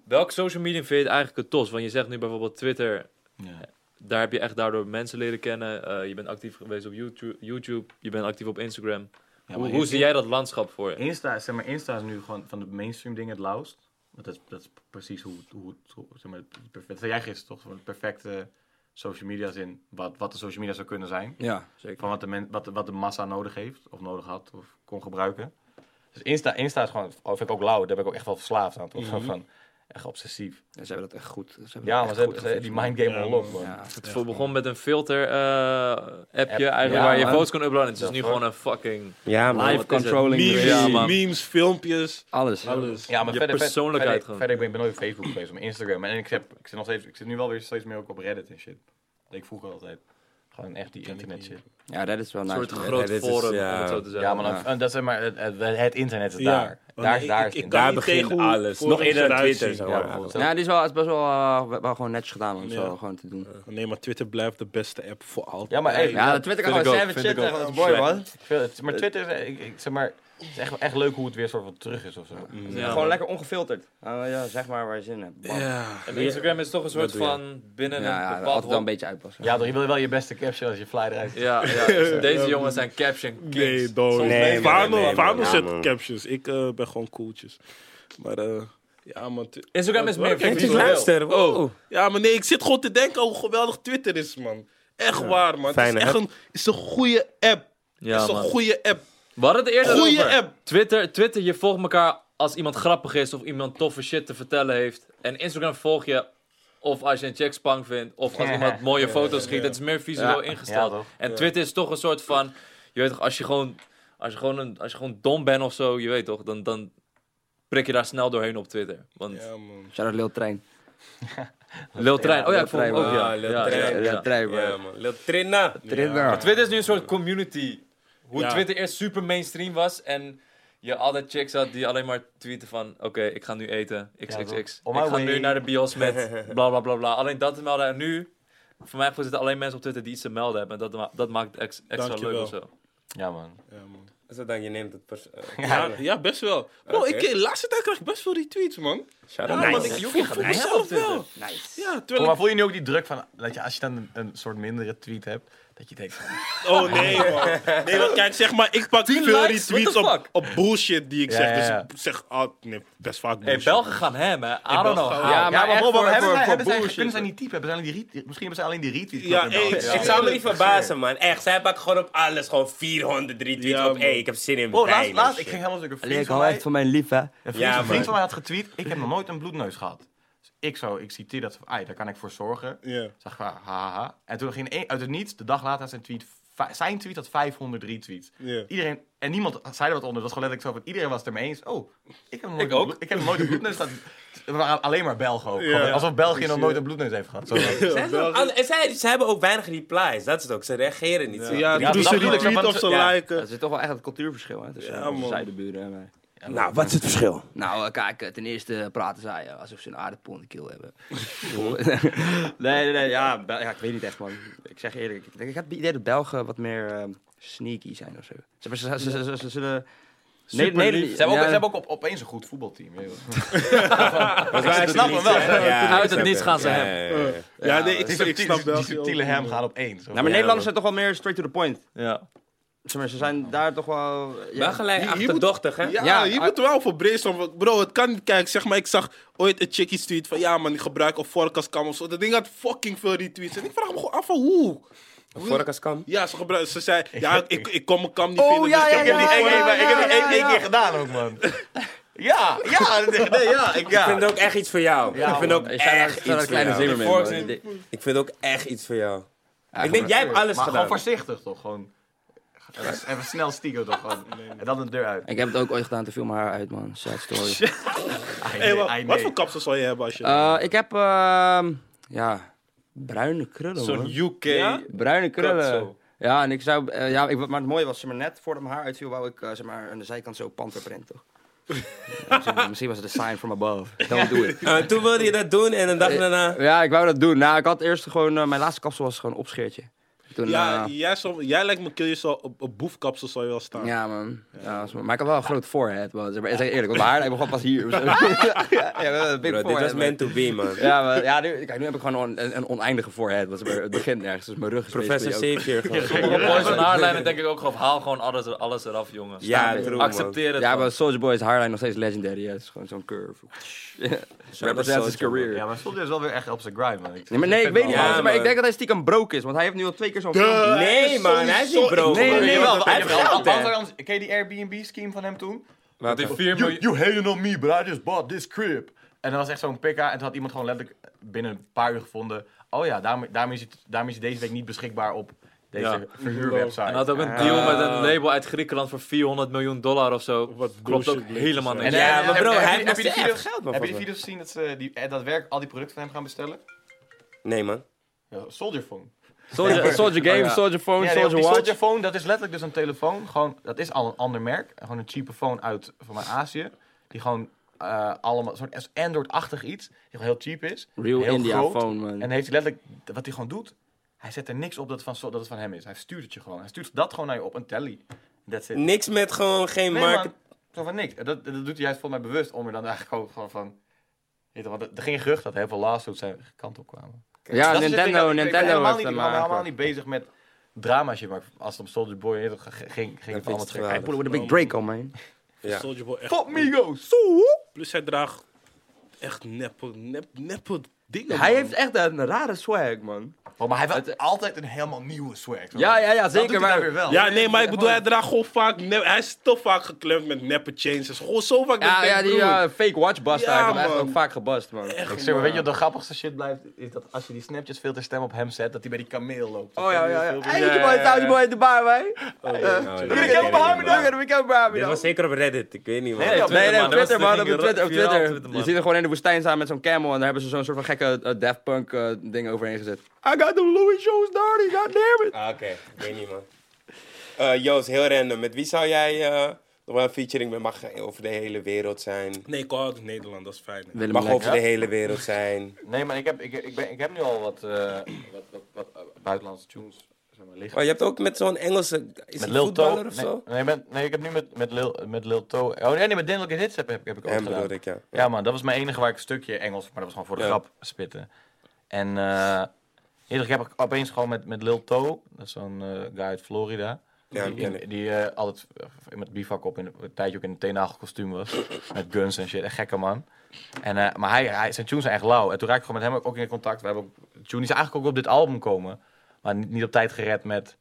[SPEAKER 4] Welk social media vind je het eigenlijk het tos? Want je zegt nu bijvoorbeeld Twitter.
[SPEAKER 2] Ja.
[SPEAKER 4] Daar heb je echt daardoor mensen leren kennen. Eh, je bent actief geweest op YouTube. YouTube je bent actief op Instagram.
[SPEAKER 2] maar
[SPEAKER 4] hoe
[SPEAKER 2] in-
[SPEAKER 4] hoe zie jij dat landschap voor je?
[SPEAKER 2] Insta, zeg maar, Insta is nu gewoon van de mainstream dingen het lauwst. Want dat is, dat is precies hoe, het- hoe het, hoe- zeg maar, het perfect, dat zei jij gisteren toch, Van het perfecte social media zin, wat, wat de social media zou kunnen zijn.
[SPEAKER 5] Ja, zeker.
[SPEAKER 2] Van wat de, men, wat, de- wat de massa nodig heeft, of nodig had, of kon gebruiken. Dus Insta, Insta is gewoon, oh, vind ik ook lauw, daar ben ik ook echt wel verslaafd aan. Toch? Zo Van, echt obsessief.
[SPEAKER 5] Ja, ze hebben dat echt goed. Ze hebben
[SPEAKER 2] Ja,
[SPEAKER 5] dat
[SPEAKER 2] maar
[SPEAKER 5] echt
[SPEAKER 2] ze hebben
[SPEAKER 5] goed
[SPEAKER 2] ze- die mindgame game unlocked, man.
[SPEAKER 5] Ja.
[SPEAKER 4] Het vo- begon met een filter eh, appje
[SPEAKER 2] App.
[SPEAKER 4] eigenlijk
[SPEAKER 2] Ja,
[SPEAKER 4] waar je
[SPEAKER 2] man.
[SPEAKER 4] foto's kon uploaden. Het is
[SPEAKER 2] Dat
[SPEAKER 4] nu
[SPEAKER 2] hoor.
[SPEAKER 4] gewoon een fucking
[SPEAKER 1] Ja,
[SPEAKER 4] man.
[SPEAKER 5] Live
[SPEAKER 4] Wat is het?
[SPEAKER 5] controlling.
[SPEAKER 6] Memes,
[SPEAKER 5] ja,
[SPEAKER 4] man.
[SPEAKER 6] memes, filmpjes,
[SPEAKER 5] Alles.
[SPEAKER 6] alles.
[SPEAKER 2] Ja, maar
[SPEAKER 4] Je
[SPEAKER 2] verder, verder,
[SPEAKER 4] persoonlijkheid gewoon.
[SPEAKER 2] verder, ik ben, ik ben nooit op Facebook geweest, maar Instagram. En ik, heb, ik, zit nog steeds, ik zit nu wel weer steeds meer ook op Reddit en shit. Dat deed ik vroeger altijd. Gewoon echt die internet shit.
[SPEAKER 5] Ja, dat is wel
[SPEAKER 4] een
[SPEAKER 5] nice.
[SPEAKER 4] soort
[SPEAKER 5] man.
[SPEAKER 4] groot
[SPEAKER 1] dit is,
[SPEAKER 4] forum,
[SPEAKER 1] ja.
[SPEAKER 4] om het zo te zeggen.
[SPEAKER 2] Ja, maar dan, en dat is maar het, het, het internet is
[SPEAKER 6] Ja.
[SPEAKER 2] daar.
[SPEAKER 6] Want
[SPEAKER 2] Daar,
[SPEAKER 6] ik-
[SPEAKER 2] daar
[SPEAKER 6] ik-
[SPEAKER 2] is
[SPEAKER 6] ik
[SPEAKER 2] het internet.
[SPEAKER 6] kan
[SPEAKER 1] Daar
[SPEAKER 6] niet
[SPEAKER 1] begint
[SPEAKER 6] tegen hoe
[SPEAKER 1] alles.
[SPEAKER 6] voor
[SPEAKER 1] Nog
[SPEAKER 6] ons
[SPEAKER 1] eerder dan
[SPEAKER 6] eruit
[SPEAKER 1] Twitter.
[SPEAKER 6] zien.
[SPEAKER 1] Zo.
[SPEAKER 2] Ja, bijvoorbeeld.
[SPEAKER 5] Ja, dit is wel, is best wel, eh, wel gewoon netjes gedaan om het
[SPEAKER 6] Ja.
[SPEAKER 5] zo gewoon te doen.
[SPEAKER 6] Nee, maar Twitter blijft de beste app voor altijd.
[SPEAKER 2] Ja, maar hey,
[SPEAKER 5] Ja, dat Twitter kan
[SPEAKER 4] vind
[SPEAKER 5] gewoon
[SPEAKER 4] ik ook,
[SPEAKER 5] savage
[SPEAKER 4] vind
[SPEAKER 5] shit
[SPEAKER 4] ik ook.
[SPEAKER 5] zeggen, dat is mooi man.
[SPEAKER 2] Ik vind het- maar Twitter, is, eh, ik, ik zeg maar, het is echt, echt leuk hoe het weer soort van terug is of zo.
[SPEAKER 4] Ja,
[SPEAKER 5] Gewoon lekker ongefilterd. Ah, ja, zeg maar waar je zin in hebt. Bam. Ja,
[SPEAKER 4] En Instagram is toch een soort van binnen
[SPEAKER 5] ja,
[SPEAKER 4] een
[SPEAKER 5] altijd
[SPEAKER 4] bepaald
[SPEAKER 5] wel een beetje uitpassen.
[SPEAKER 2] Ja, toch, je wil wel je beste caption als je fly eruit.
[SPEAKER 4] Ja, ja, dus deze jongens zijn caption kings.
[SPEAKER 6] Nee, dood.
[SPEAKER 1] Nee, nee, nee,
[SPEAKER 6] Fano,
[SPEAKER 1] nee, nee,
[SPEAKER 6] Fano
[SPEAKER 1] nee,
[SPEAKER 6] zet
[SPEAKER 1] man.
[SPEAKER 6] captions. Ik eh, ben gewoon cooltjes. Maar eh, ja, man. Twi-
[SPEAKER 4] Instagram is
[SPEAKER 6] Dat
[SPEAKER 4] meer
[SPEAKER 6] werkt
[SPEAKER 1] Het is
[SPEAKER 6] niet.
[SPEAKER 4] visueel.
[SPEAKER 1] luister. Wow.
[SPEAKER 6] Ja, maar nee, ik zit gewoon te denken hoe geweldig Twitter is, man. Echt waar, man.
[SPEAKER 1] Fijne
[SPEAKER 6] het is echt een, is een goede app.
[SPEAKER 4] Ja,
[SPEAKER 6] is een
[SPEAKER 4] man.
[SPEAKER 6] goede app.
[SPEAKER 4] We hadden het eerder
[SPEAKER 6] Goeie
[SPEAKER 4] over.
[SPEAKER 6] app.
[SPEAKER 4] Twitter, Twitter, je volgt elkaar als iemand grappig is of iemand toffe shit te vertellen heeft. En Instagram volg je of als je een checkspang vindt of als iemand mooie foto's schiet. Het is meer visueel ingesteld.
[SPEAKER 2] Ja, toch?
[SPEAKER 4] en Twitter is toch een soort van, je weet toch, als je gewoon, als je gewoon, een, als je gewoon dom bent of zo, je weet toch, dan, dan prik je daar snel doorheen op Twitter. Want
[SPEAKER 6] Ja, man.
[SPEAKER 5] Shout out Lil Trein.
[SPEAKER 4] Lil Trein, oh ja,
[SPEAKER 5] Lil
[SPEAKER 4] ik volg hem
[SPEAKER 5] Trein,
[SPEAKER 4] ook,
[SPEAKER 5] man.
[SPEAKER 4] ja.
[SPEAKER 1] Ah, Lil
[SPEAKER 4] Ja, ja,
[SPEAKER 1] Trein.
[SPEAKER 4] ja.
[SPEAKER 5] Lil Trein,
[SPEAKER 1] Ja,
[SPEAKER 5] man.
[SPEAKER 1] man. Lil Trinna.
[SPEAKER 5] Trinna.
[SPEAKER 4] Twitter is nu een soort community. Hoe
[SPEAKER 6] Ja.
[SPEAKER 4] Twitter eerst super mainstream was en je altijd chicks had die alleen maar tweeten van... Oké, ik ga nu eten, xxx.
[SPEAKER 2] toch? On
[SPEAKER 4] ik
[SPEAKER 2] my
[SPEAKER 4] ga nu
[SPEAKER 2] way.
[SPEAKER 4] naar de bios met bla bla bla bla. Alleen dat te melden en nu... Voor mij gevoel zitten alleen mensen op Twitter die iets te melden hebben. En dat, ma- dat maakt het ex- extra
[SPEAKER 6] Dankjewel.
[SPEAKER 4] leuk of zo.
[SPEAKER 2] Ja, man.
[SPEAKER 6] Ja, man.
[SPEAKER 1] Zo dan, je neemt het pers- eh,
[SPEAKER 6] Ja, ja, best wel. Bro,
[SPEAKER 1] Oké.
[SPEAKER 6] ik, de laatste tijd krijg ik best veel retweets, man.
[SPEAKER 1] shout
[SPEAKER 6] Ja,
[SPEAKER 1] out.
[SPEAKER 6] man. Ik
[SPEAKER 1] Nice.
[SPEAKER 6] voel- voel mezelf wel.
[SPEAKER 5] Nice.
[SPEAKER 6] Ja,
[SPEAKER 2] Oh,
[SPEAKER 6] terwijl
[SPEAKER 2] maar
[SPEAKER 6] ik...
[SPEAKER 2] voel je nu ook die druk van, dat je, als je dan een, een soort mindere tweet hebt, dat je denkt, van,
[SPEAKER 6] Oh, nee, man. Nee, want kijk, zeg maar, ik pak veel
[SPEAKER 4] likes,
[SPEAKER 6] retweets
[SPEAKER 4] what the
[SPEAKER 6] op, op bullshit die ik
[SPEAKER 2] Ja,
[SPEAKER 6] zeg.
[SPEAKER 2] ja, ja.
[SPEAKER 6] Dus ik zeg, ah, nee, best vaak
[SPEAKER 4] Hey,
[SPEAKER 6] bullshit.
[SPEAKER 4] Belgen gaan hem, hè. I don't
[SPEAKER 6] Belgen
[SPEAKER 4] know
[SPEAKER 6] gaan-
[SPEAKER 4] how.
[SPEAKER 5] Ja,
[SPEAKER 2] ja,
[SPEAKER 5] maar
[SPEAKER 2] maar
[SPEAKER 5] echt
[SPEAKER 2] Bob,
[SPEAKER 5] voor-
[SPEAKER 2] hebben
[SPEAKER 5] voor-
[SPEAKER 2] zij,
[SPEAKER 5] voor
[SPEAKER 2] hebben zij,
[SPEAKER 5] bullshit.
[SPEAKER 2] kunnen zij niet typen? Hebben zij alleen die re- misschien hebben zij alleen die retweet.
[SPEAKER 6] Ja,
[SPEAKER 2] knop in
[SPEAKER 6] hey,
[SPEAKER 2] België.
[SPEAKER 6] ik-
[SPEAKER 1] Ik zou me niet verbazen, man. Echt, zij pakken gewoon op alles. Gewoon 400 retweets
[SPEAKER 6] Ja,
[SPEAKER 1] op.
[SPEAKER 6] man.
[SPEAKER 1] Hé, ik heb zin in
[SPEAKER 2] Oh,
[SPEAKER 1] wijn
[SPEAKER 2] laatst,
[SPEAKER 1] en
[SPEAKER 2] laatst,
[SPEAKER 1] shit.
[SPEAKER 2] ik ging helemaal stuk een
[SPEAKER 5] Allee,
[SPEAKER 2] vriend
[SPEAKER 5] ik
[SPEAKER 2] van
[SPEAKER 5] hou
[SPEAKER 2] mij,
[SPEAKER 5] echt van mijn lief, hè.
[SPEAKER 2] een vriend,
[SPEAKER 1] Ja,
[SPEAKER 2] een vriend
[SPEAKER 1] man.
[SPEAKER 2] van mij had getweet, ik heb nog nooit een bloedneus gehad. Dus Ik zo, ik citeer dat, ai, daar kan ik voor zorgen.
[SPEAKER 6] Ja.
[SPEAKER 2] Zag ik, ah, ha, ha, ha. En toen ging een- uit het niets, de dag later, had zijn tweet, fi- zijn tweet had 500 retweets.
[SPEAKER 6] Ja.
[SPEAKER 2] Iedereen, en niemand zei er wat onder. Dat was gewoon letterlijk zo van, iedereen was het ermee eens. Oh, ik heb nooit
[SPEAKER 4] Ik
[SPEAKER 2] een
[SPEAKER 4] ook.
[SPEAKER 2] bloed- ik heb nooit een bloedneus gehad. We waren alleen maar Belgen ook.
[SPEAKER 6] Ja.
[SPEAKER 2] Gewoon Alsof België nog
[SPEAKER 6] Precies,
[SPEAKER 2] nooit
[SPEAKER 6] ja.
[SPEAKER 2] een bloedneus heeft gehad. Zo. Ja,
[SPEAKER 1] Zij zijn ook alle- en zij, ze hebben ook weinig replies, dat is het ook. Ze reageren niet.
[SPEAKER 6] Ja,
[SPEAKER 2] Ja,
[SPEAKER 6] doen
[SPEAKER 2] dat
[SPEAKER 6] ze
[SPEAKER 2] bedoel ik,
[SPEAKER 6] retweet
[SPEAKER 2] want
[SPEAKER 6] of
[SPEAKER 2] ze-
[SPEAKER 6] ze
[SPEAKER 2] ja.
[SPEAKER 6] liken.
[SPEAKER 5] Er zit toch wel echt het cultuurverschil hè, tussen
[SPEAKER 6] Ja,
[SPEAKER 5] onze
[SPEAKER 6] man.
[SPEAKER 5] zijdeburen en wij.
[SPEAKER 1] Nou, wat is het verschil?
[SPEAKER 5] Nou, eh, kijk, eh, ten eerste praten zij eh, alsof ze een aardappel in de keel hebben. nee, nee, nee, ja, Bel- ja, ik weet niet echt, man. Ik zeg je eerlijk, ik, ik heb het idee dat Belgen wat meer ehm, sneaky zijn of zo. Ze, ze, ze, ze, ze, ze zullen... Nee, nee,
[SPEAKER 2] Ze hebben ook, ze hebben ook op, opeens een goed voetbalteam. joh.
[SPEAKER 1] Ik
[SPEAKER 2] snap hem wel.
[SPEAKER 4] Uit het niets gaan ze hem.
[SPEAKER 6] Ja, nee, ik,
[SPEAKER 2] Die
[SPEAKER 6] ik
[SPEAKER 2] subtiele,
[SPEAKER 6] snap
[SPEAKER 2] die
[SPEAKER 6] wel.
[SPEAKER 2] subtiele hem gaan opeens.
[SPEAKER 5] Nou, maar Nederlanders zijn toch wel meer straight to the point.
[SPEAKER 4] Ja.
[SPEAKER 5] Zeg maar, ze zijn daar toch wel... ja.
[SPEAKER 1] Wel gelijk
[SPEAKER 6] Hier- hier moet-
[SPEAKER 1] achterdochtig, hè?
[SPEAKER 6] Ja,
[SPEAKER 5] Ja,
[SPEAKER 6] je
[SPEAKER 5] I-
[SPEAKER 6] moet er wel voor brainstormen. want Bro, het kan niet. Kijk, zeg maar, ik zag ooit een chickie tweet van... Ja man, ik gebruik een vork als kam of zo. Dat ding had fucking veel retweets. En ik vraag me gewoon af van hoe.
[SPEAKER 1] Vorkas kan.
[SPEAKER 6] Ja, ze, gebruik, ze zei... Ja, ik, ik kon mijn kam niet
[SPEAKER 5] Oh,
[SPEAKER 6] vinden,
[SPEAKER 5] ja,
[SPEAKER 6] dus ik heb
[SPEAKER 5] ja,
[SPEAKER 2] Ik
[SPEAKER 6] hem
[SPEAKER 2] heb
[SPEAKER 6] niet
[SPEAKER 2] die één- ik heb
[SPEAKER 5] ja, ja,
[SPEAKER 2] die
[SPEAKER 5] ja,
[SPEAKER 2] één- één
[SPEAKER 5] ja.
[SPEAKER 2] keer gedaan ook, man. Ja, ja. Nee, ja, ik,
[SPEAKER 1] Ik
[SPEAKER 2] ja.
[SPEAKER 1] vind het ook echt iets voor jou. ik vind ook
[SPEAKER 5] Ik zou daar-
[SPEAKER 1] echt
[SPEAKER 5] zou daar
[SPEAKER 1] iets
[SPEAKER 5] een
[SPEAKER 1] voor
[SPEAKER 5] kleine
[SPEAKER 1] jou.
[SPEAKER 5] zimmer mee
[SPEAKER 4] Vorks
[SPEAKER 5] hebben.
[SPEAKER 1] Ik vind ook echt iets voor jou.
[SPEAKER 5] Ja,
[SPEAKER 1] Ik denk, jij hebt alles
[SPEAKER 2] maar gewoon
[SPEAKER 1] gedaan.
[SPEAKER 2] voorzichtig toch? Gewoon even, even snel stiekem toch? Gewoon. En dan de deur uit.
[SPEAKER 5] Ik heb het ook ooit gedaan, te veel mijn haar uit, man. Sad story.
[SPEAKER 2] Ai,
[SPEAKER 6] Hey,
[SPEAKER 2] nee,
[SPEAKER 6] wat,
[SPEAKER 2] ai,
[SPEAKER 6] wat
[SPEAKER 2] nee.
[SPEAKER 6] voor kapsel zou je hebben als je...
[SPEAKER 5] Eh, ik heb, ehm, ja, bruine krullen, man.
[SPEAKER 4] Zo'n UK.
[SPEAKER 5] Bruine krullen.
[SPEAKER 4] zo.
[SPEAKER 5] Ja, en ik zou, eh, ja, ik, maar het mooie was, zeg maar, net voordat mijn haar uitviel, wou ik eh, zeg maar, aan de zijkant zo panterprint, toch? Misschien- Misschien was het een sign from above. Don't do it.
[SPEAKER 1] Eh, toen wilde je dat doen en een dag daarna...
[SPEAKER 5] Ja, ik wou dat doen. Nou, ik had eerst gewoon, eh, mijn laatste kapsel was gewoon opscheertje. Toen, eh,
[SPEAKER 6] ja,
[SPEAKER 5] ja,
[SPEAKER 6] jij, zou- jij lijkt me kill je zo op, op boefkapsel zou je wel staan.
[SPEAKER 5] ja, man. Ja, was- maar ik had wel een groot forehead, man. Zeg maar, zeg eerlijk, want mijn haar lijkt me gewoon pas hier. ja, ja,
[SPEAKER 1] Bro,
[SPEAKER 5] big
[SPEAKER 1] dit
[SPEAKER 5] forehead,
[SPEAKER 1] was
[SPEAKER 5] man.
[SPEAKER 1] meant to be, man.
[SPEAKER 5] Ja, maar, ja nu, kijk, nu heb ik gewoon een, een oneindige forehead. want zeg maar, het begint nergens, dus mijn rug is
[SPEAKER 1] Professor
[SPEAKER 5] basically ook-
[SPEAKER 1] Xavier gewoon.
[SPEAKER 4] Sommige boys van haarlijnen denk ik ook gewoon, haal gewoon alles, er- alles eraf, jongen.
[SPEAKER 1] Ja,
[SPEAKER 5] Staan,
[SPEAKER 1] true, man.
[SPEAKER 4] Accepteer het.
[SPEAKER 5] Ja,
[SPEAKER 4] man.
[SPEAKER 5] maar Soulja Boy's hairline nog steeds legendary. hè. Het is gewoon zo'n curve. Represents his
[SPEAKER 1] Soulja Boy.
[SPEAKER 5] career.
[SPEAKER 2] Ja, maar soms is wel weer echt op zijn grind, man. Ik-
[SPEAKER 5] Nee, maar nee, ik weet niet.
[SPEAKER 1] Ja,
[SPEAKER 5] man. maar
[SPEAKER 1] man.
[SPEAKER 5] ik denk dat hij stiekem broke is, want hij heeft nu al twee keer zo'n filmpje.
[SPEAKER 1] Nee, man, hij is niet bro.
[SPEAKER 5] Eh, Nee, nee,
[SPEAKER 1] man.
[SPEAKER 5] nee,
[SPEAKER 2] Jawel,
[SPEAKER 1] Hij
[SPEAKER 2] want-
[SPEAKER 1] heeft
[SPEAKER 2] jawel,
[SPEAKER 1] geld,
[SPEAKER 2] want-
[SPEAKER 1] hè.
[SPEAKER 2] want- Ken je die Airbnb-scheme van hem toen?
[SPEAKER 4] Dat die 4
[SPEAKER 2] You,
[SPEAKER 4] miljoen...
[SPEAKER 2] you hating on me, but I just bought this crib. En dat was echt zo'n pika. En toen had iemand gewoon letterlijk binnen een paar uur gevonden. Oh ja, daarom, daarom, is, het, daarom is hij deze week niet beschikbaar op deze
[SPEAKER 4] Ja.
[SPEAKER 2] verhuurwebsite.
[SPEAKER 4] En had ook een deal met een label uit Griekenland voor 400 miljoen dollar of zo. Klopt ook
[SPEAKER 6] bullshit
[SPEAKER 4] helemaal
[SPEAKER 6] mensen
[SPEAKER 4] niks.
[SPEAKER 1] Ja,
[SPEAKER 2] eh,
[SPEAKER 1] maar bro,
[SPEAKER 2] heb-
[SPEAKER 1] hij
[SPEAKER 2] heb
[SPEAKER 1] heeft nog
[SPEAKER 2] je die
[SPEAKER 1] steeds
[SPEAKER 2] video's-
[SPEAKER 1] echt geld, man,
[SPEAKER 2] Heb je
[SPEAKER 1] volgens
[SPEAKER 2] die
[SPEAKER 1] mij.
[SPEAKER 2] video's gezien dat ze die, eh, dat werk al die producten van hem gaan bestellen?
[SPEAKER 1] Nee, man.
[SPEAKER 2] Ja, Soldier Phone.
[SPEAKER 5] Soldier, Soldier Game, Soldier Phone,
[SPEAKER 2] Ja, nee,
[SPEAKER 5] Soldier
[SPEAKER 2] die
[SPEAKER 5] Watch.
[SPEAKER 2] Soldier Phone, dat is letterlijk dus een telefoon. Gewoon, dat is al een ander merk. Gewoon een cheap phone uit van mijn Azië. Die gewoon eh allemaal, zo'n Android-achtig iets. Die gewoon heel cheap is.
[SPEAKER 5] Real
[SPEAKER 2] heel
[SPEAKER 5] India
[SPEAKER 2] groot.
[SPEAKER 5] phone, man.
[SPEAKER 2] En dan heeft hij letterlijk, wat hij gewoon doet, hij zet er niks op dat, het van, Sol- dat het van hem is. Hij stuurt het je gewoon. Hij stuurt dat gewoon naar je op, een telly. That's it.
[SPEAKER 1] Niks met gewoon geen
[SPEAKER 2] Nee,
[SPEAKER 1] market.
[SPEAKER 2] man. Zo van niks. Dat, dat doet hij juist volgens mij bewust om er dan eigenlijk ook gewoon van... Weet je, want er er ging gerucht dat heel veel lawsuits zijn kant op kwamen.
[SPEAKER 5] Ja,
[SPEAKER 2] Dat is het ding,
[SPEAKER 5] Nintendo,
[SPEAKER 2] ik- ik ben
[SPEAKER 5] Nintendo
[SPEAKER 2] helemaal
[SPEAKER 5] heeft
[SPEAKER 2] niet,
[SPEAKER 5] hem
[SPEAKER 2] ik ben helemaal
[SPEAKER 5] maar.
[SPEAKER 2] niet bezig met drama shit, maar als het om Soldier Boy weet je toch, ging, ging, ging het
[SPEAKER 1] het
[SPEAKER 2] allemaal trekken.
[SPEAKER 1] geweldig.
[SPEAKER 5] With a big break on, man.
[SPEAKER 1] Ja.
[SPEAKER 6] Soulja Boy echt-
[SPEAKER 2] Fuck Migos!
[SPEAKER 6] Plus hij draagt echt neppe, nep, neppe dingen.
[SPEAKER 5] Hij
[SPEAKER 6] man.
[SPEAKER 5] heeft echt een rare swag, man.
[SPEAKER 2] Oh, maar hij heeft altijd een helemaal nieuwe swag. zo.
[SPEAKER 5] Ja, ja, ja,
[SPEAKER 2] Dat
[SPEAKER 5] zeker,
[SPEAKER 2] doet hij
[SPEAKER 5] maar-
[SPEAKER 2] daar weer wel.
[SPEAKER 6] Ja, nee, maar ik bedoel, hij draagt gewoon vaak... nep- hij is toch vaak geklemd met neppe chains. Is Gewoon zo vaak
[SPEAKER 5] Ja,
[SPEAKER 6] met
[SPEAKER 5] ja die
[SPEAKER 6] broer.
[SPEAKER 5] eh, fake watch bust
[SPEAKER 6] Ja,
[SPEAKER 5] hij heeft hem echt
[SPEAKER 6] man.
[SPEAKER 5] ook vaak gebust, man.
[SPEAKER 2] Ik zeg maar, weet je wat de grappigste shit blijft? Is dat als je die Snapchat filter stem op hem zet, dat hij bij die kameel loopt.
[SPEAKER 5] Oh ja, ja, ja. Hey,
[SPEAKER 4] Ja,
[SPEAKER 5] you boy,
[SPEAKER 4] ja, ja.
[SPEAKER 5] you boy, Dubai,
[SPEAKER 1] Oh,
[SPEAKER 5] man. Gonna
[SPEAKER 1] nee,
[SPEAKER 5] get behind me,
[SPEAKER 1] nee,
[SPEAKER 5] dog. Gonna get behind me,
[SPEAKER 1] Dit
[SPEAKER 5] dog.
[SPEAKER 1] was zeker op Reddit, ik weet niet, man.
[SPEAKER 2] Nee,
[SPEAKER 5] Nee, nee, op Twitter, man. Op
[SPEAKER 4] Op
[SPEAKER 5] Twitter, op Twitter. Je ziet er gewoon in de woestijn staan met zo'n camel. En daar hebben ze zo'n soort van gekke eh, Daft Punk eh, ding overheen gezet. I got the Louis Shoes dirty, goddammit.
[SPEAKER 1] Ah, Oké, ik weet niet, man. Eh, Joost, heel random. Met wie zou jij eh, nog wel een featuring met? Mag over de hele wereld zijn.
[SPEAKER 6] Nee, ik hou uit Nederland, dat is fijn. hè.
[SPEAKER 5] Willem
[SPEAKER 1] Mag
[SPEAKER 5] Lek.
[SPEAKER 1] over de hele wereld zijn.
[SPEAKER 2] Nee, maar ik heb, ik, ik, ben, ik heb nu al wat, eh, wat, wat, wat, eh, buitenlandse tunes zeg maar, liggen.
[SPEAKER 1] Oh, je hebt ook met zo'n Engelse is
[SPEAKER 2] Met
[SPEAKER 1] het
[SPEAKER 2] Lil Toe?
[SPEAKER 1] voetballer
[SPEAKER 2] Nee,
[SPEAKER 1] of zo?
[SPEAKER 2] nee, met- nee, ik heb nu met, met, Lil, met Lil Toe... Oh nee, nee met Dindelijke Hits heb, heb, heb ik ook
[SPEAKER 1] Hem
[SPEAKER 2] gedaan.
[SPEAKER 1] bedoel ik, ja.
[SPEAKER 2] Ja man, dat was mijn enige waar ik een stukje Engels... Maar dat was gewoon voor de
[SPEAKER 1] Ja.
[SPEAKER 2] grap spitten. En eh eerder, ik heb ik opeens gewoon met, met Lil Toe... Dat is zo'n eh, guy uit Florida.
[SPEAKER 1] Ja,
[SPEAKER 2] die
[SPEAKER 1] die ken
[SPEAKER 2] in- die eh, altijd eh, met bivak op in een tijdje ook in een teenagelkostuum was. met guns en shit. Echt gekke man. En, eh, maar hij, hij, zijn tunes zijn echt lauw. En toen raakte ik gewoon met hem ook in contact. We hebben ook, tune die zou eigenlijk ook op dit album komen. Maar niet, niet op tijd gered met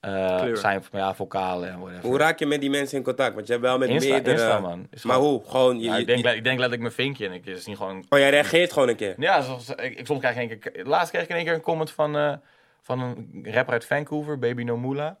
[SPEAKER 2] eh, zijn ja, vocalen en whatever.
[SPEAKER 1] Hoe raak je met die mensen in contact? Want je hebt wel met
[SPEAKER 2] Insta-
[SPEAKER 1] meerdere...
[SPEAKER 2] Insta, man. Is
[SPEAKER 1] maar
[SPEAKER 2] gewoon-
[SPEAKER 1] hoe? Gewoon... Je,
[SPEAKER 2] Ja,
[SPEAKER 1] je-
[SPEAKER 2] ik, denk, ik denk letterlijk mijn vinkje en ik is niet gewoon
[SPEAKER 1] Oh, jij reageert gewoon een keer.
[SPEAKER 2] Ja, zoals, ik, ik- soms krijg ik in één keer... Laatst kreeg ik in één keer een comment van, eh, van een rapper uit Vancouver, Baby No Moolah.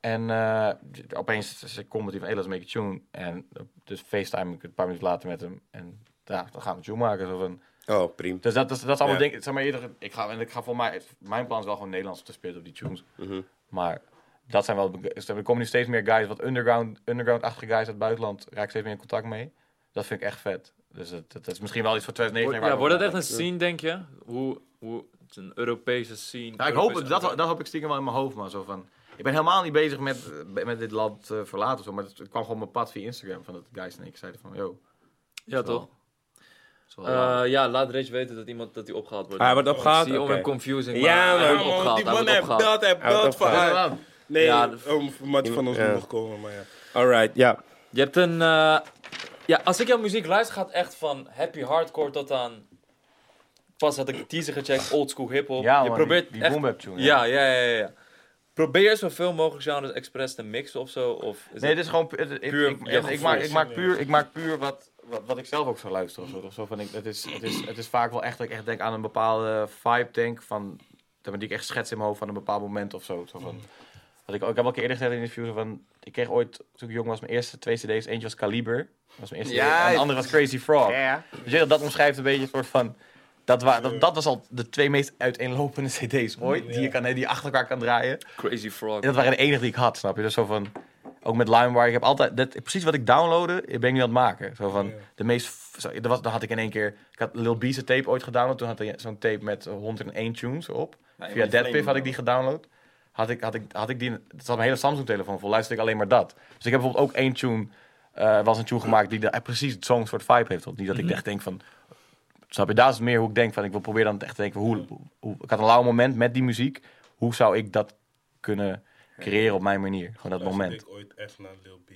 [SPEAKER 2] En eh opeens is een comment die van, hey, let's make a tune. En eh, dus facetime ik een paar minuten later met hem. En ja, dan gaan we een tune maken. Zo van.
[SPEAKER 1] Oh, prima.
[SPEAKER 2] Dus dat, dat, dat is allemaal
[SPEAKER 1] Ja.
[SPEAKER 2] dingen... Zeg maar, eerder, ik ga, en ik ga voor mij... Mijn plan is wel gewoon Nederlands te spelen op die tunes.
[SPEAKER 4] Mhm.
[SPEAKER 2] Maar... Dat zijn wel, de- er komen nu steeds meer guys, wat underground, underground-achtige guys uit het buitenland, raak ik steeds meer in contact mee. Dat vind ik echt vet. Dus dat, dat, dat is misschien wel iets voor 2019. waar
[SPEAKER 4] ja,
[SPEAKER 2] we
[SPEAKER 4] wordt dat
[SPEAKER 2] over
[SPEAKER 4] echt een scene, denk je? Hoe, hoe het is een Europese scene.
[SPEAKER 2] Ja, ik hoop, het- dat, dat hoop ik stiekem wel in mijn hoofd, maar zo van... Ik ben helemaal niet bezig met, eh, met dit land eh, verlaten of zo, maar het, het kwam gewoon op mijn pad via Instagram van dat guys en ik zeiden van, yo.
[SPEAKER 4] Ja,
[SPEAKER 2] is wel-
[SPEAKER 4] toch?
[SPEAKER 2] is wel raar.
[SPEAKER 4] Eh, ja, laat Rage weten dat iemand dat hij opgehaald wordt.
[SPEAKER 1] Hij wordt opgehaald?
[SPEAKER 4] Ik zie om
[SPEAKER 1] Oké.
[SPEAKER 4] hem confusing.
[SPEAKER 1] Ja,
[SPEAKER 4] maar
[SPEAKER 1] man.
[SPEAKER 4] hij
[SPEAKER 6] Ja,
[SPEAKER 4] wordt
[SPEAKER 6] man,
[SPEAKER 4] opgehaald.
[SPEAKER 6] die
[SPEAKER 4] Hij
[SPEAKER 6] man
[SPEAKER 4] wordt
[SPEAKER 6] heeft belt,
[SPEAKER 4] opgehaald.
[SPEAKER 6] hij
[SPEAKER 1] Hij wordt
[SPEAKER 6] belt van
[SPEAKER 1] opgehaald.
[SPEAKER 6] haar. Nee,
[SPEAKER 4] Ja,
[SPEAKER 6] ja, Mattie van ons
[SPEAKER 1] Ja.
[SPEAKER 6] moet nog komen, maar ja.
[SPEAKER 1] Alright, ja.
[SPEAKER 4] Je hebt een. eh, ja, als ik jouw muziek luister, gaat echt van happy hardcore tot aan. Pas had ik de teaser gecheckt, oldschool hiphop.
[SPEAKER 2] Ja,
[SPEAKER 4] je
[SPEAKER 2] man,
[SPEAKER 4] probeert
[SPEAKER 2] die, die
[SPEAKER 4] echt.
[SPEAKER 2] boom bap tune.
[SPEAKER 4] Ja, ja, ja, ja, ja. Probeer zoveel mogelijk genres expres te mixen of zo. Of
[SPEAKER 2] Nee,
[SPEAKER 4] is het-
[SPEAKER 2] dit is gewoon... pu- het- het- Ik,
[SPEAKER 4] Puur
[SPEAKER 2] ik,
[SPEAKER 4] je
[SPEAKER 2] ik,
[SPEAKER 4] gevoel.
[SPEAKER 2] maak, ik, maak puur, ik maak puur wat, wat, wat ik zelf ook zou luisteren. Of zo, of zo van, ik, het, is, het, is, het is vaak wel echt dat ik echt denk aan een bepaalde vibe, denk van... zeg maar, Die ik echt schets in mijn hoofd van een bepaald moment of zo. zo
[SPEAKER 4] Mm.
[SPEAKER 2] van, Wat ik, ik heb al een keer eerder gezegd in een interview, zo van, ik kreeg ooit, toen ik jong was, mijn eerste twee cd's. Eentje was Caliber, dat was mijn eerste
[SPEAKER 5] Ja,
[SPEAKER 2] cd, en de andere was Crazy Frog. Dus je, dat omschrijft een beetje een soort van... Dat, wa- dat, dat was al de twee meest uiteenlopende cd's ooit, die je kan, die je achter elkaar kan draaien.
[SPEAKER 4] Crazy Frog.
[SPEAKER 2] En dat waren de enige die ik had, snap je? Dus zo van, ook met LimeWire, ik heb altijd, dat, precies wat ik downloadde, ben ik nu aan het maken. Zo van, de meest, f- zo, er was, dan had ik in één keer, ik had Lil B's tape ooit gedownload, toen had hij zo'n tape met 101 tunes op. Via Deadpiff had ik die gedownload. Had ik, had ik, had ik die, het zat mijn hele Samsung-telefoon vol, luisterde ik alleen maar dat. Dus ik heb bijvoorbeeld ook één tune, eh, was een tune gemaakt die daar precies zo'n soort vibe heeft. Niet dat ik echt denk van, Snap je? Daar is het meer hoe ik denk van, ik wil proberen dan echt te denken, hoe, hoe, ik had een lauw moment met die muziek, hoe zou ik dat kunnen creëren op mijn manier? Gewoon dat
[SPEAKER 6] Luisterde
[SPEAKER 2] moment.
[SPEAKER 6] ik ooit echt naar Lil B.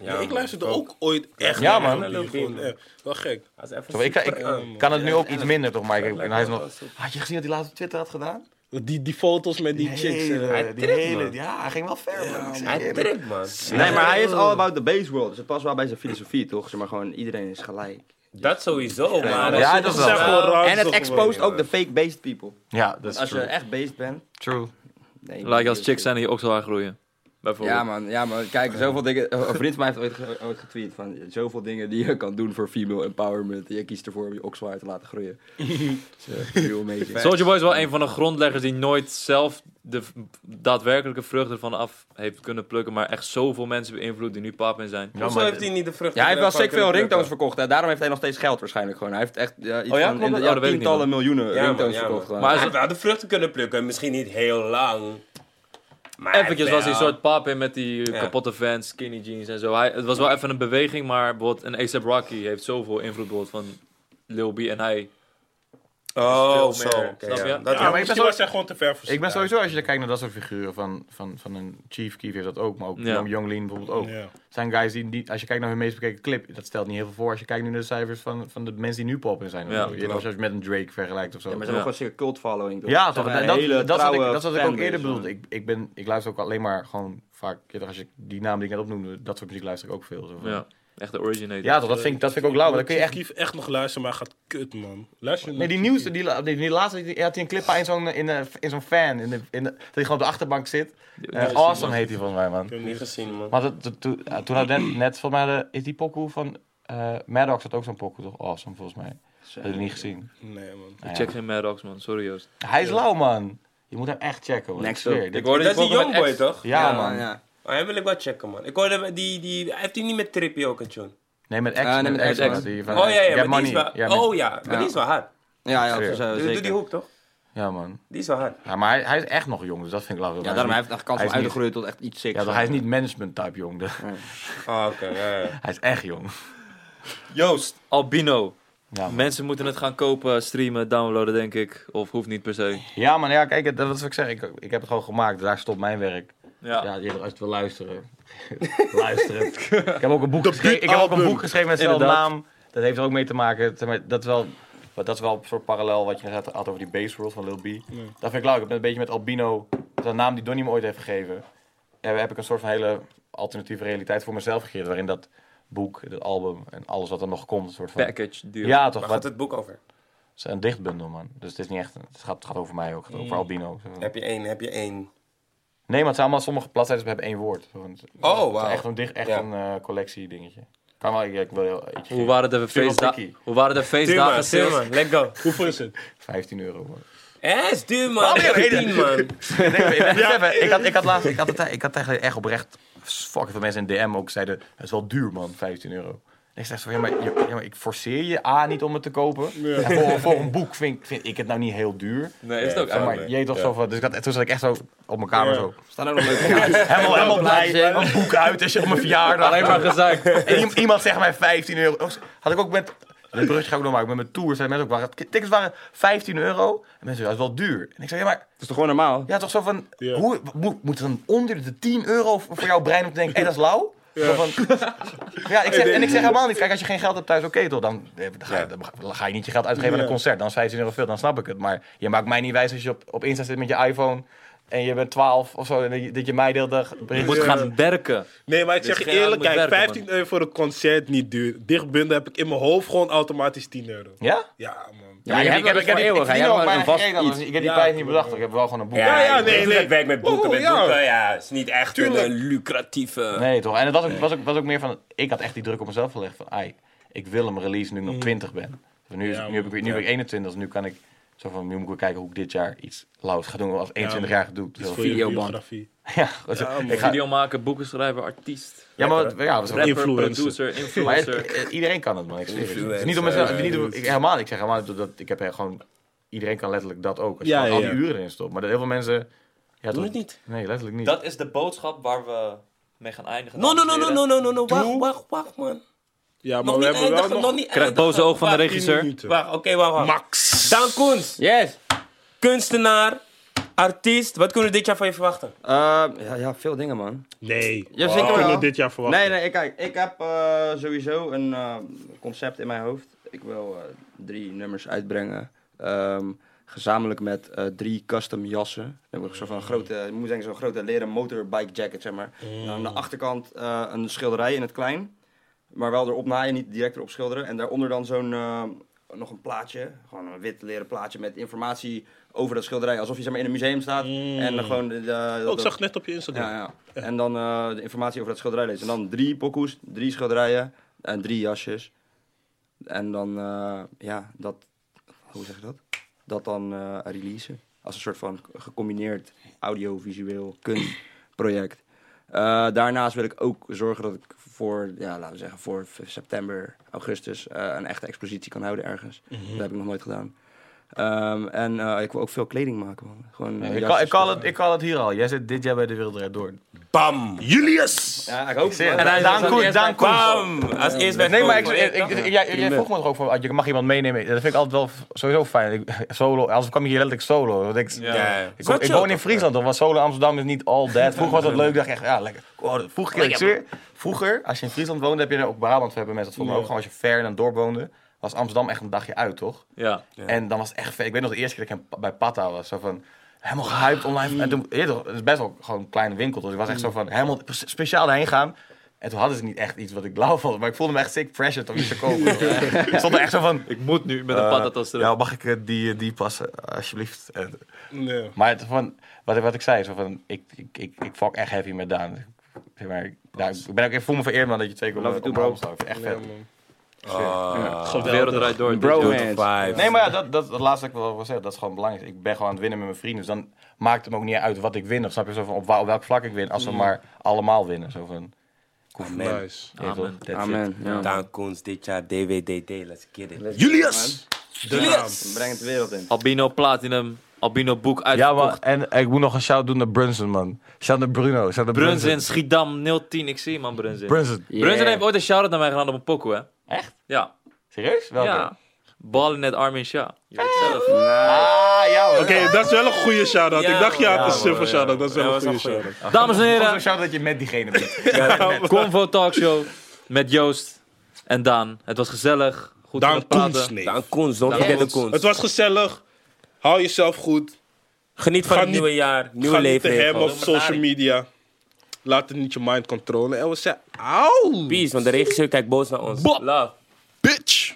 [SPEAKER 1] ja
[SPEAKER 6] ik
[SPEAKER 1] man.
[SPEAKER 6] luisterde ook ooit echt
[SPEAKER 2] Ja,
[SPEAKER 6] naar
[SPEAKER 2] man.
[SPEAKER 6] Lil B. Gewoon, eh, Wel gek.
[SPEAKER 1] Als even
[SPEAKER 2] Zo, ik, ik,
[SPEAKER 1] super-
[SPEAKER 2] ik kan het nu ook iets minder toch, maar ik, en hij is nog... Had je gezien wat hij laatst op Twitter had gedaan?
[SPEAKER 6] Die, die foto's met die chicks.
[SPEAKER 2] Hele-
[SPEAKER 6] eh,
[SPEAKER 2] die hele, ja, hij ging wel ver. man. Ik zeg je
[SPEAKER 1] Hij
[SPEAKER 2] eerlijk.
[SPEAKER 1] trikt, man.
[SPEAKER 5] Nee, maar hij is all about the base world. Dus het past wel bij zijn filosofie, toch? Zeg maar gewoon, iedereen is gelijk.
[SPEAKER 1] Dat sowieso, man.
[SPEAKER 2] Ja,
[SPEAKER 1] Dat
[SPEAKER 2] dat
[SPEAKER 1] is
[SPEAKER 2] is wel.
[SPEAKER 1] echt gewoon raar.
[SPEAKER 5] en het exposed ook de fake based people.
[SPEAKER 2] Ja, dat is
[SPEAKER 5] Als je
[SPEAKER 2] true.
[SPEAKER 5] echt based bent...
[SPEAKER 2] True.
[SPEAKER 5] Nee,
[SPEAKER 4] Like als chicks zijn die ook zo haar groeien. Bijvoorbeeld.
[SPEAKER 5] Ja man, ja man, kijk, zoveel dingen... Een vriend van mij heeft ooit, ge- ooit getweet van... Zoveel dingen die je kan doen voor female empowerment. Je kiest ervoor om je okswaai te laten groeien. so, heel amazing.
[SPEAKER 4] Soldier Boy is wel een van de grondleggers die nooit zelf de v- daadwerkelijke vrucht ervan af heeft kunnen plukken, maar echt zoveel mensen beïnvloed die nu pap in zijn.
[SPEAKER 1] Hoezo heeft hij niet de vruchten
[SPEAKER 5] Ja, hij heeft wel
[SPEAKER 1] ervan kunnen
[SPEAKER 5] sick veel
[SPEAKER 1] plukken?
[SPEAKER 5] ringtones verkocht. Hè. Daarom heeft hij nog steeds geld waarschijnlijk gewoon. Hij heeft echt ja, iets
[SPEAKER 4] Oh ja?
[SPEAKER 5] van in
[SPEAKER 4] Klopt dat?
[SPEAKER 5] de, ja,
[SPEAKER 4] Oh, dat weet ik niet,
[SPEAKER 5] tientallen miljoenen
[SPEAKER 1] Ja, man,
[SPEAKER 5] ringtones
[SPEAKER 1] ja, man.
[SPEAKER 5] verkocht. gewoon.
[SPEAKER 4] Maar
[SPEAKER 1] Hij heeft wel de vruchten kunnen plukken. Misschien niet heel lang. Maar
[SPEAKER 4] Even was hij
[SPEAKER 1] wel.
[SPEAKER 4] een soort pap in met die
[SPEAKER 1] Ja.
[SPEAKER 4] kapotte fans, skinny jeans en zo. Hij, het was wel even een beweging, maar bijvoorbeeld een ASAP Rocky heeft zoveel invloed bijvoorbeeld van Lil B en hij.
[SPEAKER 1] Oh,
[SPEAKER 4] Veel
[SPEAKER 1] zo.
[SPEAKER 4] meer,
[SPEAKER 1] oké,
[SPEAKER 4] snap
[SPEAKER 1] ja.
[SPEAKER 4] je?
[SPEAKER 1] Dat-
[SPEAKER 6] Ja,
[SPEAKER 2] maar
[SPEAKER 6] maar
[SPEAKER 2] ik
[SPEAKER 6] ik
[SPEAKER 2] ben
[SPEAKER 6] ben
[SPEAKER 2] zo-
[SPEAKER 6] gewoon te ver voor
[SPEAKER 2] Ik ben
[SPEAKER 6] zijn
[SPEAKER 2] sowieso, als je kijkt naar dat soort figuren van, van, van een Chief Keef heeft dat ook, maar ook
[SPEAKER 4] Ja.
[SPEAKER 2] Young Young Lean bijvoorbeeld ook.
[SPEAKER 6] tijd. Ja.
[SPEAKER 2] zijn guys die, die, als je kijkt naar hun meest bekeken clip, dat stelt niet heel veel voor. Als je kijkt nu naar de cijfers van, van de mensen die nu pop in zijn. of
[SPEAKER 4] Ja,
[SPEAKER 2] zo. je know, als je het met een Drake vergelijkt of zo.
[SPEAKER 5] Ja,
[SPEAKER 2] Ja,
[SPEAKER 5] maar ze
[SPEAKER 4] Ja.
[SPEAKER 5] hebben gewoon zeker cult following. toch? Ze
[SPEAKER 2] toch?
[SPEAKER 5] hebben
[SPEAKER 2] En
[SPEAKER 5] een
[SPEAKER 2] dat,
[SPEAKER 5] hele
[SPEAKER 2] dat, is wat ik,
[SPEAKER 5] trouwe
[SPEAKER 2] dat is wat ik ook
[SPEAKER 5] fanbase,
[SPEAKER 2] eerder
[SPEAKER 5] man.
[SPEAKER 2] bedoelde. Ik, ik, ben, ik luister ook alleen maar gewoon vaak, ja, toch, als je die naam die ik net opnoemde, dat soort muziek luister ik ook veel. Zo van.
[SPEAKER 4] Ja, echt de originator.
[SPEAKER 2] Ja, toch? Dat vind, ik- dat vind ik ook lauw. maar Dan kun je echt...
[SPEAKER 6] Kief echt nog luisteren, maar hij gaat kut, man. Luister je
[SPEAKER 2] Nee, die nieuwste, die, la- die, die laatste, die, had hij een clip in zo'n in, eh, in zo'n fan. In de, in de- dat hij gewoon op de achterbank zit. Eh, awesome heet hij volgens mij, man.
[SPEAKER 6] heb hem
[SPEAKER 1] Niet
[SPEAKER 6] niet
[SPEAKER 1] gezien, man.
[SPEAKER 2] Maar dat, dat- toen- ja, toen had net, net volgens mij, de- is die pokoe van eh Maddox had ook zo'n pokoe, toch? Awesome, volgens mij. Dat heb ik niet gezien.
[SPEAKER 6] Nee, man.
[SPEAKER 4] Ik check geen Mad Dogs, man, sorry Joost.
[SPEAKER 2] Hij is lauw, man. Je moet hem echt checken, man.
[SPEAKER 5] Next
[SPEAKER 2] Ik zweer
[SPEAKER 5] up.
[SPEAKER 2] dit.
[SPEAKER 4] Ik hoorde
[SPEAKER 1] Dat is die
[SPEAKER 4] volgende
[SPEAKER 1] Youngboy,
[SPEAKER 4] met X.
[SPEAKER 1] toch?
[SPEAKER 2] Ja,
[SPEAKER 5] Ja,
[SPEAKER 2] man.
[SPEAKER 5] man, ja.
[SPEAKER 1] Oh, hij wil ik wel checken, man. Ik hoorde die... die heeft hij niet met Trippie ook een tune?
[SPEAKER 2] Nee, met X.
[SPEAKER 5] Ah, nee,
[SPEAKER 2] met
[SPEAKER 5] met
[SPEAKER 2] X,
[SPEAKER 5] X,
[SPEAKER 2] man.
[SPEAKER 5] man.
[SPEAKER 2] Die van-
[SPEAKER 1] Oh ja,
[SPEAKER 2] Get
[SPEAKER 1] ja, maar die
[SPEAKER 2] Money.
[SPEAKER 1] is wel...
[SPEAKER 2] Ja, met-
[SPEAKER 1] Oh ja, maar die is wel hard.
[SPEAKER 5] Ja, ja,
[SPEAKER 2] Zeker.
[SPEAKER 5] dat zou-
[SPEAKER 1] Doe- Doe die
[SPEAKER 5] zeker.
[SPEAKER 1] hoek, toch?
[SPEAKER 2] ja, man.
[SPEAKER 1] Die is wel hard.
[SPEAKER 2] Ja, maar hij, hij is echt nog jong, dus dat vind ik lauw.
[SPEAKER 5] Ja, daarom hij heeft hij kans
[SPEAKER 2] Hij is
[SPEAKER 5] om uit te
[SPEAKER 2] niet-
[SPEAKER 5] groeien tot echt iets sick.
[SPEAKER 2] Ja, toch, hij is niet management-type jong. dus-
[SPEAKER 1] Oh, oké, ja, ja.
[SPEAKER 2] hij is echt jong.
[SPEAKER 4] Joost, Albino.
[SPEAKER 2] Ja, man.
[SPEAKER 4] Mensen moeten het gaan kopen, streamen, downloaden denk ik. Of hoeft niet per se.
[SPEAKER 2] Ja, man. Ja, kijk, dat is wat ik zeg. Ik, ik heb het gewoon gemaakt. Daar stopt mijn werk.
[SPEAKER 4] Ja.
[SPEAKER 2] Ja, je- als je het wil luisteren. luisteren. ik heb ook een boek geschreven. Ik heb ook een boek geschreven met dezelfde
[SPEAKER 4] Inderdaad.
[SPEAKER 2] naam. Dat heeft er ook mee te maken. Zeg maar, Dat is wel, wat- dat is wel een soort parallel wat je net had over die base world van Lil B. Dat vind ik leuk. Ik ben een beetje met Albino Dat is een naam die Donnie me ooit heeft gegeven. Heb, heb ik een soort van hele alternatieve realiteit voor mezelf gecreëerd. Waarin dat boek, het album en alles wat er nog komt. Een soort van...
[SPEAKER 4] Package deal.
[SPEAKER 2] Ja, toch?
[SPEAKER 7] Waar
[SPEAKER 2] Wat,
[SPEAKER 7] gaat
[SPEAKER 2] het
[SPEAKER 7] het boek over?
[SPEAKER 2] is een dichtbundel, man. Dus het is niet echt... Het gaat, het gaat over mij ook. Het gaat over Albino. Zo.
[SPEAKER 7] Heb je één, heb je één.
[SPEAKER 2] Nee, maar het zijn allemaal sommige bladzijden dus hebben één woord. Zo, het-
[SPEAKER 7] Oh,
[SPEAKER 2] het is
[SPEAKER 7] wauw.
[SPEAKER 2] Echt een, dicht, echt
[SPEAKER 7] Ja.
[SPEAKER 2] een eh, collectie dingetje. Kan wel, ik, ik wil heel... Ik,
[SPEAKER 4] Hoe waren de
[SPEAKER 2] Tuurlijk,
[SPEAKER 4] feestdagen?
[SPEAKER 2] Dikkie.
[SPEAKER 4] Hoe waren de feestdagen?
[SPEAKER 1] Tuurman,
[SPEAKER 4] sales?
[SPEAKER 1] Tuurman, let go.
[SPEAKER 6] Hoeveel is het?
[SPEAKER 2] 15 euro, man.
[SPEAKER 1] Hé, is duur man. Echt tien man.
[SPEAKER 2] Ja, ik, had, ik had laatst, ik had, het, ik had eigenlijk echt oprecht, fucking veel mensen in DM ook zeiden, het is wel duur man, 15 euro. En ik zeg zo, ja maar, ja, ja, maar ik forceer je A niet om het te kopen. En voor, voor een boek vind, ik- vind ik het nou niet heel duur.
[SPEAKER 4] Nee, is het ook
[SPEAKER 2] Zeg
[SPEAKER 4] eigenlijk.
[SPEAKER 2] maar, je toch zo van, dus ik had, toen zat ik echt zo op mijn kamer zo.
[SPEAKER 5] Staan ook nog leuke kaartjes.
[SPEAKER 2] Helemaal, helemaal blij, een boek uit, als je op mijn verjaardag.
[SPEAKER 4] Alleen maar gezegd.
[SPEAKER 2] En iem- iemand zegt mij 15 euro. Oh, Had ik ook met. Dit bruggetje ga ik nog maken. Met mijn tour zijn mensen ook. Waren, tickets waren 15 euro. En mensen zeiden, dat is wel duur. En ik zei, ja, maar.
[SPEAKER 5] Dat is toch gewoon normaal?
[SPEAKER 2] Ja, toch zo van.
[SPEAKER 6] Ja.
[SPEAKER 2] Hoe, moet, moet dan onder de 10 euro voor voor jouw brein om te denken, hé, dat is lauw? Zo van, ja, ik zeg, en ik zeg helemaal niet, kijk, als je geen geld hebt thuis, oké toch, dan, eh, dan, ga je, dan ga je niet je geld uitgeven aan een
[SPEAKER 6] Ja.
[SPEAKER 2] concert. Dan is 15 euro veel, dan snap ik het. Maar je maakt mij niet wijs als je op, op Insta zit met je iPhone en je bent 12 of zo, en dat je- dat je mij deelt.
[SPEAKER 4] Je moet gaan werken.
[SPEAKER 6] Nee, maar ik zeg
[SPEAKER 4] geen
[SPEAKER 6] je
[SPEAKER 4] aan
[SPEAKER 6] eerlijk,
[SPEAKER 4] moet
[SPEAKER 6] kijk,
[SPEAKER 4] werken,
[SPEAKER 6] 15 euro voor een concert niet duur. Dichtbundel heb ik in mijn hoofd gewoon automatisch 10 euro.
[SPEAKER 2] Ja?
[SPEAKER 6] Ja, man.
[SPEAKER 2] Ja, ik heb, ik heb, ik heb, ik
[SPEAKER 7] Jij
[SPEAKER 2] verdien
[SPEAKER 7] hebt
[SPEAKER 2] ook
[SPEAKER 7] gewoon
[SPEAKER 2] bijna
[SPEAKER 7] een vast
[SPEAKER 2] geen reden,
[SPEAKER 7] iets.
[SPEAKER 2] dus Ik heb die
[SPEAKER 6] Ja,
[SPEAKER 2] prijs niet bedacht. Ik heb wel gewoon een boek.
[SPEAKER 7] Ja,
[SPEAKER 6] ja,
[SPEAKER 7] ik
[SPEAKER 6] nee,
[SPEAKER 7] weet
[SPEAKER 6] nee.
[SPEAKER 7] Ik werk met boeken,
[SPEAKER 6] Oh,
[SPEAKER 7] met
[SPEAKER 6] ja.
[SPEAKER 7] boeken. Ja, het is niet echt
[SPEAKER 6] Tuurlijk.
[SPEAKER 7] een lucratieve...
[SPEAKER 2] Nee, toch? En het was ook, was, ook, was ook meer van... Ik had echt die druk op mezelf gelegd van... Ai, ik wil hem release nu ik nog 20 ben. Dus nu, is-
[SPEAKER 6] Ja,
[SPEAKER 2] nu, heb ik, weer- nu ben ik 21, dus nu kan ik... Zo van, nu moet ik weer kijken hoe ik dit jaar iets lauws ga doen. Als 21 jaar doe. Zo.
[SPEAKER 6] Voor je
[SPEAKER 5] videoband.
[SPEAKER 6] biografie.
[SPEAKER 2] Ja, goed, ik ga,
[SPEAKER 4] Video maken, boeken schrijven, artiest.
[SPEAKER 2] ja, maar wat- ja, wat-
[SPEAKER 4] Rapper,
[SPEAKER 6] Influencer.
[SPEAKER 4] producer,
[SPEAKER 2] maar het-
[SPEAKER 4] influencer.
[SPEAKER 2] eh, iedereen kan het, man. Ik zweer het. Het is
[SPEAKER 7] Influencer.
[SPEAKER 2] niet om mezelf, niet om, ik, helemaal, niet. ik zeg helemaal niet dat ik heb eh, gewoon... Iedereen kan letterlijk dat ook. Als je
[SPEAKER 6] Ja,
[SPEAKER 2] gewoon al
[SPEAKER 6] ja,
[SPEAKER 2] die
[SPEAKER 6] ja.
[SPEAKER 2] uren in stopt. Maar dat heel veel mensen... Ja,
[SPEAKER 1] Doe
[SPEAKER 2] toch-
[SPEAKER 1] het niet.
[SPEAKER 2] Nee, letterlijk niet.
[SPEAKER 4] Dat is de boodschap waar we mee gaan eindigen.
[SPEAKER 1] No, no, no, no, no, no, no, no. Wacht,
[SPEAKER 6] Doe.
[SPEAKER 1] wacht, wacht man.
[SPEAKER 6] Ja, maar
[SPEAKER 1] Nog
[SPEAKER 6] we
[SPEAKER 1] niet
[SPEAKER 6] hebben wel
[SPEAKER 1] eindigen,
[SPEAKER 6] nog
[SPEAKER 1] nog niet
[SPEAKER 4] Krijg
[SPEAKER 1] eindigen.
[SPEAKER 4] boze oog van de
[SPEAKER 1] Wacht,
[SPEAKER 6] 10
[SPEAKER 4] regisseur.
[SPEAKER 6] minuten.
[SPEAKER 1] Wacht, oké, wacht, wacht.
[SPEAKER 6] Max.
[SPEAKER 1] Daan Koens,
[SPEAKER 5] Yes!
[SPEAKER 1] kunstenaar, artiest. Wat kunnen we dit jaar van je verwachten?
[SPEAKER 5] Eh, ja, ja, veel dingen, man.
[SPEAKER 6] Nee.
[SPEAKER 5] Ja, zeker
[SPEAKER 6] Wat kunnen
[SPEAKER 5] wel.
[SPEAKER 6] we dit jaar verwachten?
[SPEAKER 5] Nee, nee, ik- kijk, ik heb eh, sowieso een eh, concept in mijn hoofd. Ik wil eh, drie nummers uitbrengen. Ehm, gezamenlijk met eh, drie custom jassen. Dan heb ik zo'n van grote, je moet denken, zo'n grote leren motorbike jacket, zeg maar.
[SPEAKER 6] Mm.
[SPEAKER 5] En aan de achterkant eh, een schilderij in het klein. Maar wel erop naaien, niet direct erop schilderen. En daaronder dan zo'n, eh, nog een plaatje. Gewoon een wit leren plaatje met informatie over dat schilderij. Alsof je zeg maar, in een museum staat. En dan gewoon... de- de-
[SPEAKER 6] Mm. Oh, ik
[SPEAKER 5] dat-
[SPEAKER 6] zag het net op je Instagram.
[SPEAKER 5] ja, ja. En dan eh, de informatie over dat schilderij lezen. En dan drie pokoes, drie schilderijen en drie jasjes. En dan, eh, ja, dat, hoe zeg je dat? Dat dan eh releasen. Als een soort van gecombineerd audiovisueel kunstproject. Eh, daarnaast wil ik ook zorgen dat ik voor, ja, laten we zeggen, voor v- september, augustus eh, een echte expositie kan houden ergens. Dat heb ik nog nooit gedaan. Ehm, en eh, ik wil ook veel kleding maken, man. Gewoon, eh,
[SPEAKER 2] Ik kan,
[SPEAKER 5] jasjes.
[SPEAKER 2] ik, kan het, ik kan het hier al. Jij zit dit jaar bij de Wereld Draait Door.
[SPEAKER 1] Bam!
[SPEAKER 6] Julius!
[SPEAKER 5] Ja, ik hoop het. man.
[SPEAKER 2] En hij Daan Koen, Daan Koen.
[SPEAKER 1] Bam! Als eerst bij
[SPEAKER 2] Nee, maar ik, ik, ik- ik- jij, jij vroeg me toch ook van, je mag iemand meenemen. Dat vind ik altijd wel f- sowieso fijn. Ik, solo, anders kwam ik hier letterlijk solo. Want ik,
[SPEAKER 1] Ja.
[SPEAKER 2] ik, kom- ik woon in Friesland toch, want solo Amsterdam is niet all that. Vroeger was dat leuk, dacht ik echt, ja, lekker. Oh, dat- vroeger, ik zweer, vroeger, als je in Friesland woonde, heb je er ook Brabant, hebben mensen dat voor me ook. Gewoon als je ver in een dorp woonde, was Amsterdam echt een dagje uit, toch?
[SPEAKER 4] Ja.
[SPEAKER 2] En dan was het echt vet. Ik weet nog de eerste keer dat ik hem bij Patta was. Zo van, helemaal gehyped
[SPEAKER 4] Mm.
[SPEAKER 2] online. En toen, je weet toch, het is best wel gewoon een kleine winkel. Dus ik was echt zo van, helemaal pers- speciaal daarheen gaan. En toen hadden ze niet echt iets wat ik blauw vond. Maar ik voelde me echt sick pressure om iets te kopen. Ik stond er echt zo van...
[SPEAKER 4] Ik moet nu met een patatas
[SPEAKER 2] Ja,
[SPEAKER 4] terug.
[SPEAKER 2] mag ik eh, die, die passen, alsjeblieft? En-
[SPEAKER 6] Nee.
[SPEAKER 2] maar het, van, wat, wat ik zei, zo van, ik, ik, ik, ik fuck echt heavy met Daan. Zeg maar, ik- daar- ik, ben ook, ik voel me vereerd man dat je twee keer op,
[SPEAKER 5] Love
[SPEAKER 2] op
[SPEAKER 5] you
[SPEAKER 2] mijn
[SPEAKER 5] too,
[SPEAKER 2] arm staat. Ik vind het Echt vet.
[SPEAKER 1] Oh,
[SPEAKER 4] De wereld draait door.
[SPEAKER 5] Bromance.
[SPEAKER 2] Nee, maar ja, dat, dat, dat laatste wat ik wel wil zeggen, dat is gewoon belangrijk. Ik ben gewoon aan het winnen met mijn vrienden. Dus dan maakt het me ook niet uit wat ik win. Of snap je zo van op, wa- op welk vlak ik win. Als
[SPEAKER 4] Mm.
[SPEAKER 2] we maar allemaal winnen. Zo van,
[SPEAKER 6] Nice.
[SPEAKER 2] weet je wel,
[SPEAKER 4] Amen.
[SPEAKER 2] that's it.
[SPEAKER 5] Amen. Ja.
[SPEAKER 7] Daan Koens dit jaar DWDD, let's get it.
[SPEAKER 6] Julius! Julius!
[SPEAKER 5] Breng het de wereld in.
[SPEAKER 4] eh, Albino Platinum. Albino Boek
[SPEAKER 2] Ja, maar
[SPEAKER 4] uitverkocht.
[SPEAKER 2] en ik moet nog een shout doen naar Brunson, man. Shout naar Bruno. Shout naar
[SPEAKER 4] Brunzin, Schiedam, 010. Ik zie je, man, Brunzin.
[SPEAKER 2] Brunson.
[SPEAKER 4] Brunzin heeft ooit een shout-out naar mij gedaan op een pokoe, hè?
[SPEAKER 2] Echt?
[SPEAKER 4] Ja.
[SPEAKER 2] Serieus? Welke?
[SPEAKER 4] Ja. Ballen net Armin Shah. Je weet het zelf.
[SPEAKER 2] Ah, ja, man.
[SPEAKER 6] Oké, dat is wel een goede shout-out.
[SPEAKER 4] Ja,
[SPEAKER 6] ik dacht, ja,
[SPEAKER 4] man.
[SPEAKER 6] het is
[SPEAKER 4] Ja,
[SPEAKER 6] een
[SPEAKER 4] man,
[SPEAKER 6] voor shout-out. Dat is wel
[SPEAKER 1] Ja,
[SPEAKER 6] een
[SPEAKER 1] dat
[SPEAKER 6] goede
[SPEAKER 1] is wel
[SPEAKER 6] shout-out.
[SPEAKER 4] Dames en
[SPEAKER 2] Gewoon zo'n
[SPEAKER 4] heren,
[SPEAKER 2] shout dat je met diegene bent.
[SPEAKER 4] Convo Talkshow met Joost en Daan. Het was gezellig. Goed om
[SPEAKER 6] Daan
[SPEAKER 4] te praten.
[SPEAKER 6] Koens, nee.
[SPEAKER 7] Daan Koens, don't
[SPEAKER 4] Daan
[SPEAKER 7] forget de
[SPEAKER 4] Koens.
[SPEAKER 7] Koens.
[SPEAKER 6] Het was gezellig. Hou jezelf goed.
[SPEAKER 1] Geniet van
[SPEAKER 6] Ga
[SPEAKER 1] het
[SPEAKER 6] niet-
[SPEAKER 1] nieuwe jaar, nieuwe
[SPEAKER 6] Ga niet te
[SPEAKER 1] leven.
[SPEAKER 6] hem op
[SPEAKER 1] gewoon.
[SPEAKER 6] social media. Laat het niet je mind controlen. En we zeggen, auw,
[SPEAKER 1] Peace, want de regisseur kijkt boos naar ons. Love.
[SPEAKER 6] bitch.